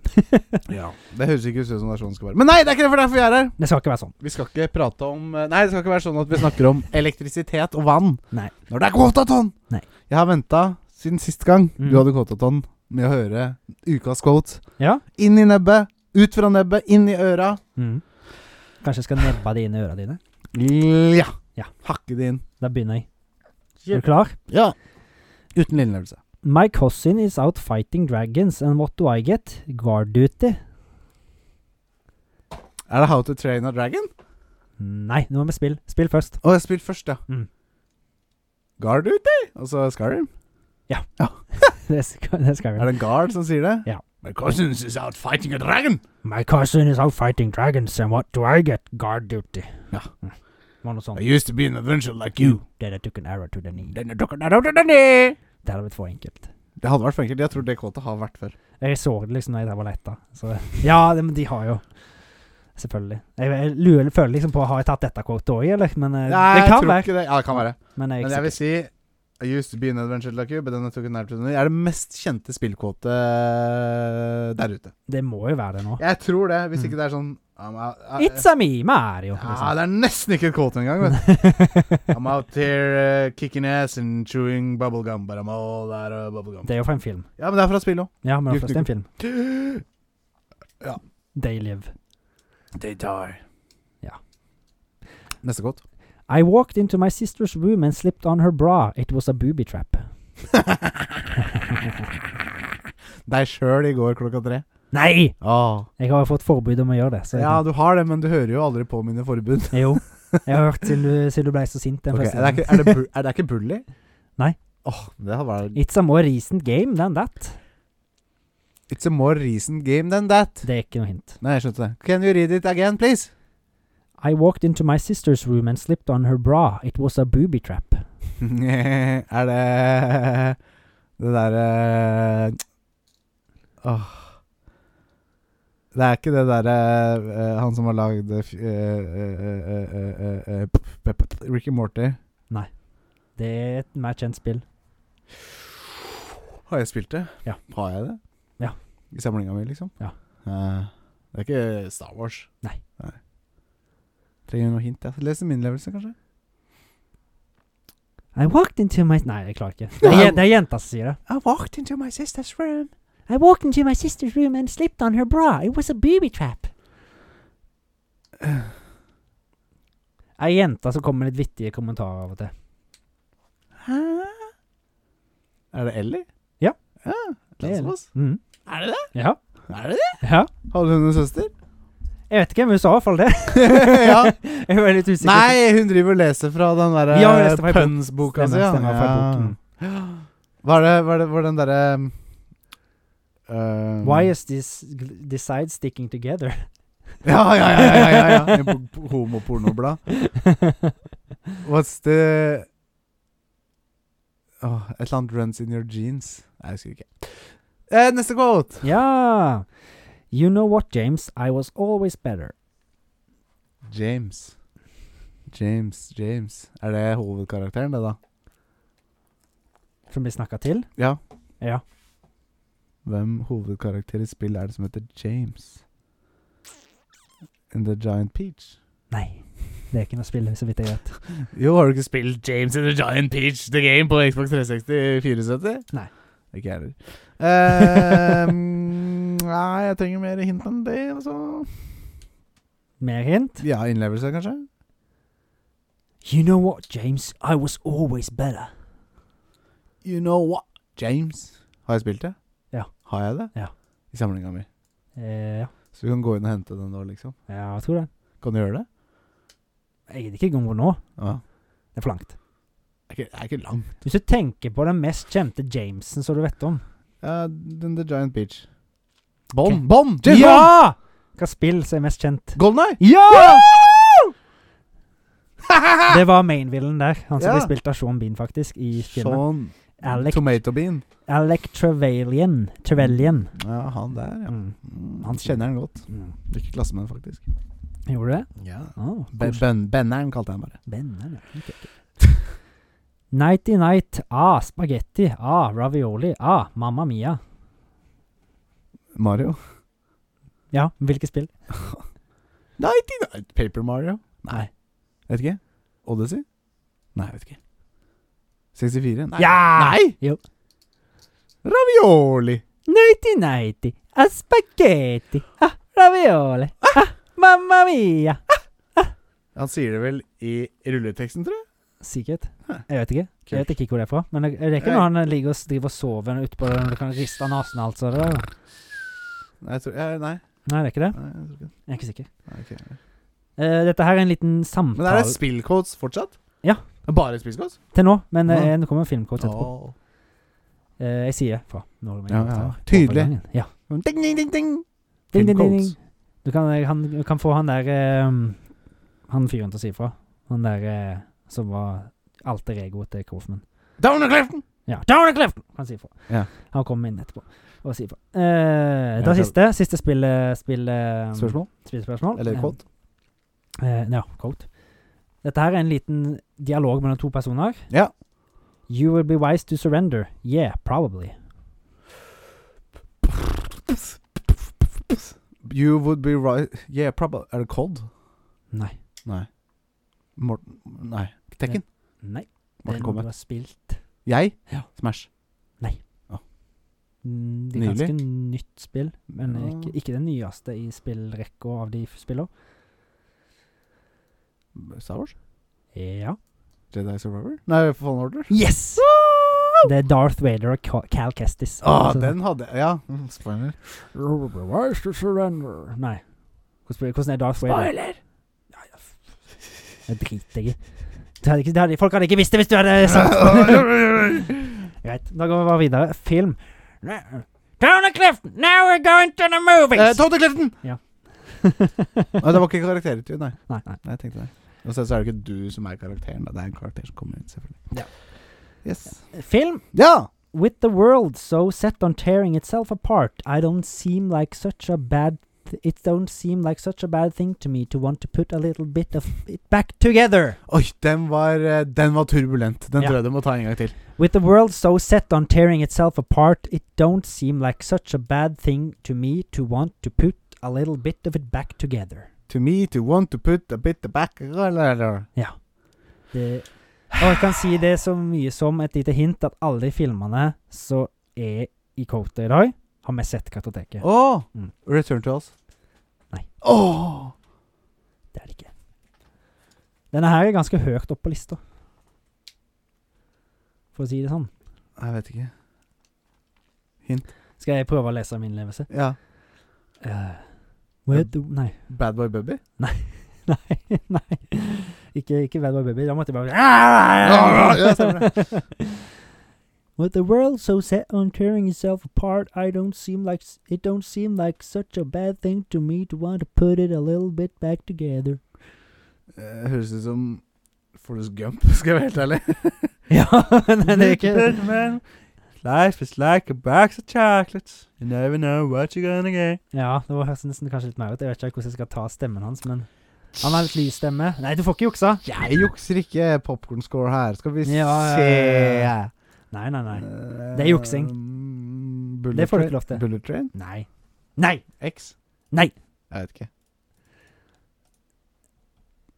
Speaker 1: Ja. Det høres ikke ut som det er sånn det skal være. Men nei, det er ikke derfor derfor jeg er her!
Speaker 2: Det skal ikke være sånn.
Speaker 1: Vi skal ikke prate om Nei, det skal ikke være sånn at vi snakker om elektrisitet og vann
Speaker 2: Nei.
Speaker 1: når det er kvotaton!
Speaker 2: Nei.
Speaker 1: Jeg har venta siden sist gang
Speaker 2: Mm.
Speaker 1: du hadde kvotaton, med å høre ukas quote.
Speaker 2: Ja?
Speaker 1: Inn i nebbet, ut fra nebbet, inn i øra.
Speaker 2: Mm. Kanskje jeg skal nebbe det inn i øra dine?
Speaker 1: Ja.
Speaker 2: Ja.
Speaker 1: Hakke det inn.
Speaker 2: Da begynner jeg. Er du klar?
Speaker 1: Ja. Uten innlevelse.
Speaker 2: My cousin is out fighting dragons, and what do I get? Guard duty.
Speaker 1: Er det How to Train a Dragon?
Speaker 2: Nei, nå må vi spille. Spill først.
Speaker 1: Å, jeg spilte først, ja.
Speaker 2: Mm.
Speaker 1: Guard duty? Og så Skyrim?
Speaker 2: det skal, det skal vi.
Speaker 1: Er det en guard som sier det?
Speaker 2: Ja.
Speaker 1: My cousins is out fighting a dragon.
Speaker 2: My cousin is out fighting dragons, and what do I get? Guard duty.
Speaker 1: Ja.
Speaker 2: Mm. Var noe sånt.
Speaker 1: I used to be an adventurer like you.
Speaker 2: Then I took an arrow to the knee.
Speaker 1: Then I took an arrow to the knee.
Speaker 2: Det hadde blitt for enkelt.
Speaker 1: Det hadde vært for enkelt. Jeg tror det kvotet har vært før.
Speaker 2: Jeg så det liksom da jeg drev og lette. Så Ja, det, men de har jo Selvfølgelig. Jeg, jeg lurer, føler liksom på Har jeg tatt dette kortet òg, eller? Men eh, det
Speaker 1: jeg
Speaker 2: kan
Speaker 1: tror
Speaker 2: være.
Speaker 1: ikke det. Ja, det kan være.
Speaker 2: Men jeg,
Speaker 1: Men jeg vil si I used to be an adventure like you, but then I took an arrow to the knee. er det mest kjente spillkvotet der ute.
Speaker 2: det må jo være det nå.
Speaker 1: Jeg tror det, hvis
Speaker 2: Mm.
Speaker 1: ikke det er sånn I'm out, I-
Speaker 2: It's a me, Mario.
Speaker 1: ja, Det er nesten ikke et kvote engang. Vet. du. I'm out here uh, kicking ass and chewing bubblegum, but I'm all out of bubblegum.
Speaker 2: Det er jo fra en film.
Speaker 1: Ja, men det er fra spillet òg.
Speaker 2: Ja, men det er først en film.
Speaker 1: Ja.
Speaker 2: They live.
Speaker 1: They die.
Speaker 2: Ja.
Speaker 1: Neste kvote.
Speaker 2: I walked into my sister's room and slipped on her bra. It was a booby trap.
Speaker 1: Deg sjøl i går klokka tre.
Speaker 2: Nei!
Speaker 1: Åh.
Speaker 2: Jeg har fått forbud om å gjøre det. Så jeg
Speaker 1: Ja, du har det, men du hører jo aldri på mine forbud.
Speaker 2: kan- Jo. Jeg har hørt siden du, siden du ble så sint den
Speaker 1: Ok,
Speaker 2: første
Speaker 1: er, det ikke,
Speaker 2: gangen.
Speaker 1: er, det bu er det ikke bully?
Speaker 2: Nei.
Speaker 1: Åh, det har vært
Speaker 2: It's a more recent game than that.
Speaker 1: It's a more recent game than that.
Speaker 2: Det er ikke noe hint.
Speaker 1: Nei, jeg skjønte det. Can you read it again, please?
Speaker 2: I walked into my sister's room and slipped on her bra. It was a booby trap.
Speaker 1: er det det derre Åh. Det er ikke det derre Han som har lagd eh, fj- eh, eh, eh, eh, eh, p- p- p- p- Rick and Morty.
Speaker 2: Det er et mer kjent spill.
Speaker 1: Har jeg spilt det?
Speaker 2: Ja.
Speaker 1: Har jeg det?
Speaker 2: Ja.
Speaker 1: I samlinga mi, liksom?
Speaker 2: Ja.
Speaker 1: Eh, det er ikke Star Wars?
Speaker 2: Nei.
Speaker 1: Trenger noe hint? Jeg leser min levelse, kanskje?
Speaker 2: I walked into my Nei, jeg klarer ikke. Det er, jen- det er jenta som sier det.
Speaker 1: I walked into my sister's room.
Speaker 2: I walked into my sister's room and slipped on her bra. It was a booby trap. Ei jente som kommer med litt vittige kommentarer av og til.
Speaker 1: Hæ? Er det Ellie?
Speaker 2: Ja.
Speaker 1: ja
Speaker 2: Det er
Speaker 1: Last of Us.
Speaker 2: Mm.
Speaker 1: Er det det?
Speaker 2: Ja.
Speaker 1: Er det det?
Speaker 2: ja.
Speaker 1: Hadde hun en søster?
Speaker 2: Jeg vet ikke, men hun sa i hvert fall det.
Speaker 1: ja.
Speaker 2: Jeg var litt usikker.
Speaker 1: Nei, hun driver og leser fra den derre
Speaker 2: Ja, hun
Speaker 1: Eh,
Speaker 2: leste fra ei bok.
Speaker 1: Pønns-boka si.
Speaker 2: Stemmer, stemmer, fra ei bok, mm.
Speaker 1: Hva er det Hva er det var den derre um,
Speaker 2: Why is this gl- the side sticking together?
Speaker 1: Ja, ja, ja. ja, ja, ja. En bo- bo- Homopornoblad. What's the Åh, Et eller annet runs in your jeans. Nei, jeg husker ikke. Eh, neste quote.
Speaker 2: ja. You know what, James? I was always better.
Speaker 1: James. James, James. Er det hovedkarakteren, det, da?
Speaker 2: Som blir snakka til.
Speaker 1: Ja.
Speaker 2: Ja.
Speaker 1: Hvem hovedkarakter i spill er det som heter James? In The Giant Peach?
Speaker 2: Nei. Det er ikke noe spill, så vidt jeg vet.
Speaker 1: Jo, har du ikke spilt James in The Giant Peach The Game på Xbox 360 470?
Speaker 2: Nei.
Speaker 1: Ikke jeg heller. Ehm, nei, jeg trenger mer hint enn det, altså.
Speaker 2: Mer hint?
Speaker 1: Ja, innlevelse, kanskje?
Speaker 2: You know what, James? I was always better.
Speaker 1: You know what? James. Har jeg spilt det?
Speaker 2: Ja.
Speaker 1: Har jeg det?
Speaker 2: Ja.
Speaker 1: I samlinga mi.
Speaker 2: Eh, ja.
Speaker 1: Så du kan gå inn og hente den da, liksom.
Speaker 2: ja, jeg tror det.
Speaker 1: Kan du gjøre det?
Speaker 2: Jeg gidder ikke gå nå.
Speaker 1: Ja.
Speaker 2: Det er for langt.
Speaker 1: Det er ikke, det er ikke langt.
Speaker 2: Hvis du tenker på den mest kjente Jamesen som du vet om
Speaker 1: Ja, den The Giant Beach.
Speaker 2: Bond.
Speaker 1: Bom!
Speaker 2: Ja! Hva spill som er mest kjent?
Speaker 1: Golden Eye!
Speaker 2: Ja! Det var mainvillen der. Han som
Speaker 1: Ja.
Speaker 2: ble spilt av Sean Bean, faktisk, i filmen.
Speaker 1: Sean
Speaker 2: Alec,
Speaker 1: Sånn. Tomato Bean.
Speaker 2: Alec Trevelyan. Trevelyan.
Speaker 1: Ja, han der, ja. Mm,
Speaker 2: Mm. Han
Speaker 1: Han kjenner han godt.
Speaker 2: Mm.
Speaker 1: Ikke klassemenn, faktisk.
Speaker 2: Gjorde du det?
Speaker 1: Ja.
Speaker 2: Oh,
Speaker 1: Benneren kalte jeg han bare.
Speaker 2: Spennende. Ok, ok. Nighty Night. Ah, spagetti. Ah, ravioli. Ah, Mamma Mia.
Speaker 1: Mario.
Speaker 2: Ja, hvilket spill?
Speaker 1: Nighty Night Paper Mario.
Speaker 2: Nei.
Speaker 1: Vet ikke. Odyssey? Nei, vet ikke. 64? Nei.
Speaker 2: Ja!
Speaker 1: Nei!
Speaker 2: Jo.
Speaker 1: Ravioli!
Speaker 2: Nighty Nighty. Ah, spagetti. Ah, ravioli. Ah, Mamma Mia.
Speaker 1: Han sier det vel i rulleteksten, tror jeg.
Speaker 2: Sikkert.
Speaker 1: Hæ.
Speaker 2: Jeg vet ikke. Jeg vet ikke hvor det er fra. Men det det er ikke
Speaker 1: Nei.
Speaker 2: når han eh, ligger og s- driver og sover ute på når du kan riste av nesen og alt sånt. eller?
Speaker 1: Nei, jeg tror, ja, nei.
Speaker 2: Nei, det er ikke det.
Speaker 1: nei jeg tror ikke. det.
Speaker 2: Jeg er ikke sikker.
Speaker 1: Nei, ok.
Speaker 2: Eh, dette her er en liten
Speaker 1: Men er
Speaker 2: samtale
Speaker 1: det spillcodes fortsatt?
Speaker 2: Ja.
Speaker 1: Det er Bare spillcodes?
Speaker 2: til nå, men det
Speaker 1: Ja.
Speaker 2: er- det kommer en filmkort etterpå.
Speaker 1: Åh.
Speaker 2: Eh, jeg sier fra. Når vi
Speaker 1: Ja,
Speaker 2: tar
Speaker 1: ja.
Speaker 2: overgangen.
Speaker 1: Tydelig.
Speaker 2: Ja.
Speaker 1: Ding, ding, ding, ding.
Speaker 2: Ding, ding, ding, ding.
Speaker 1: Filmcodes.
Speaker 2: Du kan, eh, han, du kan få han der eh, Han fyren til å si fra. Han der eh, som var alter egoet til Kaufman.
Speaker 1: Down the cliff!
Speaker 2: Ja, Downer Clifton! Han sier fra.
Speaker 1: Ja.
Speaker 2: Han kommer inn etterpå og sier fra. Eh,
Speaker 1: Ja,
Speaker 2: det siste. Siste spill... eh, spill eh,
Speaker 1: Spørsmål?
Speaker 2: spillspørsmål.
Speaker 1: Eller
Speaker 2: Eh,
Speaker 1: quote?
Speaker 2: eh, ja, quote. Dette her er en liten dialog mellom to personer.
Speaker 1: Ja.
Speaker 2: You will be wise to surrender. Yeah, probably.
Speaker 1: You would be right Yeah, probably Er det Cod?
Speaker 2: Nei.
Speaker 1: Nei. Morten Nei. Tekken?
Speaker 2: Nei. Det er
Speaker 1: Morten
Speaker 2: noe du
Speaker 1: Kombat.
Speaker 2: har spilt.
Speaker 1: Jeg?
Speaker 2: Ja.
Speaker 1: Smash.
Speaker 2: Mm, Det er
Speaker 1: Nylig.
Speaker 2: ganske nytt spill, men
Speaker 1: Ja.
Speaker 2: ikke, ikke det nyeste i spillrekka av de f- spillene.
Speaker 1: Star Wars?
Speaker 2: Ja.
Speaker 1: Jedi Survivor? Nei, Fallen Order?
Speaker 2: Yes! Det er Darth Vader og Ca- Cal Kestis. Altså,
Speaker 1: Å,
Speaker 2: Så-
Speaker 1: Ah, den hadde jeg Ja. Mm, Spoiler.
Speaker 2: Wise to surrender. Nei. Hvordan, hvordan er Darth Vader? Ja, ja, f- Det driter jeg i. Det hadde ikke- det hadde- Folk hadde ikke visst det hvis du hadde sagt Greit. Da går vi bare videre. Film. Down a cliff! Now we're going to the movies!
Speaker 1: Eh, Tony Clifton!
Speaker 2: Ja.
Speaker 1: Nei, det var ikke karakterer til, nei.
Speaker 2: Nei, nei.
Speaker 1: nei jeg tenkte det. Og så så er det ikke du som er karakteren, da. Det er en karakter som kommer ut, selvfølgelig.
Speaker 2: Ja.
Speaker 1: Yes.
Speaker 2: Film
Speaker 1: Ja!
Speaker 2: With the world so set on tearing itself apart, I don't seem like such a bad th- it don't seem like such a bad thing to me to want to put a little bit of it back together.
Speaker 1: Oi, den var, eh, den var turbulent. Den
Speaker 2: Ja.
Speaker 1: tror jeg du må ta en gang til.
Speaker 2: With the world so set on tearing itself apart, it don't seem like such a bad thing to me to want to put a little bit of it back together.
Speaker 1: To me to want to put a bit back Nei,
Speaker 2: Det, og jeg kan si det så mye som et lite hint at alle de filmene som er i Cota i dag, har vi sett Kartoteket.
Speaker 1: Åh!
Speaker 2: Mm.
Speaker 1: Return to us.
Speaker 2: Nei.
Speaker 1: Åh!
Speaker 2: Det er det ikke. Denne her er ganske høyt opp på lista. For å si det sånn.
Speaker 1: Jeg vet ikke.
Speaker 2: Skal jeg prøve å lese min levelse?
Speaker 1: Ja.
Speaker 2: Eh, with the, nei.
Speaker 1: Bad Boy Bubby?
Speaker 2: Nei. nei. Ikke, ikke Bad Boy Baby. Da måtte jeg bare
Speaker 1: Ja, stemmer
Speaker 2: With the world so set on tearing itself apart, I don't seem like s- it don't seem like such a bad thing to me to want to put it a little bit back together.
Speaker 1: Eh, Høres ut som Forrest Gump, skal jeg være helt ærlig.
Speaker 2: Ja, men det er ikke
Speaker 1: Man, Life is like a box of chocolates. You never know what you're gonna get.
Speaker 2: Ja, det var høres nesten kanskje litt mer ut. Jeg vet ikke hvordan jeg skal ta stemmen hans, men Han har litt lys stemme. Nei, du får ikke juksa!
Speaker 1: Jeg jukser ikke popkorn-score her. Skal vi
Speaker 2: Ja,
Speaker 1: se
Speaker 2: ja, ja, Nei, nei, nei. Det er juksing.
Speaker 1: Eh, Bullet
Speaker 2: Det får du ikke
Speaker 1: Train-
Speaker 2: lov til.
Speaker 1: Bullet Train?
Speaker 2: Nei. Nei!
Speaker 1: X?
Speaker 2: Nei.
Speaker 1: Jeg vet ikke.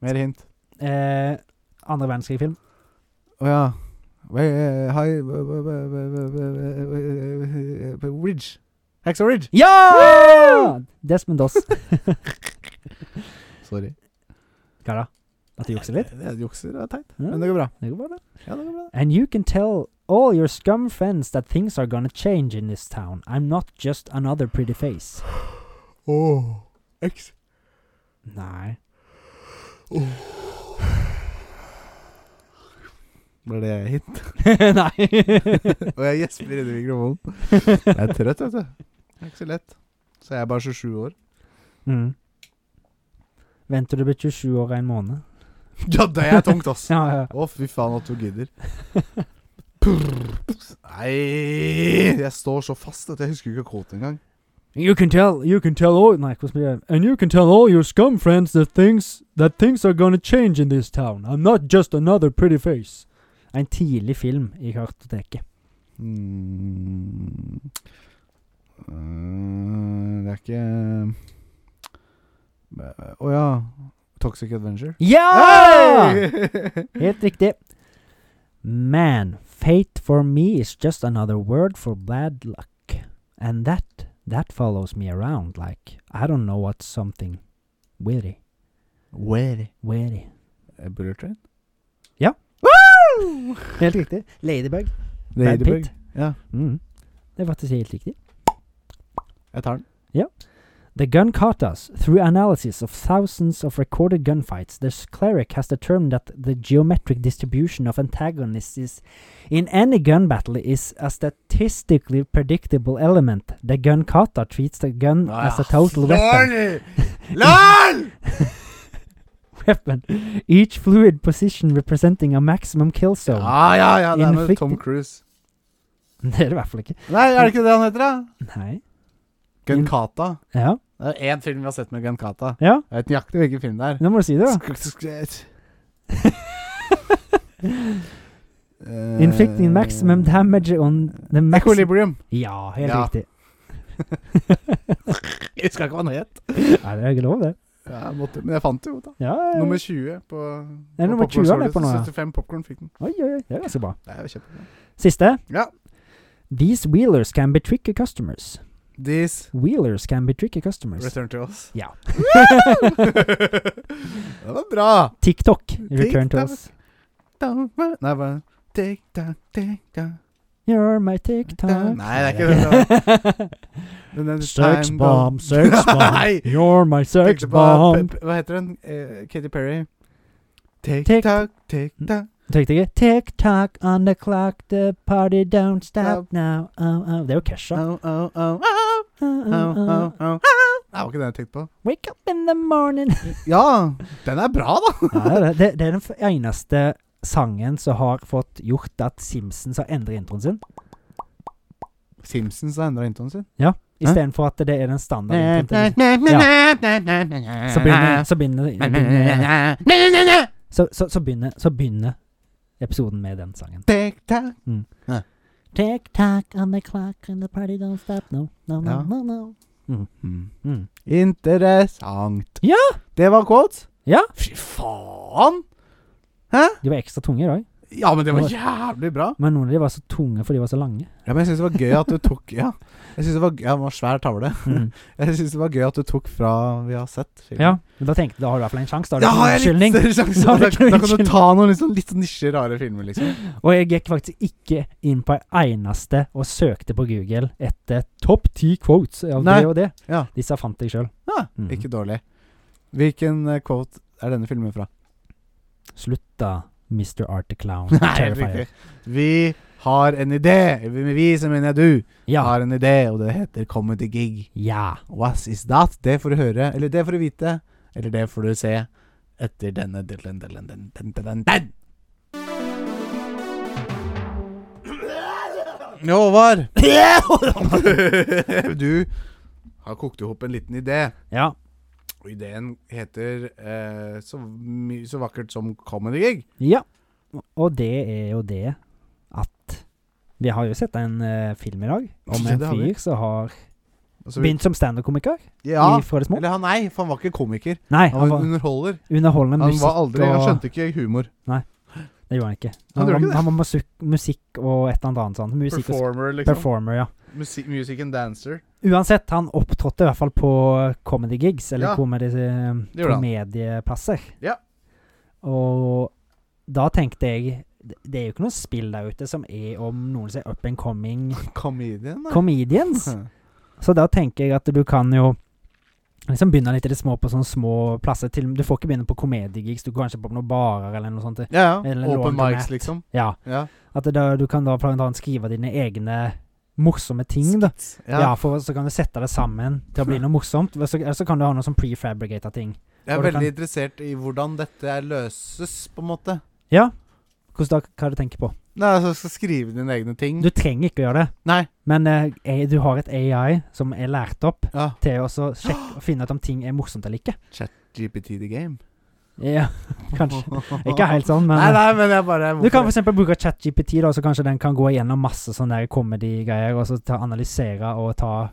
Speaker 1: Mer hint.
Speaker 2: Eh, andre verdenskrig-film.
Speaker 1: Å ja. eh, Wait, hi, Ridge. Hacksaw Ridge.
Speaker 2: Ja! Desmond Doss.
Speaker 1: Sorry.
Speaker 2: Hva da? At du jukser litt?
Speaker 1: Det jukser er teit,
Speaker 2: Ja,
Speaker 1: men det går bra.
Speaker 2: det går bra, det.
Speaker 1: Ja, det går bra.
Speaker 2: And you can tell all your scum friends that things are gonna change in this town. I'm not just another pretty face.
Speaker 1: Oh, X.
Speaker 2: Nei.
Speaker 1: Ble det hit?
Speaker 2: Nei.
Speaker 1: Og jeg gjesper inni mikrofonen. Jeg er trøtt, vet du. Det er ikke så lett. Så jeg er bare 27 år.
Speaker 2: mm. Venter du blir 27 år og en måned?
Speaker 1: Ja, det er tungt, ass. Å,
Speaker 2: Ja, ja.
Speaker 1: fy faen at du gidder. Nei Jeg står så fast at jeg husker ikke kvoten engang.
Speaker 2: You can tell, you can tell all, nei, hvordan blir det? And you can tell all your scum friends that things, that things are gonna change in this town. I'm not just another pretty face. En tidlig film i kartoteket.
Speaker 1: Mm. Eh, det er ikke Eh, Å ja. Toxic Adventure.
Speaker 2: Ja!
Speaker 1: Hey!
Speaker 2: Helt riktig. Man, fate for me is just another word for bad luck. And that, that follows me around like, I don't know what something. Weary,
Speaker 1: Where? Eh,
Speaker 2: weary.
Speaker 1: Bullet Train?
Speaker 2: Ja.
Speaker 1: Woo!
Speaker 2: Helt riktig. Ladybug. Brad
Speaker 1: Ladybug.
Speaker 2: Pitt.
Speaker 1: Ja,
Speaker 2: Mm. Det er faktisk helt riktig.
Speaker 1: jeg tar den.
Speaker 2: The gun caught us. Through analysis of thousands of recorded gunfights, this cleric has determined that the geometric distribution of antagonists is, in any gun battle is a statistically predictable element. The gun kata treats the gun
Speaker 1: Ah,
Speaker 2: as a total weapon.
Speaker 1: LOL!
Speaker 2: weapon. Each fluid position representing a maximum kill zone.
Speaker 1: Ja, ja, ja, det er med
Speaker 2: Inflict-
Speaker 1: Tom Cruise.
Speaker 2: Det er det i hvert fall ikke.
Speaker 1: Nei, er det ikke det han heter, da?
Speaker 2: Nei.
Speaker 1: Gunkata.
Speaker 2: Ja.
Speaker 1: Det er én film vi har sett med Gunkata.
Speaker 2: ja,
Speaker 1: Jeg vet nøyaktig hvilken film det er.
Speaker 2: nå må du si det, da.
Speaker 1: Sk- sk- sk- Eh,
Speaker 2: Inflicting maximum damage on the maximum
Speaker 1: Equilibrium.
Speaker 2: Ja, helt
Speaker 1: Ja.
Speaker 2: riktig.
Speaker 1: Jeg husker ikke hva den het.
Speaker 2: Nei, det er ikke lov, det.
Speaker 1: Ja, jeg måtte, men jeg fant det jo, da.
Speaker 2: Ja, ja, ja.
Speaker 1: Nummer 20 på,
Speaker 2: Det er nummer 20 han er på nå, ja.
Speaker 1: 75 popkorn fikk den.
Speaker 2: Oi, oi, oi. Det er ganske bra.
Speaker 1: Det er jo kjempebra.
Speaker 2: Siste.
Speaker 1: Ja.
Speaker 2: These wheelers can be tricky customers.
Speaker 1: These
Speaker 2: Wheelers can be tricky customers.
Speaker 1: Return to us.
Speaker 2: Ja.
Speaker 1: det var bra!
Speaker 2: TikTok, return to
Speaker 1: TikTok.
Speaker 2: us.
Speaker 1: Nei, bare Tick, tack, tick, tack.
Speaker 2: You're my TikTok.
Speaker 1: Nei, det er ikke det. Men den
Speaker 2: Sex
Speaker 1: time
Speaker 2: bomb,
Speaker 1: bomb.
Speaker 2: sex bomb.
Speaker 1: Nei!
Speaker 2: You're my sex
Speaker 1: Tenkte på
Speaker 2: bomb.
Speaker 1: Pe- Pe- Hva heter den? Eh, Katy Perry. Tick,
Speaker 2: Tick. Mm.
Speaker 1: tack, tick, tack.
Speaker 2: Tenkte jeg TikTok on the clock, the party don't stop now. Oh, oh. Det er jo Kesha.
Speaker 1: Oh, oh, oh, oh,
Speaker 2: Oh,
Speaker 1: oh,
Speaker 2: oh, oh.
Speaker 1: oh, oh. Det var ikke det jeg tenkte på.
Speaker 2: Wake up in the morning.
Speaker 1: Ja, den er bra, da!
Speaker 2: Ja, det, er det. det, det er den f- eneste sangen som har fått gjort at Simpsons har endret introen sin.
Speaker 1: Simpsons har endra intoen sin.
Speaker 2: Istedenfor at det er den standard introen. til- Så
Speaker 1: Så
Speaker 2: begynner, så begynner, begynner så, så, så, begynner, så begynner episoden med den sangen.
Speaker 1: Tic-tac.
Speaker 2: Tick tock on the clock and the party don't stop. No, no, no,
Speaker 1: Ja.
Speaker 2: no. no. Mm.
Speaker 1: Interessant.
Speaker 2: Ja.
Speaker 1: Det var quotes.
Speaker 2: Ja.
Speaker 1: Fy faen!
Speaker 2: De var ekstra tunge i dag.
Speaker 1: Ja, men det var jævlig bra.
Speaker 2: Men noen av de var så tunge fordi de var så lange.
Speaker 1: Ja, men jeg syns det var gøy at du tok Ja, jeg synes det var, ja, det var svær tavle.
Speaker 2: Mm.
Speaker 1: Jeg syns det var gøy at du tok fra vi har sett. filmen.
Speaker 2: Ja, men da tenkte jeg da har du i hvert fall en sjanse. Da har du
Speaker 1: Da
Speaker 2: ikke
Speaker 1: har jeg liksom. litt større sjanse. Da, da kan
Speaker 2: noen unnskyldning. Da har jeg ikke noen
Speaker 1: du ta noen litt sånn- litt sånn nisje, rare filmer, liksom.
Speaker 2: Og jeg gikk faktisk ikke inn på en eneste og søkte på Google etter topp ti quotes av
Speaker 1: Nei.
Speaker 2: det og det.
Speaker 1: Ja.
Speaker 2: Disse fant jeg sjøl.
Speaker 1: Ja,
Speaker 2: Mhm.
Speaker 1: Ikke dårlig. Hvilken eh, quote er denne filmen fra?
Speaker 2: Slutt da, Mr. Art the Clown.
Speaker 1: Nei, helt
Speaker 2: Terrifier.
Speaker 1: riktig. Vi har en idé. Vi, vi som mener jeg du,
Speaker 2: Ja.
Speaker 1: har en idé, og det heter Comedy Gig.
Speaker 2: ja.
Speaker 1: What is that? Det får du høre, eller det får du vite, eller det får du se etter denne diddelen, diddelen, den, den, den, den, den. Ja, Håvard. Du har kokt ihop en liten idé.
Speaker 2: ja.
Speaker 1: Og ideen heter eh, så, my- så vakkert som Comedy Gig.
Speaker 2: Ja. Og det er jo det at Vi har jo sett en eh, film i dag om
Speaker 1: Ja,
Speaker 2: en
Speaker 1: det har vi.
Speaker 2: fyr som har
Speaker 1: Og så Altså, vi-
Speaker 2: begynt som standup-komiker
Speaker 1: Ja.
Speaker 2: i- fra det små.
Speaker 1: Eller han, nei, for han var ikke komiker.
Speaker 2: Nei,
Speaker 1: Han
Speaker 2: han
Speaker 1: var
Speaker 2: var
Speaker 1: underholder.
Speaker 2: underholdende
Speaker 1: Han
Speaker 2: musikk
Speaker 1: var aldri Han
Speaker 2: og
Speaker 1: skjønte ikke humor.
Speaker 2: Det gjorde han ikke.
Speaker 1: Han
Speaker 2: Han,
Speaker 1: gjorde ikke
Speaker 2: var,
Speaker 1: det.
Speaker 2: han var musikk, musikk og et eller annet sånt. Musikk og
Speaker 1: Performer, liksom.
Speaker 2: performer, ja.
Speaker 1: Musi music and dancer.
Speaker 2: Uansett, han opptrådte i hvert fall på comedy gigs, eller
Speaker 1: Ja.
Speaker 2: comedy,
Speaker 1: gjorde han.
Speaker 2: komedieplasser.
Speaker 1: Ja.
Speaker 2: Og da tenkte jeg det- Det er jo ikke noe spill der ute som er om noen som er up and coming
Speaker 1: Comedian, da.
Speaker 2: comedians.
Speaker 1: Hm.
Speaker 2: Så da tenker jeg at du kan jo liksom begynne litt i det små på sånne små plasser. Til, du får ikke begynne på comedy-gigs, du går kanskje på noen barer eller noe sånt.
Speaker 1: Ja, ja.
Speaker 2: Eller
Speaker 1: Open
Speaker 2: laundromat.
Speaker 1: mics, liksom.
Speaker 2: Ja.
Speaker 1: Ja.
Speaker 2: At det da, du kan da blant annet skrive dine egne morsomme ting, da. Ja.
Speaker 1: ja.
Speaker 2: for så kan du sette det sammen til å bli noe morsomt. Eller så, eller så kan du ha noe sånn prefabricata ting.
Speaker 1: Jeg er
Speaker 2: Og du kan-
Speaker 1: veldig interessert i hvordan dette er løses, på en måte.
Speaker 2: Ja. Hvordan da, hva du tenker på?
Speaker 1: Nei, altså, skal skrive dine egne ting.
Speaker 2: Du trenger ikke å gjøre det,
Speaker 1: Nei.
Speaker 2: men eh, eh, du har et AI som er lært opp
Speaker 1: Ja.
Speaker 2: til å så sjekke og finne ut om ting er morsomt eller ikke.
Speaker 1: GPT the game.
Speaker 2: Ja, kanskje. Ikke helt sånn, men
Speaker 1: Nei, nei, men jeg bare
Speaker 2: Du kan f.eks. bruke ChatGPT, da, så kanskje den kan gå igjennom masse sånne der comedy-greier, og så ta, analysere og ta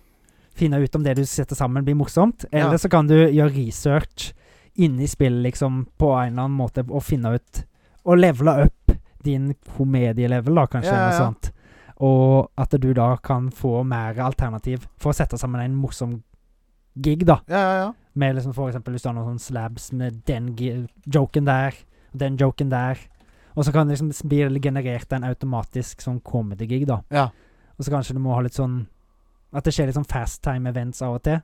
Speaker 2: Finne ut om det du setter sammen, blir morsomt. Eller
Speaker 1: Ja.
Speaker 2: så kan du gjøre research inni spillet, liksom, på en eller annen måte, og finne ut Og levele opp din komedielevel, da, kanskje,
Speaker 1: Ja, ja,
Speaker 2: eller
Speaker 1: ja.
Speaker 2: noe sånt. Og at du da kan få mer alternativ for å sette sammen en morsom gig, da.
Speaker 1: Ja, ja, ja.
Speaker 2: Med liksom for eksempel hvis du har noen sånne slabs med den gi- joken der, og den joken der. Og så kan det liksom s- bli generert en automatisk sånn comedy-gig, da.
Speaker 1: Ja.
Speaker 2: Og så kanskje du må ha litt sånn At det skjer litt sånn fast time events av og til.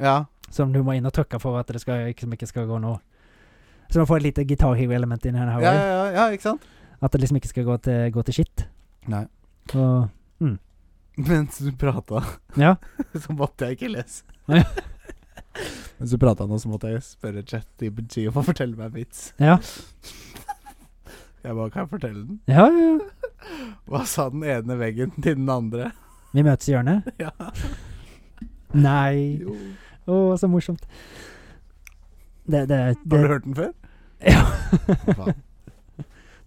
Speaker 1: ja.
Speaker 2: Som du må inn og trykke for at det skal, liksom ikke skal gå noe Så du får et lite Guitar Hero-element inn her.
Speaker 1: Ja,
Speaker 2: her
Speaker 1: ja,
Speaker 2: også.
Speaker 1: ja, ja, ikke sant?
Speaker 2: At det liksom ikke skal gå til, gå til shit.
Speaker 1: Nei.
Speaker 2: Og
Speaker 1: Mens du prata,
Speaker 2: Ja.
Speaker 1: så måtte jeg ikke lese.
Speaker 2: Nei.
Speaker 1: Mens du prata nå, så måtte jeg spørre ChatGPT om å fortelle meg en vits.
Speaker 2: Ja.
Speaker 1: Jeg bare kan jeg fortelle den.
Speaker 2: ja, ja, ja.
Speaker 1: Hva sa den ene veggen til den andre?
Speaker 2: Vi møtes i hjørnet.
Speaker 1: Ja.
Speaker 2: Nei.
Speaker 1: Jo.
Speaker 2: Å, så morsomt. Det, det, det
Speaker 1: Har du hørt den før?
Speaker 2: Ja.
Speaker 1: Faen,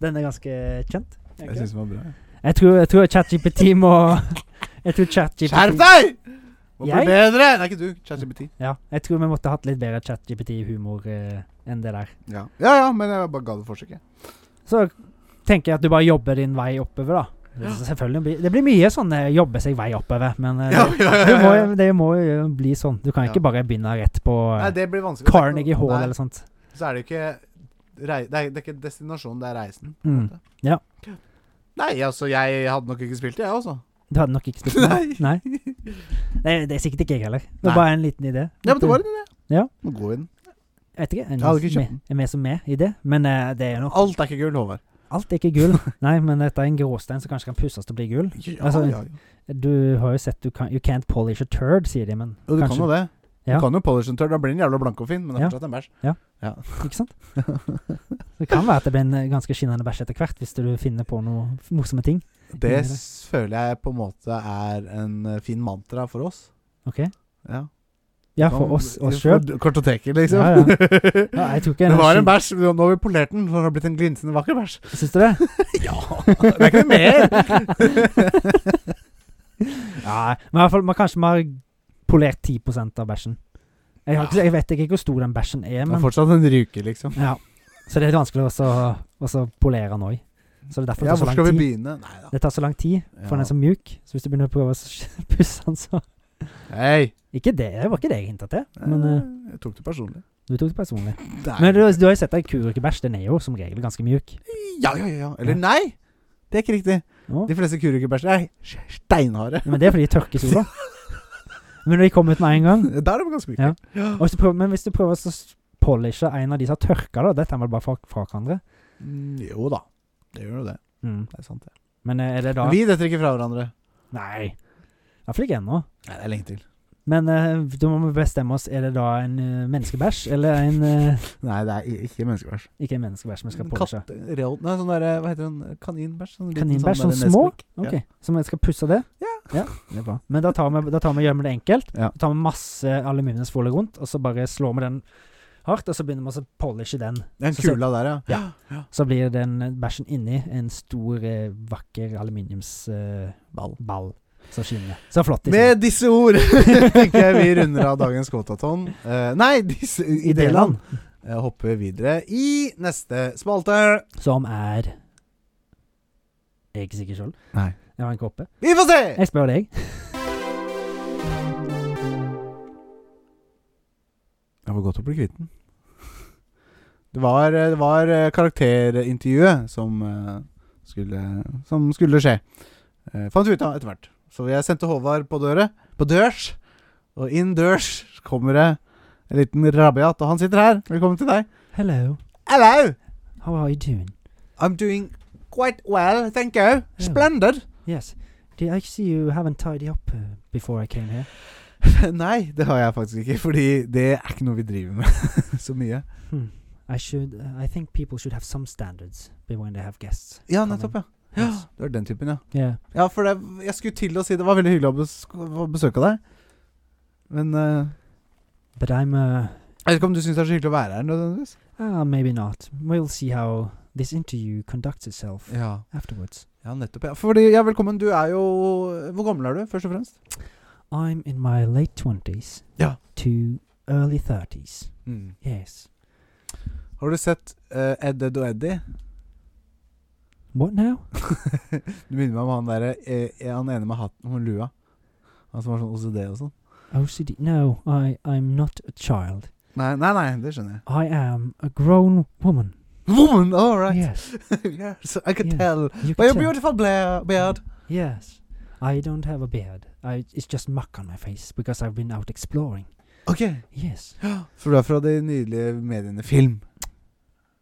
Speaker 2: Den er ganske kjent.
Speaker 1: jeg syns den var bra.
Speaker 2: Jeg tror, jeg tror ChatGPT må Jeg tror ChatGPT
Speaker 1: Skjerp deg! Må bli
Speaker 2: Jeg?
Speaker 1: bedre! Nei, ikke du. ChatGPT.
Speaker 2: Ja, jeg tror vi måtte hatt litt bedre ChatGPT-humor eh, enn det der.
Speaker 1: Ja. ja ja, men jeg bare ga det forsøket.
Speaker 2: Så tenker jeg at du bare jobber din vei oppover, da. Så Selvfølgelig. blir- Det blir mye sånne jobbe seg vei oppover, men eh,
Speaker 1: Ja, ja, ja,
Speaker 2: Det, må,
Speaker 1: ja, ja.
Speaker 2: det må jo bli sånn. Du kan
Speaker 1: Ja.
Speaker 2: ikke bare begynne rett på eh,
Speaker 1: Nei, det blir vanskelig.
Speaker 2: Carnegie Hall
Speaker 1: Nei,
Speaker 2: eller sånt.
Speaker 1: Så er det ikke rei, det, er, det er ikke destinasjonen, det er reisen. på en
Speaker 2: Mm.
Speaker 1: måte.
Speaker 2: Ja.
Speaker 1: Nei, altså, jeg hadde nok ikke spilt det, jeg også.
Speaker 2: Du hadde nok ikke spilt med. Nei. Det, det er sikkert ikke jeg heller. Det
Speaker 1: Nei.
Speaker 2: var bare en liten idé.
Speaker 1: Ja, men det var en idé.
Speaker 2: Ja.
Speaker 1: Må gå i den.
Speaker 2: Jeg vet ikke.
Speaker 1: Jeg hadde ikke kjøpt
Speaker 2: med, er vi som med i det? Men eh, det er nok
Speaker 1: Alt er ikke gull, Håvard.
Speaker 2: Alt er ikke gull. Nei, men dette er en gråstein som kanskje kan pusses til å bli gull.
Speaker 1: Ja,
Speaker 2: Altså,
Speaker 1: ja, ja.
Speaker 2: Du har jo sett du kan, You can't polish a turd, sier de, men
Speaker 1: Jo, du kan
Speaker 2: kanskje,
Speaker 1: jo det.
Speaker 2: Ja.
Speaker 1: Du kan jo polish en tørr, da blir den jævla blank og fin, men det er
Speaker 2: Ja.
Speaker 1: fortsatt en bæsj.
Speaker 2: Ikke sant? Det kan være at det blir en eh, ganske skinnende bæsj etter hvert, hvis du finner på noen morsomme ting.
Speaker 1: Det s- føler jeg på en måte er en eh, fin mantra for oss.
Speaker 2: Ok?
Speaker 1: Ja,
Speaker 2: Ja, for oss, oss
Speaker 1: For
Speaker 2: sjøl.
Speaker 1: d- Kartoteket, liksom.
Speaker 2: Ja, Ja, jeg tror ikke
Speaker 1: det var en
Speaker 2: energi-
Speaker 1: bæsj, nå har vi polert den, så det har blitt en glinsende vakker bæsj.
Speaker 2: Syns du det?
Speaker 1: Det er ikke noe mer!
Speaker 2: Nei, men i hvert fall, man kanskje man har polert 10 av bæsjen. Jeg, har ikke, jeg vet ikke hvor stor den bæsjen er,
Speaker 1: Det er
Speaker 2: men
Speaker 1: fortsatt en ryke, liksom.
Speaker 2: ja. Så det er vanskelig også å også polere den òg. Så det er derfor det
Speaker 1: Ja,
Speaker 2: tar så
Speaker 1: hvor
Speaker 2: lang
Speaker 1: skal vi
Speaker 2: tid.
Speaker 1: begynne? Nei da.
Speaker 2: Det tar så lang tid, for den er så mjuk. Så hvis du begynner å prøve å s- pusse den, så
Speaker 1: Hei!
Speaker 2: Ikke det, det var ikke det jeg hinta til, men eh,
Speaker 1: jeg tok det personlig.
Speaker 2: du tok det personlig.
Speaker 1: Nei.
Speaker 2: Men du, du har jo sett ei kurukebæsj, den er jo som regel ganske mjuk.
Speaker 1: Ja, ja, ja, ja. Eller
Speaker 2: Ja.
Speaker 1: nei! Det er ikke riktig.
Speaker 2: Å.
Speaker 1: De fleste kurukebæsjer er s- steinharde.
Speaker 2: Men det er fordi de tørker sola. Men når de kommer ut med en gang
Speaker 1: Da er de ganske myke.
Speaker 2: Ja. og hvis du prøver, Men hvis du prøver å s- polishe en av de som har tørka, da Dette er vel bare fra, fra hverandre?
Speaker 1: Mm, jo da. Det gjør jo det.
Speaker 2: Mm.
Speaker 1: Det er sant, det.
Speaker 2: Men eh, er det da
Speaker 1: Men vi detter ikke fra hverandre.
Speaker 2: Nei. Iallfall ikke ennå.
Speaker 1: Nei, det er lenge til.
Speaker 2: Men eh, da må vi bestemme oss. Er det da en eh, menneskebæsj, eller en eh,
Speaker 1: Nei, det er i- ikke menneskebæsj.
Speaker 2: Ikke en menneskebæsj, men skal polishe.
Speaker 1: Katte... reol- Nei, sånn derre Hva heter den? Kaninbæsj? Sånn liten sånn
Speaker 2: Kaninbæsj, sånn
Speaker 1: derre
Speaker 2: små?
Speaker 1: nesbukk.
Speaker 2: Ok,
Speaker 1: Ja.
Speaker 2: Så vi skal pusse det? Ja. det er bra. Men da tar vi, da tar vi gjør vi det enkelt.
Speaker 1: Ja.
Speaker 2: Da tar vi masse aluminiumsfolie rundt, og så bare slår vi den hardt, og så begynner vi å så polishe den.
Speaker 1: Den
Speaker 2: Så-
Speaker 1: kula der, ja.
Speaker 2: Så blir den bæsjen inni en stor, eh, vakker aluminiumsball Ball som skinner. Så flott. liksom.
Speaker 1: Eh, Med disse ord tenker jeg vi runder av dagens kvotaton. Eh, nei, disse
Speaker 2: I det
Speaker 1: ideland.
Speaker 2: land
Speaker 1: Uh, hopper videre i neste spalte.
Speaker 2: Som er Jeg er ikke sikker sjøl.
Speaker 1: Nei.
Speaker 2: Jeg har en koppe.
Speaker 1: Vi får se!
Speaker 2: Jeg spør deg.
Speaker 1: Det var godt å bli kvitt den. Det var, det var eh, karakterintervjuet som, eh, skulle, som skulle skje. Eh, fant vi ut av etter hvert. Så jeg sendte Håvard på døra. På dørs. Og inn dørs kommer det en liten rabiat, og han sitter her. Velkommen til deg.
Speaker 2: Hello,
Speaker 1: Hello!
Speaker 2: how are you doing?
Speaker 1: I'm doing quite well, thank you. Splendid.
Speaker 2: Yes. Did I see you haven't tidy up uh, before I came here?
Speaker 1: Nei, det har jeg faktisk ikke, fordi det er ikke noe vi driver med så mye.
Speaker 2: Hmm. I should. uh, I think people should have some standards when they have guests.
Speaker 1: Ja,
Speaker 2: Kan
Speaker 1: nettopp, ja. Ja,
Speaker 2: Yes.
Speaker 1: det var den typen, ja.
Speaker 2: Yeah.
Speaker 1: Ja, for det, jeg skulle til å si det var veldig hyggelig å besk- å besøke deg. Men eh,
Speaker 2: But I'm. Uh,
Speaker 1: jeg vet ikke om du syns det er så hyggelig å være her nødvendigvis?
Speaker 2: ah, maybe not. We'll see how this interview conducts itself
Speaker 1: Ja.
Speaker 2: afterwards.
Speaker 1: ja, nettopp. Ja. Fordi, ja, velkommen. Du er jo Hvor gammel er du, først og fremst?
Speaker 2: I'm in my late twenties.
Speaker 1: Yeah.
Speaker 2: To early thirties.
Speaker 1: Mm.
Speaker 2: Yes.
Speaker 1: Har du sett eh, Ed, Edd og Eddie?
Speaker 2: What now?
Speaker 1: Du minner meg om han derre eh, Han ene med hatten og lua. Han som har sånn OCD og sånn.
Speaker 2: OCD. No, I. I'm not a child.
Speaker 1: Nei, nei, nei, det skjønner jeg.
Speaker 2: I am a grown woman.
Speaker 1: Woman, all right.
Speaker 2: Yes.
Speaker 1: yes, I could
Speaker 2: Yeah.
Speaker 1: tell.
Speaker 2: You
Speaker 1: By
Speaker 2: can
Speaker 1: your
Speaker 2: tell.
Speaker 1: beautiful bla- beard.
Speaker 2: Yes. I don't have a beard. I, it's just muck on my face because I've been out exploring.
Speaker 1: Ok.
Speaker 2: Yes.
Speaker 1: Så du er fra de nydelige mediene film?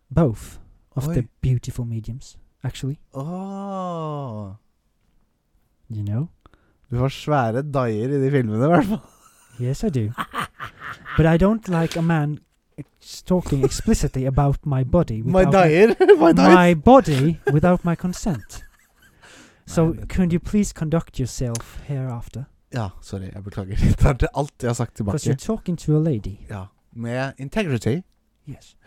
Speaker 2: Both of
Speaker 1: Oi.
Speaker 2: the beautiful mediums, actually.
Speaker 1: Åh.
Speaker 2: You know?
Speaker 1: Du har svære daier i de filmene, i hvert fall.
Speaker 2: Yes, I do. but I don't like a man ex- talking explicitly about my body.
Speaker 1: My
Speaker 2: without
Speaker 1: daier. My
Speaker 2: My,
Speaker 1: daier.
Speaker 2: my body without my consent. So,
Speaker 1: Nei, det-
Speaker 2: could you please conduct yourself hereafter?
Speaker 1: Ja, sorry, jeg beklager. Jeg tar til alt jeg har sagt
Speaker 2: Because you're
Speaker 1: tilbake.
Speaker 2: talking to a lady.
Speaker 1: Ja, Med integrity.
Speaker 2: Yes.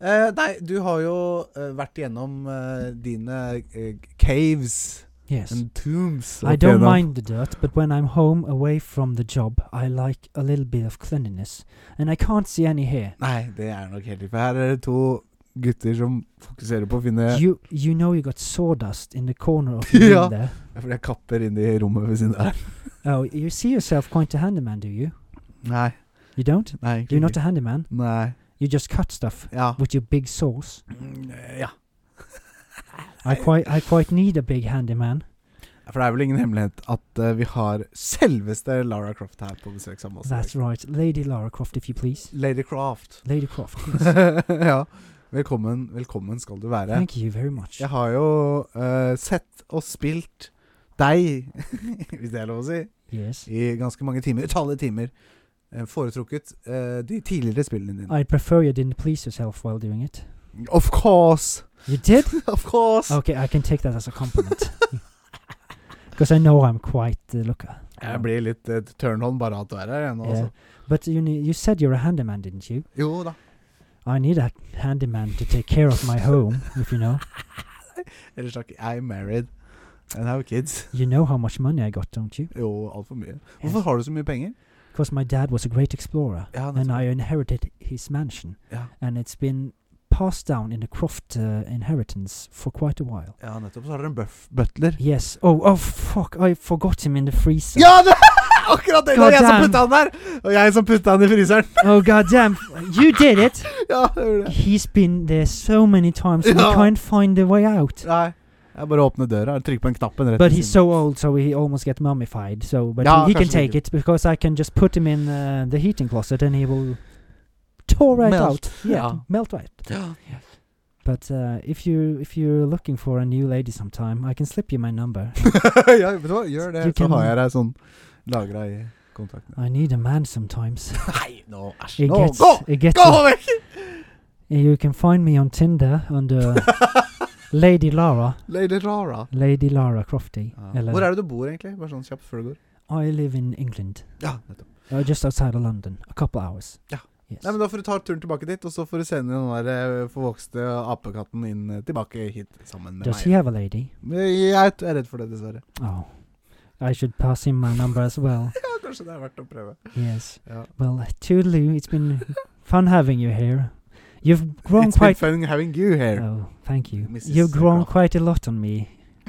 Speaker 1: Eh, nei, du har jo eh, vært gjennom eh, dine eh, caves
Speaker 2: Yes.
Speaker 1: and tombs.
Speaker 2: I
Speaker 1: opp
Speaker 2: don't
Speaker 1: igjennom.
Speaker 2: mind the dirt, but when I'm home away from the job, I like a little bit of cleanliness, and I can't see any here.
Speaker 1: Nei, det er nok helt riktig. For her er det to gutter som fokuserer på å finne
Speaker 2: You you know you got sawdust in the corner of your
Speaker 1: Yeah.
Speaker 2: room there.
Speaker 1: For jeg kapper inn i rommet ved siden av her.
Speaker 2: Oh, you see yourself quite a handyman, do you?
Speaker 1: Nei.
Speaker 2: You don't?
Speaker 1: nei egentlig
Speaker 2: You're not
Speaker 1: ikke.
Speaker 2: a handyman.
Speaker 1: Nei.
Speaker 2: You just cut stuff
Speaker 1: Ja.
Speaker 2: with your big saws.
Speaker 1: Mm, ja.
Speaker 2: I quite I quite need a big handyman.
Speaker 1: For det er vel ingen hemmelighet at eh, vi har selveste Lara Croft her på besøk sammen med oss. i dag.
Speaker 2: That's right, Lady Lara Croft, if you please.
Speaker 1: Lady Croft.
Speaker 2: Lady Croft,
Speaker 1: ja. Velkommen, velkommen skal du være.
Speaker 2: thank you very much.
Speaker 1: Jeg har jo eh, sett og spilt deg, hvis det er lov å si,
Speaker 2: Yes.
Speaker 1: i ganske mange timer. Utallige timer. eh, foretrukket eh, de tidligere spillene dine.
Speaker 2: I prefer you didn't please yourself while doing it.
Speaker 1: Of course!
Speaker 2: You did?
Speaker 1: Of course!
Speaker 2: Okay, I can take that as a compliment. Because I know I'm quite the looker.
Speaker 1: Jeg blir litt uh, turn-on bare av at du er her igjen.
Speaker 2: Yeah.
Speaker 1: Altså.
Speaker 2: But you need, you said you're a handyman, didn't you?
Speaker 1: Jo da.
Speaker 2: I need a handyman to take care of my home, if you know.
Speaker 1: Ellers takk. I'm married and have kids.
Speaker 2: You know how much money I got, don't you?
Speaker 1: Jo, altfor mye. Hvorfor har du så mye penger?
Speaker 2: Because my dad was a great explorer,
Speaker 1: Ja,
Speaker 2: and
Speaker 1: nettopp.
Speaker 2: I inherited his mansion,
Speaker 1: ja.
Speaker 2: and it's been passed down in the Croft uh, inheritance for quite a while.
Speaker 1: ja, nettopp. Så har dere en buff butler.
Speaker 2: Yes. Oh, oh, fuck! I forgot him in the freezer.
Speaker 1: Ja, det akkurat det! Det var jeg som
Speaker 2: Goddamn.
Speaker 1: putta han der! Og jeg som putta han i fryseren.
Speaker 2: Oh, goddamn! You did it!
Speaker 1: Ja, det gjorde jeg.
Speaker 2: He's been there so many times, and
Speaker 1: Ja.
Speaker 2: we can't find a way out.
Speaker 1: Nei. Jeg bare åpner døra og trykker på en knappen rett
Speaker 2: But
Speaker 1: ved
Speaker 2: he's
Speaker 1: siden.
Speaker 2: so old, so he almost get mummified. So, but
Speaker 1: Ja,
Speaker 2: he, he can
Speaker 1: kanskje
Speaker 2: take
Speaker 1: ikke.
Speaker 2: it because I can just put him in uh, the heating closet, and he will tore right
Speaker 1: Melt.
Speaker 2: out. Yeah,
Speaker 1: Ja.
Speaker 2: melt right.
Speaker 1: Ja.
Speaker 2: But uh, if you if you're looking for a new lady sometime, I can slip you my number.
Speaker 1: ja, vet du hva? Gjør det,
Speaker 2: Du
Speaker 1: så
Speaker 2: kan-
Speaker 1: har jeg deg sånn lagra i kontakten.
Speaker 2: I need a man sometimes.
Speaker 1: Nei, nå æsj.
Speaker 2: It
Speaker 1: Nå,
Speaker 2: gets,
Speaker 1: gå!
Speaker 2: it gets
Speaker 1: Gå vekk!
Speaker 2: You can find me on Tinder under Lady Lara,
Speaker 1: Lady Lara.
Speaker 2: Lady Lara Crofty.
Speaker 1: Ja.
Speaker 2: Eller
Speaker 1: Hvor er det du bor, egentlig? Bare sånn kjapt før du går.
Speaker 2: I live in England,
Speaker 1: Ja, nettopp.
Speaker 2: uh, just outside of London, a couple hours.
Speaker 1: Ja.
Speaker 2: Yes.
Speaker 1: Nei, men Da får du ta turen tilbake dit, og så får du sende den der eh, forvokste apekatten inn eh, tilbake hit sammen med
Speaker 2: Does he
Speaker 1: meg.
Speaker 2: have a lady?
Speaker 1: Men Jeg er redd for det, dessverre.
Speaker 2: Oh, I should pass him my number as well.
Speaker 1: Ja, Kanskje det er verdt å prøve.
Speaker 2: yes.
Speaker 1: Ja.
Speaker 2: Well, toodaloo. It's been fun having you here. You've grown
Speaker 1: It's been
Speaker 2: quite.
Speaker 1: fun having you here.
Speaker 2: Oh, thank you.
Speaker 1: Mrs.
Speaker 2: You've grown
Speaker 1: Croft.
Speaker 2: quite a lot on me.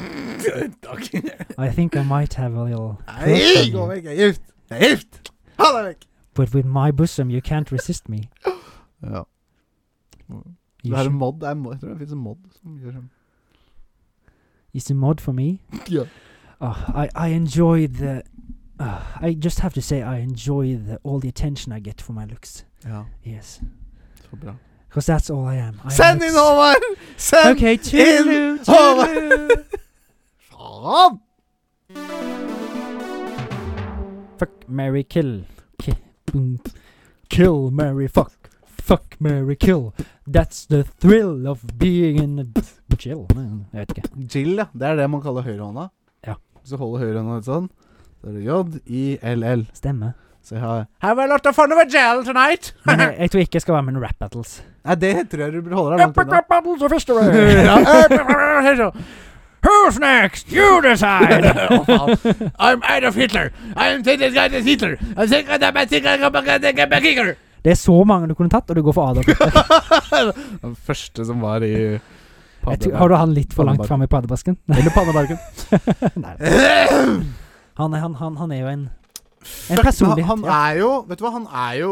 Speaker 1: Takk.
Speaker 2: I think I might have a little. crush
Speaker 1: Nei,
Speaker 2: on
Speaker 1: gå
Speaker 2: you,
Speaker 1: vekk! Jeg er gift! Jeg er gift! Ha deg vekk!
Speaker 2: But with my bosom, you can't resist me.
Speaker 1: Ja.
Speaker 2: You
Speaker 1: Det er
Speaker 2: should-
Speaker 1: en mod. Det er en mod. Jeg tror det finnes en mod som gjør sånn.
Speaker 2: It's a mod for me.
Speaker 1: Ja.
Speaker 2: Oh, I, I enjoy the. Uh, I just have to say, I enjoy the, all the attention I get for my looks.
Speaker 1: ja.
Speaker 2: Yes.
Speaker 1: Så bra.
Speaker 2: Because that's all I am. I am
Speaker 1: Send
Speaker 2: looks.
Speaker 1: inn Håvard! Send
Speaker 2: Okay, toodaloo, toodaloo.
Speaker 1: Håvard! Faen!
Speaker 2: Fuck, Mary, kill. Ki- boom. Kill, Mary, fuck. Fuck, Mary, kill. That's the thrill of being in a chill. Nei, Jeg vet ikke.
Speaker 1: Jill, ja. Det er det man kaller høyrehånda.
Speaker 2: Ja.
Speaker 1: Hvis du holder høyrehånda litt sånn, så er det J-I-L-L.
Speaker 2: Stemmer.
Speaker 1: Så jeg har Have a lot of fun with Jill tonight!
Speaker 2: Men jeg, jeg tror ikke jeg skal være med i noen rap battles.
Speaker 1: Nei, det tror jeg du burde holde deg langt unna.
Speaker 2: battles of
Speaker 1: Ja.
Speaker 2: Who's next?
Speaker 1: Å,
Speaker 2: You
Speaker 1: faen. I'm Adolf Hitler. I'm this guy is Hitler. I'm thinking about my thinking about my thinking about Hitler.
Speaker 2: Det er så mange du kunne tatt, og du går for Adolf. Jeg
Speaker 1: Den første som var i
Speaker 2: tror, har du han litt for langt
Speaker 1: Pannebarken.
Speaker 2: fram i paddebasken?
Speaker 1: Eller pannebarken.
Speaker 2: Nei. Han, er- han, han, han er jo en En
Speaker 1: Fuck,
Speaker 2: personlighet,
Speaker 1: Han, han
Speaker 2: ja.
Speaker 1: er jo Vet du hva, han er jo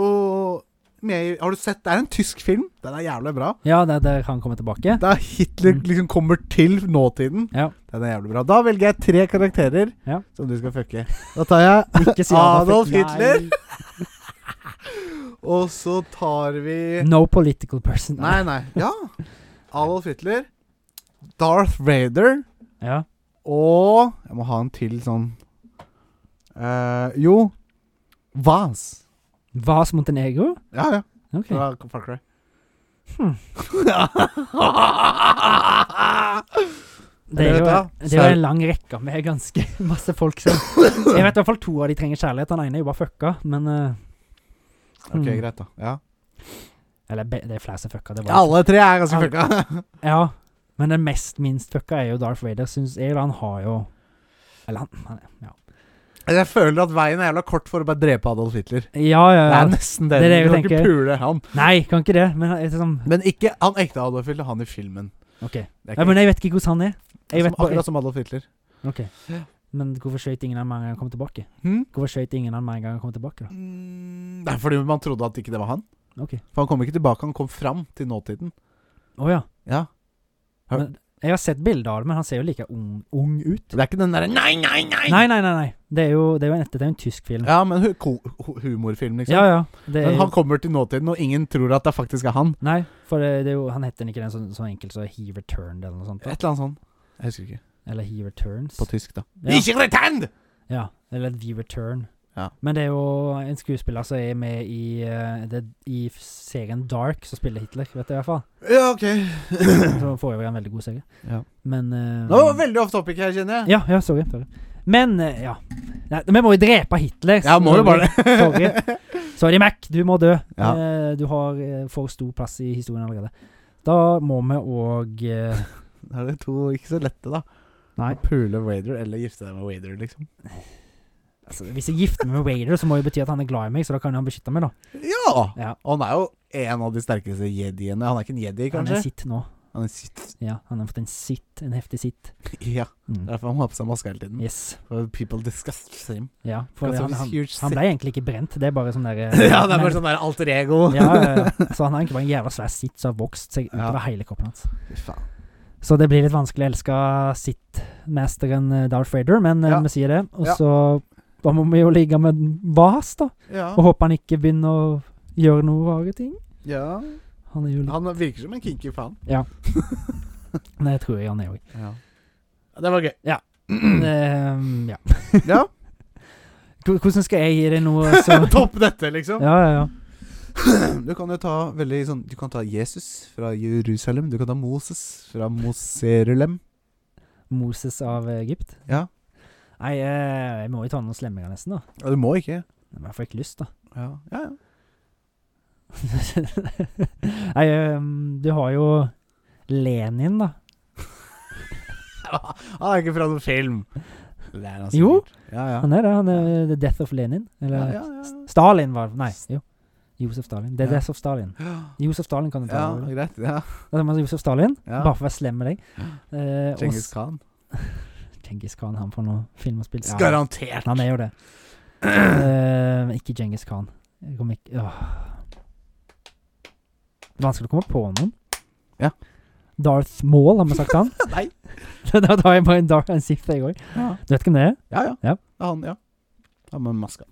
Speaker 1: med i Har du sett Det er en tysk film. Den er jævlig bra.
Speaker 2: Ja, det er der han kommer tilbake.
Speaker 1: Da Hitler
Speaker 2: Mm.
Speaker 1: liksom kommer til nåtiden.
Speaker 2: Ja.
Speaker 1: Den er jævlig bra. Da velger jeg tre karakterer
Speaker 2: Ja.
Speaker 1: som du skal fucke. Da tar jeg
Speaker 2: Ikke si
Speaker 1: Adolf
Speaker 2: Adolf Hitler.
Speaker 1: Hitler. Og så tar vi
Speaker 2: No political person.
Speaker 1: Nei, nei. Ja. Adolf Hitler, Darth Vader
Speaker 2: Ja.
Speaker 1: og Jeg må ha en til sånn eh, Jo, Vaz.
Speaker 2: Vas Montenegro?
Speaker 1: Ja, ja.
Speaker 2: Ok.
Speaker 1: Fra Far Cry.
Speaker 2: Hmm. Det er
Speaker 1: Eller vet
Speaker 2: jo,
Speaker 1: du hva?
Speaker 2: det er jo
Speaker 1: Sau-
Speaker 2: en lang rekke med ganske masse folk som Jeg vet i hvert fall to av de trenger kjærlighet. Han ene er jo bare fucka, men eh,
Speaker 1: Ok,
Speaker 2: hmm.
Speaker 1: greit, da. Ja.
Speaker 2: Eller be- det er flere som fucka. Det var
Speaker 1: Alle tre er ganske
Speaker 2: Alle-
Speaker 1: fucka.
Speaker 2: Ja, men den mest minst fucka er jo Darth Vader, syns jeg. Eller han har jo Eller han, han ja.
Speaker 1: Jeg føler at veien er jævla kort for å bare drepe Adolf Hitler.
Speaker 2: Ja, ja,
Speaker 1: Det
Speaker 2: ja.
Speaker 1: er nesten det.
Speaker 2: Det er det
Speaker 1: Du
Speaker 2: jeg
Speaker 1: kan ikke
Speaker 2: tenker.
Speaker 1: pule han.
Speaker 2: Nei, kan ikke det. Men jeg, liksom,
Speaker 1: Men ikke han ekte Adolf Hitler, han i filmen.
Speaker 2: ok.
Speaker 1: Det er
Speaker 2: Ja,
Speaker 1: ikke
Speaker 2: men jeg vet ikke hvordan han er. Jeg vet
Speaker 1: som, Altså,
Speaker 2: bare,
Speaker 1: akkurat som Adolf Hitler.
Speaker 2: ok. Men hvorfor skjøt ingen han med en gang han kom tilbake?
Speaker 1: Hm?
Speaker 2: Hvorfor skjøt ingen han med en gang han kom tilbake? da?
Speaker 1: Mm, det er fordi man trodde at ikke det var han.
Speaker 2: Ok.
Speaker 1: For han kom ikke tilbake, han kom fram til nåtiden.
Speaker 2: Å ja.
Speaker 1: Ja. Hør.
Speaker 2: Men, jeg har sett bilder av det, men han ser jo like ung, ung ut.
Speaker 1: Det er ikke den derre nei, nei, nei!
Speaker 2: Nei, nei, nei. nei. Det er jo, det er jo en, dette er jo en tysk film.
Speaker 1: Ja, men hu ko- hu- humorfilm, liksom.
Speaker 2: Ja, ja. Det er,
Speaker 1: Men han
Speaker 2: jo-
Speaker 1: kommer til nåtiden, og ingen tror at det faktisk er han.
Speaker 2: nei, for det, det er jo, han heter ikke den sånn så enkel som He Returned eller noe sånt.
Speaker 1: Et
Speaker 2: da.
Speaker 1: eller annet sånn. Jeg husker ikke.
Speaker 2: Eller He Returns.
Speaker 1: På tysk, da.
Speaker 2: Ja.
Speaker 1: Ikke retend!
Speaker 2: Ja, eller The Return.
Speaker 1: Ja.
Speaker 2: Men det er jo en skuespiller som er med i, eh, det, i serien Dark, som spiller Hitler, vet du i hvert fall.
Speaker 3: Ja, OK.
Speaker 2: Som for øvrig er en veldig god serie.
Speaker 1: Ja.
Speaker 2: Men eh,
Speaker 3: Nå var det veldig off topic her, kjenner jeg.
Speaker 2: Ja, ja, sorry. sorry. Men eh, ja. Nei, vi må jo drepe Hitler.
Speaker 1: Ja, må jo bare
Speaker 2: det. sorry. sorry, Mac. Du må dø.
Speaker 1: Ja.
Speaker 2: Eh, du har eh, for stor plass i historien allerede. Da må vi òg eh,
Speaker 1: Da er det to ikke så lette, da.
Speaker 2: Nei.
Speaker 1: Å Pule Wader eller gifte deg med Wader, liksom.
Speaker 2: altså, Hvis jeg gifter meg med Wader, så må det bety at han er glad i meg, så da kan han beskytte meg, da.
Speaker 1: Ja!
Speaker 2: Ja.
Speaker 1: Og han er jo en av de sterkeste jediene. Han er ikke en jedi,
Speaker 2: Han er
Speaker 1: kanskje?
Speaker 2: sitt nå.
Speaker 1: Han er sitt.
Speaker 2: Ja, han har fått en sitt. En heftig sitt.
Speaker 1: Ja,
Speaker 2: Mm.
Speaker 1: derfor han har på seg maske hele tiden.
Speaker 2: Yes.
Speaker 1: For People disgust him.
Speaker 2: Ja, for
Speaker 1: Got
Speaker 2: han,
Speaker 1: some
Speaker 2: han,
Speaker 1: huge
Speaker 2: han ble egentlig ikke brent. Det er bare sånn derre
Speaker 1: ja, det er bare sånn der alter ego.
Speaker 2: ja, ja, ja. Så han har egentlig bare en jævla svær sitt som har vokst seg utover hele kroppen hans.
Speaker 1: Fy faen.
Speaker 2: Så det blir litt vanskelig å elske sitt-masteren eh, Darth Vader, men eh,
Speaker 3: Ja.
Speaker 2: vi sier det. Og
Speaker 3: Ja.
Speaker 2: så da må vi jo ligge med Vas, da.
Speaker 3: Ja.
Speaker 2: Og håpe han ikke begynner å gjøre noen rare ting.
Speaker 3: ja.
Speaker 2: Han er jo litt
Speaker 3: Han virker som en kinky fan.
Speaker 2: Nei, jeg tror jeg han er òg.
Speaker 1: Ja.
Speaker 3: Det var gøy.
Speaker 2: Ehm, ja.
Speaker 3: Ja.
Speaker 2: H- Hvordan skal jeg gi deg noe så
Speaker 3: Topp dette, liksom.
Speaker 2: Ja, ja, ja.
Speaker 1: Du kan jo ta veldig sånn Du kan ta Jesus fra Jerusalem. Du kan ta Moses fra Moserulem.
Speaker 2: Moses av Egypt?
Speaker 1: Ja.
Speaker 2: Nei, eh, jeg må jo ta noen slemminger, nesten, da.
Speaker 1: Ja, du må ikke.
Speaker 2: Men jeg får ikke lyst, da.
Speaker 1: Ja, ja. ja.
Speaker 2: Nei, ehm, du har jo Lenin, da.
Speaker 1: Han er ikke fra noen film. Det er han
Speaker 2: Jo.
Speaker 1: sikkert. Ja, ja.
Speaker 2: Han er det. Han er The Death of Lenin. Eller
Speaker 1: Ja, ja, ja.
Speaker 2: S- Stalin var Nei, jo. Josef Stalin. The
Speaker 1: Ja.
Speaker 2: Death of Stalin. Josef Stalin kan du ta
Speaker 1: Ja,
Speaker 2: over.
Speaker 1: greit. Ja.
Speaker 2: Da tar man Josef Stalin,
Speaker 1: Ja.
Speaker 2: bare for å være slem med deg. Eh, og
Speaker 1: Genghis
Speaker 2: s-
Speaker 1: Khan.
Speaker 2: Genghis Khan, han får noe film og spill. Ja,
Speaker 1: Garantert.
Speaker 2: Han er jo det. Eh, men ikke Genghis Khan. Jeg kom ikke åh. Vanskelig å komme på noen.
Speaker 1: Ja.
Speaker 2: Darth Maul, har vi sagt han?
Speaker 1: Nei.
Speaker 2: da tar jeg bare en Darth and Sith, jeg òg.
Speaker 1: Ja.
Speaker 2: Du vet hvem det er?
Speaker 1: Ja, ja.
Speaker 2: Ja.
Speaker 1: Det er han, ja. Han med maska.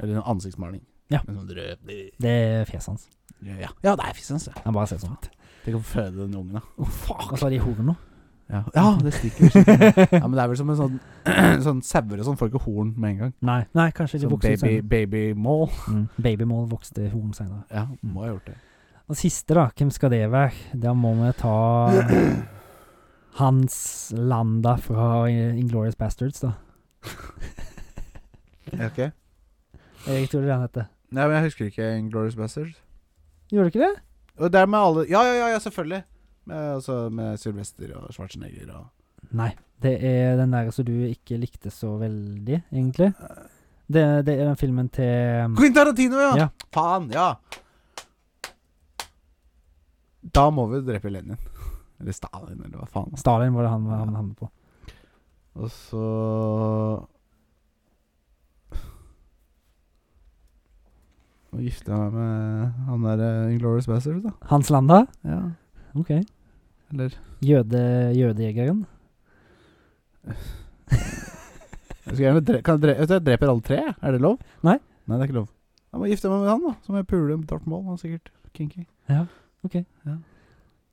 Speaker 1: Eller en ansiktsmaling.
Speaker 2: Ja.
Speaker 1: En sånn rød bli-
Speaker 2: Det er fjeset hans.
Speaker 1: Ja, ja det er fissens, ja.
Speaker 2: Han bare ser sånn ut.
Speaker 1: Tenk å føde den ungen, da.
Speaker 2: Og så har de horn nå.
Speaker 1: Ja, ja det stikker. ja, men det er vel som en sånn Sånn sauer og sånn får ikke horn med en gang.
Speaker 2: Nei, nei, kanskje de
Speaker 1: Sånn
Speaker 2: vokser ut
Speaker 1: baby,
Speaker 2: senere.
Speaker 1: baby mole.
Speaker 2: Mm. Babymål vokste horn senere.
Speaker 1: Ja, må ha gjort det.
Speaker 2: Og siste, da. Hvem skal det være? Da må vi ta Hans Landa fra Inglorious Bastards, da.
Speaker 3: Ok.
Speaker 2: Jeg tror det er han heter.
Speaker 3: Nei, men jeg husker ikke Glorious Bastards.
Speaker 2: Gjorde du ikke det?
Speaker 3: Og det er med alle Ja, ja, ja, ja selvfølgelig. Med, altså, med Sylvester og Schwarzenegger og
Speaker 2: Nei. Det er den der som du ikke likte så veldig, egentlig. Det, det er den filmen til um,
Speaker 3: Quentin Tarantino, ja!
Speaker 2: Ja.
Speaker 3: Faen, ja!
Speaker 1: Da må vi drepe Lenin. Eller Stalin, eller hva faen.
Speaker 2: Stalin, var det han han havnet på.
Speaker 1: Og så Og gifte meg med han der
Speaker 3: eh,
Speaker 1: Inglorious Bastards, da.
Speaker 2: Hans Landa?
Speaker 1: Ja.
Speaker 2: OK.
Speaker 1: Eller
Speaker 2: Jøde, jødejegeren?
Speaker 1: Jeg skulle gjerne dre kan jeg dre vet du, jeg dreper alle tre. Er det lov?
Speaker 2: Nei.
Speaker 1: Nei, det er ikke lov. Jeg må gifte meg med han, da. Så må jeg pule Darth Maul. Han er sikkert kinky.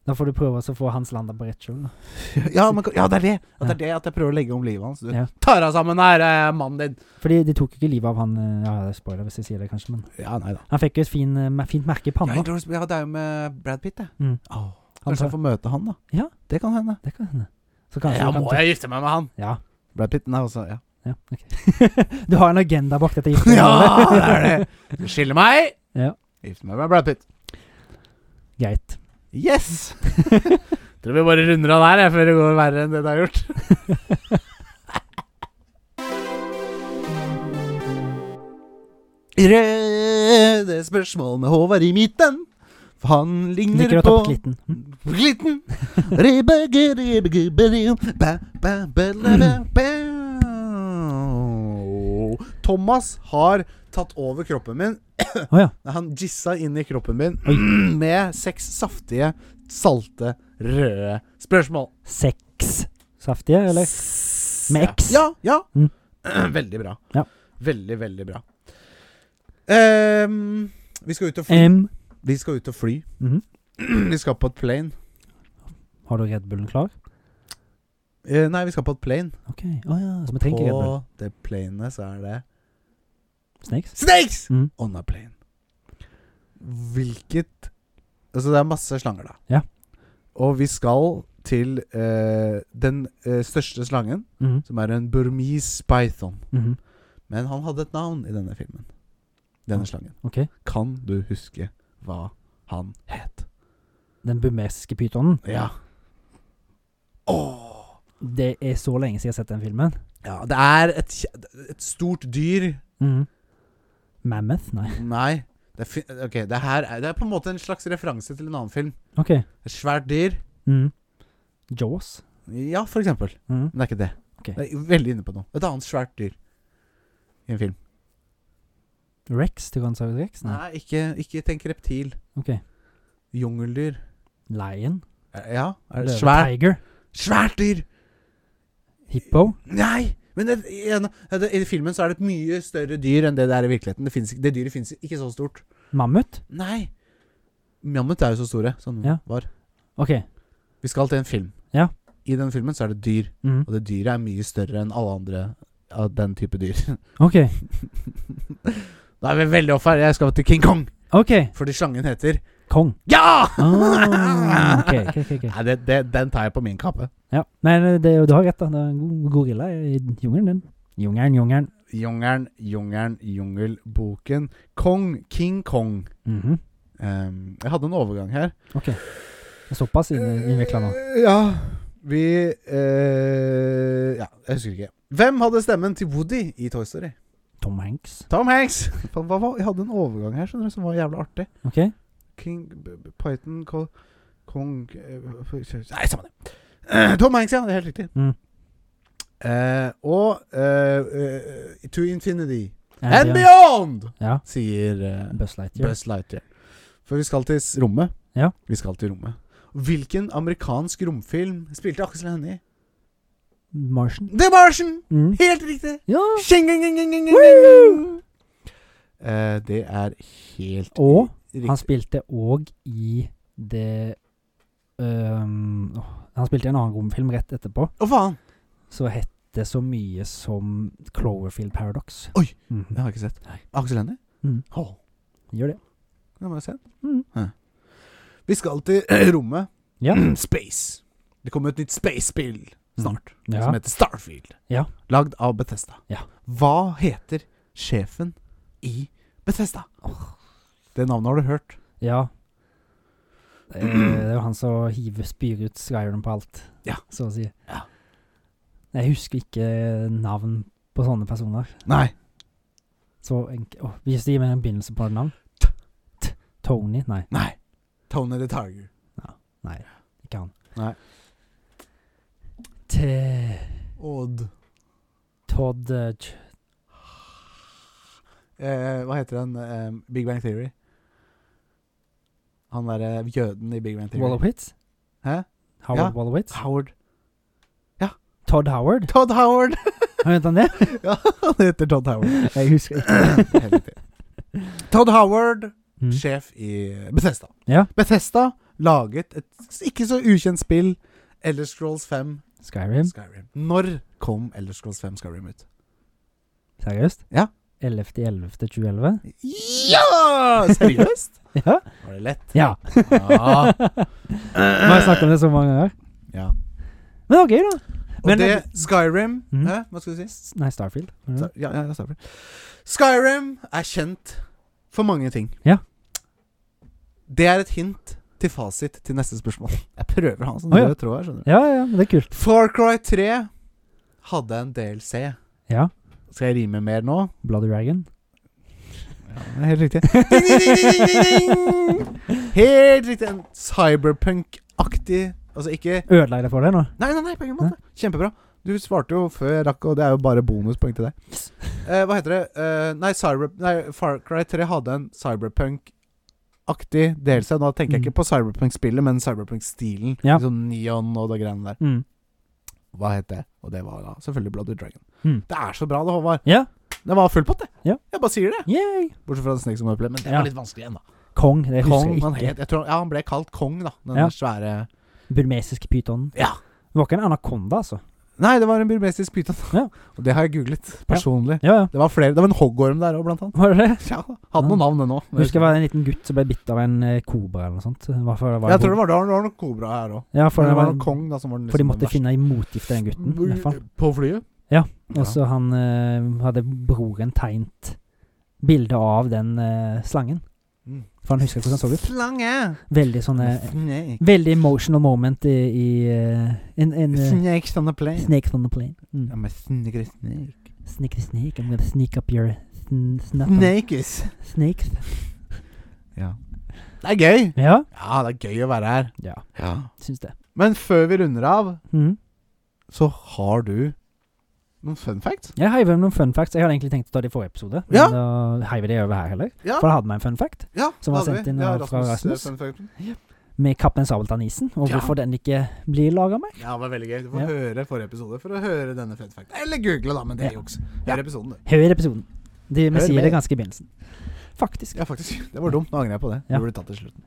Speaker 2: Da får du prøve å få Hans Landa på rett kjøl. da.
Speaker 1: Ja, men, ja, det er det! At det
Speaker 2: Ja.
Speaker 1: er det at jeg prøver å legge om livet hans. Du
Speaker 2: Ja.
Speaker 1: tar deg sammen her, eh, mannen din!
Speaker 2: Fordi de tok jo ikke livet av han eh, Ja, det er spoiler hvis jeg sier det, kanskje, men
Speaker 1: Ja, nei da.
Speaker 2: Han fikk jo et fin, eh, mer- fint merke i
Speaker 1: Ja,
Speaker 2: panna.
Speaker 1: Inglourious- ja, det er jo med Brad Pitt, det.
Speaker 2: Mm.
Speaker 1: Åh,
Speaker 2: Han
Speaker 1: kanskje
Speaker 2: tar-
Speaker 1: jeg får møte han, da.
Speaker 2: Ja.
Speaker 1: Det kan hende.
Speaker 2: Det kan hende. Så kanskje
Speaker 1: ja,
Speaker 2: du kan
Speaker 1: må
Speaker 2: ta-
Speaker 1: jeg gifte meg med han?
Speaker 2: Ja.
Speaker 1: Brad Pitt, nei, også Ja,
Speaker 2: ja ok. du har en agenda bak dette giftermålet.
Speaker 1: ja det er det! Du skiller meg!
Speaker 2: Ja.
Speaker 1: Gifte meg med Brad Pitt.
Speaker 2: Greit.
Speaker 1: Yes! Tror vi bare runder av der, jeg, før det går verre enn det det har gjort. Røde spørsmål med Håvard i midten. For han ligner
Speaker 2: Liker du å
Speaker 1: på
Speaker 2: ta på klitten? Hm?
Speaker 1: Glitten. Ribberge, ribberge, beril. Ba, ba, ba, la, ba, ba. Thomas har tatt over kroppen min.
Speaker 2: Å ja.
Speaker 1: Nei, Han gissa inn i kroppen min med seks saftige, salte, røde spørsmål.
Speaker 2: Seks saftige, eller?
Speaker 1: S-
Speaker 2: Med X?
Speaker 1: Ja. ja.
Speaker 2: Mm.
Speaker 1: Veldig bra.
Speaker 2: Ja.
Speaker 1: Veldig, veldig bra. Ehm, vi, skal ut og fly.
Speaker 2: M.
Speaker 1: vi skal ut og fly.
Speaker 2: Mhm.
Speaker 1: Vi skal på et plane.
Speaker 2: Har du Red Bullen klar?
Speaker 1: Eh, nei, vi skal på et plane.
Speaker 2: Ok. Å ja. Så vi trenger ikke Red Bull.
Speaker 1: På det planet så er det
Speaker 2: Snakes?
Speaker 1: Snakes!
Speaker 2: Mm.
Speaker 1: On a plane. Hvilket Altså, det er masse slanger, da.
Speaker 2: Ja.
Speaker 1: Og vi skal til eh, den eh, største slangen,
Speaker 2: Mhm.
Speaker 1: som er en burmese python.
Speaker 2: Mhm.
Speaker 1: Men han hadde et navn i denne filmen. Denne slangen.
Speaker 2: Ah, Ok.
Speaker 1: Kan du huske hva han het?
Speaker 2: Den bumeske pytonen.
Speaker 1: Ja. Åh.
Speaker 2: Det er så lenge siden jeg har sett den filmen.
Speaker 1: Ja, det er et, kje- et stort dyr.
Speaker 2: Mhm. Mammoth? Nei.
Speaker 1: Nei. Det er, fi- ok, det, her er, det er på en måte en slags referanse til en annen film.
Speaker 2: OK.
Speaker 1: Et svært dyr.
Speaker 2: Mhm. Jaws?
Speaker 1: Ja, for eksempel.
Speaker 2: Mhm.
Speaker 1: Men det er ikke det.
Speaker 2: Ok.
Speaker 1: Jeg er veldig inne på noe. Et annet svært dyr i en film.
Speaker 2: Rex? Tyrannosaurus rex? Nei.
Speaker 1: Nei, ikke, ikke tenk reptil.
Speaker 2: Ok.
Speaker 1: Jungeldyr.
Speaker 2: Lion?
Speaker 1: Ja. Er det
Speaker 2: Løve?
Speaker 1: svært,
Speaker 2: Tiger?
Speaker 1: svært dyr!
Speaker 2: Hippo?
Speaker 1: Nei! Men det, igjen, det, i filmen så er det et mye større dyr enn det det er i virkeligheten. Det, finnes, ikke- det dyret fins ikke så stort.
Speaker 2: Mammut?
Speaker 1: Nei! Mammut er jo så store som
Speaker 2: Ja.
Speaker 1: var.
Speaker 2: OK.
Speaker 1: Vi skal til en film.
Speaker 2: Ja.
Speaker 1: I den filmen så er det et dyr.
Speaker 2: Mhm.
Speaker 1: Og det dyret er mye større enn alle andre av den type dyr.
Speaker 2: OK.
Speaker 1: Da er vi veldig off her. Jeg skal til King Kong.
Speaker 2: OK.
Speaker 1: Fordi slangen heter
Speaker 2: Kong.
Speaker 1: Ja!
Speaker 2: Ah, ok, ok, ok, ok.
Speaker 1: Nei, det, det, den tar jeg på min kappe.
Speaker 2: Ja. Men eh, det, er jo- du har rett, da. Det er en go- gorilla i jungelen din. Jungelen, jungelen.
Speaker 1: Jungelen, jungelen, jungelboken. Kong, King Kong.
Speaker 2: Mhm.
Speaker 1: Ehm, jeg hadde en overgang her.
Speaker 2: OK. Det er såpass inn- innvikla nå.
Speaker 1: Eh, Ja. Vi eh, Ja, jeg husker ikke. Hvem hadde stemmen til Woody i Toy Story?
Speaker 2: Tom Hanks.
Speaker 1: Tom Hanks! Faen, Hva, hva, jeg hadde en overgang her skjønner du, som var jævla artig.
Speaker 2: OK.
Speaker 1: King b- b- Python Ko- Kong eh, Nei, samme det. Eh, Tom Hanks, ja. Det er helt riktig.
Speaker 2: Mm.
Speaker 1: Eh, og eh, eh, To Infinity
Speaker 2: Andy-
Speaker 1: and Beyond,
Speaker 2: Ja.
Speaker 1: sier eh,
Speaker 2: Buzz Lightyear.
Speaker 1: Buzz Lightyear. For vi skal til s- rommet.
Speaker 2: Ja.
Speaker 1: Vi skal til rommet. Hvilken amerikansk romfilm spilte Aksel Hennie?
Speaker 2: Martian.
Speaker 1: The Martian!
Speaker 2: Mm.
Speaker 1: Helt riktig!
Speaker 2: Ja.
Speaker 1: Shing-ing-ing-ing-ing-ing-ing. Eh, det er helt
Speaker 2: Og
Speaker 1: riktig.
Speaker 2: han spilte òg i det øhm, åh, Han spilte i en annen romfilm rett etterpå,
Speaker 1: Å, faen!
Speaker 2: så het det så mye som Cloverfield Paradox.
Speaker 1: Oi!
Speaker 2: Mhm.
Speaker 1: Det har jeg ikke sett.
Speaker 2: Nei.
Speaker 1: Aksel Hennie?
Speaker 2: Mm.
Speaker 1: Åh.
Speaker 2: Gjør det.
Speaker 1: Det må jeg se.
Speaker 2: Mm.
Speaker 1: Ja. Vi skal til rommet.
Speaker 2: Ja.
Speaker 1: Space. Det kommer et nytt space-spill snart,
Speaker 2: Mm. Ja.
Speaker 1: som heter Starfield.
Speaker 2: Ja.
Speaker 1: Lagd av Bethesda.
Speaker 2: Ja.
Speaker 1: Hva heter sjefen i Bethesda? Det navnet har du hørt.
Speaker 2: Ja. Det er, det er jo han som hiver spyr ut Skyrim på alt,
Speaker 1: Ja.
Speaker 2: så å si.
Speaker 1: Ja.
Speaker 2: Jeg husker ikke navn på sånne personer.
Speaker 1: Nei.
Speaker 2: Så enk Åh, Hvis det gir meg en begynnelse på et navn T- Tony? Nei.
Speaker 1: Nei. Tony the Tiger.
Speaker 2: Nei, ikke han.
Speaker 1: Nei.
Speaker 2: T
Speaker 1: Odd
Speaker 2: Todd eh, Ch-
Speaker 1: eh, Hva heter han? Eh, Big Bang Theory. Han derre jøden i Big Bang Theory.
Speaker 2: Wallowitz?
Speaker 1: Hæ?
Speaker 2: Howard
Speaker 1: Ja.
Speaker 2: Wallowitz?
Speaker 1: Howard.
Speaker 2: Todd Howard?
Speaker 1: Todd Howard!
Speaker 2: Har han det?
Speaker 1: ja, han heter Todd Howard.
Speaker 2: Jeg husker ikke.
Speaker 1: Helt riktig. Todd Howard,
Speaker 2: Mm.
Speaker 1: sjef i eh, Bethesda.
Speaker 2: Ja.
Speaker 1: Bethesda laget et ikke så ukjent spill, Elder Scrolls 5
Speaker 2: Skyrim?
Speaker 1: Skyrim. Når kom Elder Scrolls 5 Skyrim ut?
Speaker 2: Seriøst?
Speaker 1: Ja.
Speaker 2: 11.11.2011?
Speaker 1: Ja! Seriøst?
Speaker 2: Ja.
Speaker 1: Var det lett?
Speaker 2: ja.
Speaker 1: Ja.
Speaker 2: Vi har snakket om det så mange ganger.
Speaker 1: Ja.
Speaker 2: Men det var gøy, da.
Speaker 1: Og
Speaker 2: Men-
Speaker 1: det Skyrim
Speaker 2: Mhm.
Speaker 1: Hæ, hva skal du si?
Speaker 2: S- Nei, Starfield. Mm.
Speaker 1: Ja, ja, ja, Starfield. Skyrim er kjent for mange ting.
Speaker 2: Ja.
Speaker 1: Det er et hint til fasit til neste spørsmål. Jeg prøver å ha en sånn
Speaker 2: Å, ja.
Speaker 1: rød tråd her, skjønner du.
Speaker 2: Ja, ja, men det er kult.
Speaker 1: Far Cry 3 hadde en DLC.
Speaker 2: Ja.
Speaker 1: Skal jeg rime mer nå?
Speaker 2: Bloody Dragon.
Speaker 1: det er helt riktig. Ding, ding, ding, ding, ding, ding. Helt riktig. En cyberpunk-aktig Altså ikke
Speaker 2: Ødela jeg det for deg nå?
Speaker 1: Nei, nei, nei, på ingen måte. Kjempebra. Du svarte jo før jeg rakk, og det er jo bare bonuspoeng til deg. Eh, hva heter det? Eh, nei, cyber, nei, Far Cry 3 hadde en cyberpunk-aktig DLC. Nå tenker jeg
Speaker 2: Mm.
Speaker 1: ikke på cyberpunk-spillet, men cyberpunk-stilen.
Speaker 2: Ja.
Speaker 1: Liksom neon og det greiene der.
Speaker 2: Mm.
Speaker 1: Hva het det? Og det var da selvfølgelig Bloody Dragon.
Speaker 2: Mm.
Speaker 1: Det er så bra det, Håvard.
Speaker 2: Ja.
Speaker 1: Det var full pott, det.
Speaker 2: Ja.
Speaker 1: Jeg bare sier det.
Speaker 2: Yay!
Speaker 1: Bortsett fra Snake som Upplay, men det
Speaker 2: Ja.
Speaker 1: var litt vanskelig igjen, da.
Speaker 2: Kong. Det husker
Speaker 1: Kong, han
Speaker 2: jeg
Speaker 1: het, jeg tror, ja, han ble kalt Kong, da. Den
Speaker 2: Ja.
Speaker 1: svære
Speaker 2: ikke. Burmesiske pytonen.
Speaker 1: Ja.
Speaker 2: Det var ikke en anakonda, altså.
Speaker 1: Nei, det var en burmesisk pyton.
Speaker 2: Ja.
Speaker 1: Og det har jeg googlet personlig.
Speaker 2: Ja, ja.
Speaker 1: Det var flere, det var en hoggorm der òg, blant annet.
Speaker 2: Var det det?
Speaker 1: Ja, hadde noen navn, den òg.
Speaker 2: Jeg husker det var en liten gutt som ble bitt av en eh, kobra eller noe sånt. Hva for det var
Speaker 1: Jeg tror det var, det var, det var noen kobra her òg.
Speaker 2: Ja, for,
Speaker 1: Men
Speaker 2: det
Speaker 1: det var
Speaker 2: var,
Speaker 1: noen kong, da, som var den
Speaker 2: for de
Speaker 1: liksom
Speaker 2: måtte
Speaker 1: den verste.
Speaker 2: finne en motgift til den gutten. I hvert fall.
Speaker 4: På flyet?
Speaker 2: Og så han eh, hadde broren tegnt bilde av den eh, slangen.
Speaker 1: Mm.
Speaker 2: For han husker ikke hvordan han så ut.
Speaker 1: Slange!
Speaker 2: Veldig sånne
Speaker 1: Snake.
Speaker 2: Veldig emotional moment i, i eh, en, en eh,
Speaker 1: Snakes on the plane.
Speaker 2: Snakes on the plane. Mm.
Speaker 1: I'm a snigger snake.
Speaker 2: Sneaky snake, I'm gonna sneak up your sn snap
Speaker 1: Snakes.
Speaker 2: snakes.
Speaker 1: Ja. Det er gøy!
Speaker 2: Ja.
Speaker 1: Ja, det er gøy å være her.
Speaker 2: ja.
Speaker 1: Ja.
Speaker 2: Syns det.
Speaker 1: Men før vi runder av,
Speaker 2: Mm.
Speaker 1: så har du noen fun facts.
Speaker 2: Jeg heiver med noen fun facts. Jeg hadde egentlig tenkt å ta det i forrige episode, men
Speaker 1: Ja.
Speaker 2: da heiver de over her heller.
Speaker 1: Ja.
Speaker 2: For da hadde vi en fun fact
Speaker 1: Ja, det
Speaker 2: Som var
Speaker 1: hadde
Speaker 2: sendt
Speaker 1: vi.
Speaker 2: inn
Speaker 1: Ja,
Speaker 2: av- fra
Speaker 1: Rasmus, eh,
Speaker 2: Rasmus.
Speaker 1: fun facten.
Speaker 2: med Kaptein Sabeltann-isen, og
Speaker 1: Ja.
Speaker 2: hvorfor den ikke blir laga mer.
Speaker 1: Ja, det var veldig gøy. Du får
Speaker 2: Ja.
Speaker 1: høre forrige episode for å høre denne fun facten. Eller google, da, men det er
Speaker 2: Ja.
Speaker 1: juks. Hør episoden, du.
Speaker 2: Hør episoden. De, vi
Speaker 1: Hør
Speaker 2: sier
Speaker 1: med.
Speaker 2: det ganske i begynnelsen. Faktisk.
Speaker 1: Ja, faktisk. Det var dumt. Nå angrer jeg på det.
Speaker 2: Ja.
Speaker 1: Det burde tatt til slutten.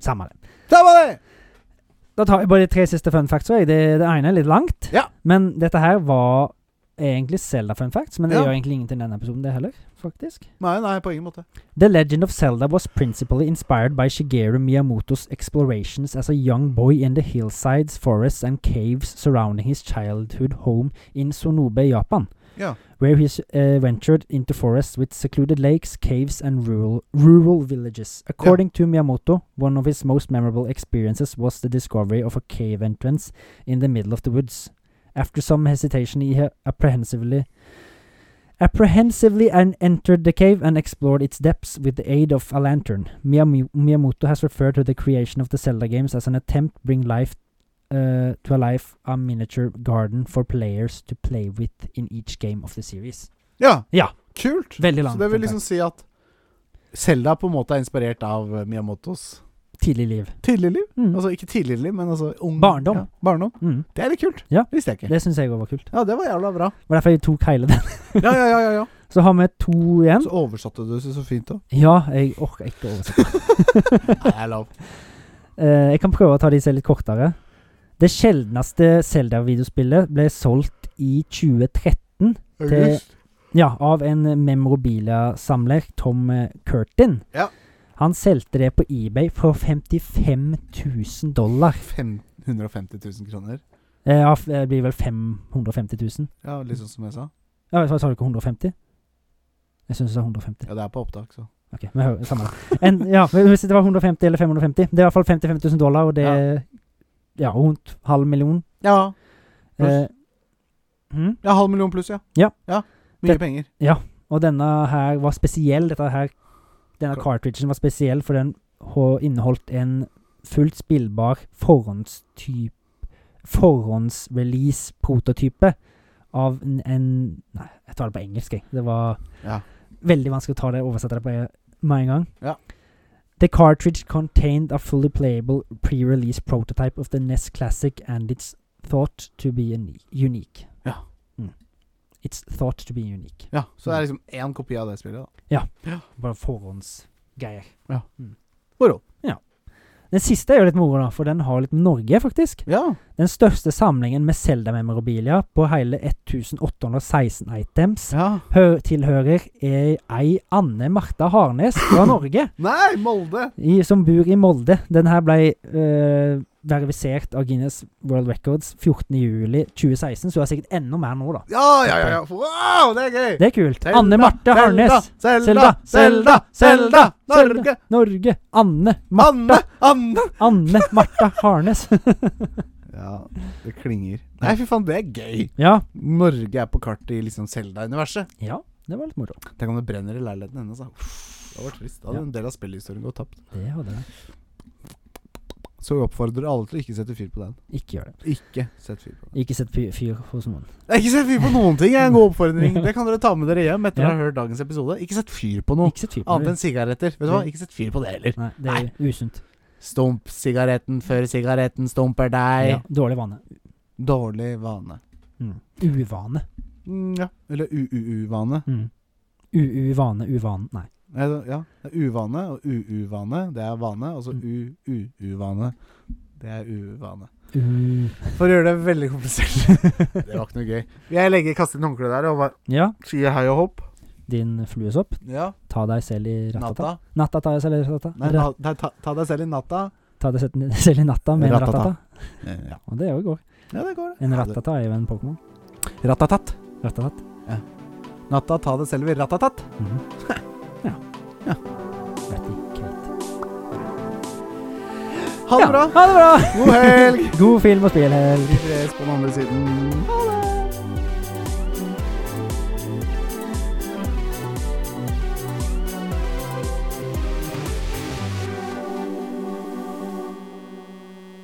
Speaker 2: Samme det.
Speaker 1: Ta med det!
Speaker 2: Da tar jeg bare de tre siste fun facts. jeg. Det, det ene er litt langt,
Speaker 1: Ja.
Speaker 2: men dette her var egentlig Selda-fun facts, men det
Speaker 1: Ja.
Speaker 2: gjør egentlig ingenting i denne episoden, det heller, faktisk.
Speaker 1: Nei, nei, på ingen måte.
Speaker 2: The Legend of Zelda was principally inspired by Shigeru Miyamoto's explorations as a young boy in the hillsides, forests, and caves surrounding his childhood home in Sonobe, Japan,
Speaker 1: Ja.
Speaker 2: where he uh, ventured into forests with secluded lakes, caves, and rural, rural villages. According to Miyamoto, one of his most memorable experiences was the discovery of a cave entrance in the middle of the woods. After some hesitation, he ha- apprehensively apprehensively and entered the cave and explored its depths with the aid of a lantern. Miyami- Miyamoto has referred to the creation of the Zelda games as an attempt to bring life uh, to a life a miniature garden for players to play with in each game of the series.
Speaker 1: Ja.
Speaker 2: Ja.
Speaker 1: Kult.
Speaker 2: Veldig
Speaker 1: Så
Speaker 2: langt.
Speaker 1: det vil liksom si at Selda på en måte er inspirert av eh, Miyamotos
Speaker 2: Tidlig liv.
Speaker 1: tidligere liv.
Speaker 2: Mm.
Speaker 1: Altså ikke tidligere liv, men altså ung
Speaker 2: Barndom.
Speaker 1: Ja, barndom.
Speaker 2: Mm.
Speaker 1: Det er litt kult.
Speaker 2: Ja.
Speaker 1: Visste jeg ikke.
Speaker 2: Det syns jeg òg var kult.
Speaker 1: Ja, det var jævla bra.
Speaker 2: Det var derfor jeg tok hele den.
Speaker 1: Ja, ja, ja. ja, ja.
Speaker 2: Så har vi to igjen.
Speaker 1: Så oversatte du det så fint òg.
Speaker 2: Ja, jeg orker ikke å oversette.
Speaker 1: Nei, jeg er lov.
Speaker 2: Eh, jeg kan prøve å ta disse litt kortere. Det sjeldneste Zelda-videospillet ble solgt i 2013.
Speaker 1: August.
Speaker 2: Ja, av en memorabilia-samler, Tom eh, Curtin.
Speaker 1: Ja.
Speaker 2: Han solgte det på eBay for 55 000 dollar.
Speaker 1: 150 000 kroner.
Speaker 2: Eh, Ja, f- det blir vel 550 000.
Speaker 1: Ja, litt sånn som jeg sa.
Speaker 2: Ja, sa, sa du ikke 150? Jeg syns du sa 150.
Speaker 1: Ja, det er på opptak, så.
Speaker 2: Ok, vi hører samme det. En, ja, men hvis det var 150 eller 550 Det er i hvert fall 55 000 dollar, og det
Speaker 1: Ja.
Speaker 2: er ja, rundt halv million.
Speaker 1: Ja. Pluss.
Speaker 2: Eh, hm?
Speaker 1: Ja, halv million pluss, ja.
Speaker 2: Ja.
Speaker 1: Mye
Speaker 2: Det-
Speaker 1: penger.
Speaker 2: Og denne her var spesiell. Dette her Denne
Speaker 1: Klar.
Speaker 2: cartridgen var spesiell, for den ho- inneholdt en fullt spillbar forhåndstyp Forhåndsrelease-prototype av en, en Nei, jeg tar det på engelsk, jeg. Det var
Speaker 1: Ja.
Speaker 2: veldig vanskelig å ta det oversette det på med en gang.
Speaker 1: Ja.
Speaker 2: The cartridge contained a fully playable pre-release prototype of the NES Classic and it's thought to be uni- unique.
Speaker 1: Ja.
Speaker 2: Mm. It's thought to be unique.
Speaker 1: Ja, Så det er liksom én kopi av det spillet, da.
Speaker 2: Bare forhåndsgreier.
Speaker 1: Ja.
Speaker 2: Mm.
Speaker 1: Moro.
Speaker 2: Ja. Den siste er jo litt moro, da, for den har litt Norge, faktisk.
Speaker 1: Ja.
Speaker 2: Den største samlingen med Selda-memorabilia på hele 1816 items
Speaker 1: ja.
Speaker 2: hø tilhører ei, ei Anne Martha Harnes fra Norge,
Speaker 1: Nei, Molde!
Speaker 2: i, som bor i Molde. Den her ble øh, verifisert av Guinness World Records 14.07.2016, så det er sikkert enda mer nå, da.
Speaker 1: Ja, ja, ja. ja. Wow, det er gøy!
Speaker 2: Det er kult. Anne Martha Harnes.
Speaker 1: Selda, Selda, Selda, Norge!
Speaker 2: Norge. Anne.
Speaker 1: Anne, Anne!
Speaker 2: Anne Martha Harnes.
Speaker 1: Ja, det klinger. Nei, fy faen, det er gøy.
Speaker 2: ja.
Speaker 1: Norge er på kartet i liksom Selda-universet.
Speaker 2: ja, det var litt moro.
Speaker 1: Tenk om det brenner i leiligheten hennes, da. Uff, Det var trist. Da hadde
Speaker 2: Ja.
Speaker 1: en del av spillhistorien gått tapt.
Speaker 2: Det hadde jeg.
Speaker 1: Så vi oppfordrer alle til å ikke sette fyr på den.
Speaker 2: Ikke gjør det.
Speaker 1: Ikke sett fyr på den.
Speaker 2: Ikke sett fyr, fyr hos noen.
Speaker 1: Nei, Ikke sett fyr på noen ting! er En god oppfordring. Det kan dere ta med dere hjem etter
Speaker 2: Ja.
Speaker 1: å ha hørt dagens episode. Ikke sett fyr på noe.
Speaker 2: Ikke sett fyr på
Speaker 1: Annet
Speaker 2: noen.
Speaker 1: enn sigaretter. Vet du hva? Ikke sett fyr på det heller.
Speaker 2: Nei, det er usunt.
Speaker 1: Stump sigaretten før sigaretten stumper deg.
Speaker 2: Ja, dårlig vane.
Speaker 1: Dårlig vane.
Speaker 2: Mm. Uvane.
Speaker 1: Mm, ja. Eller u-u-u-vane.
Speaker 2: Mm. U-uvane, uvane. Nei.
Speaker 1: Nei, det- Ja. Det er uvane og u-u-vane. Det er vane. Og så u-u-u-vane. Det er uvane.
Speaker 2: Uh,
Speaker 1: For å gjøre det veldig komplisert.
Speaker 3: Det var ikke noe gøy.
Speaker 1: Jeg legger kaster inn håndkleet der og bare
Speaker 2: ja,
Speaker 1: sier hei og hopp.
Speaker 2: din fluesopp.
Speaker 1: Ja,
Speaker 2: Ta deg selv i ratata.
Speaker 1: natta.
Speaker 2: Natta tar jeg selv i ratata.
Speaker 1: Nei,
Speaker 2: Ra-
Speaker 1: na, ta, ta, ta deg selv i natta.
Speaker 2: Ta deg selv- selv i natta med en
Speaker 3: Ratata.
Speaker 2: ratata.
Speaker 3: Eh, Ja.
Speaker 2: Og det er jo i går.
Speaker 1: Ja, det går.
Speaker 2: En
Speaker 3: Ja, det-
Speaker 2: ratata er jo en Pokémon.
Speaker 1: Ratatat.
Speaker 2: Ratatat.
Speaker 1: Natta, ta deg selv i ratatat.
Speaker 2: Mhm. Ja.
Speaker 1: Ja.
Speaker 2: Vet ikke.
Speaker 1: Ha det
Speaker 2: Ja,
Speaker 1: bra.
Speaker 2: Ha det bra!
Speaker 1: God helg.
Speaker 2: God film og spillhelg.
Speaker 1: Vi ses på den andre siden. Ha det.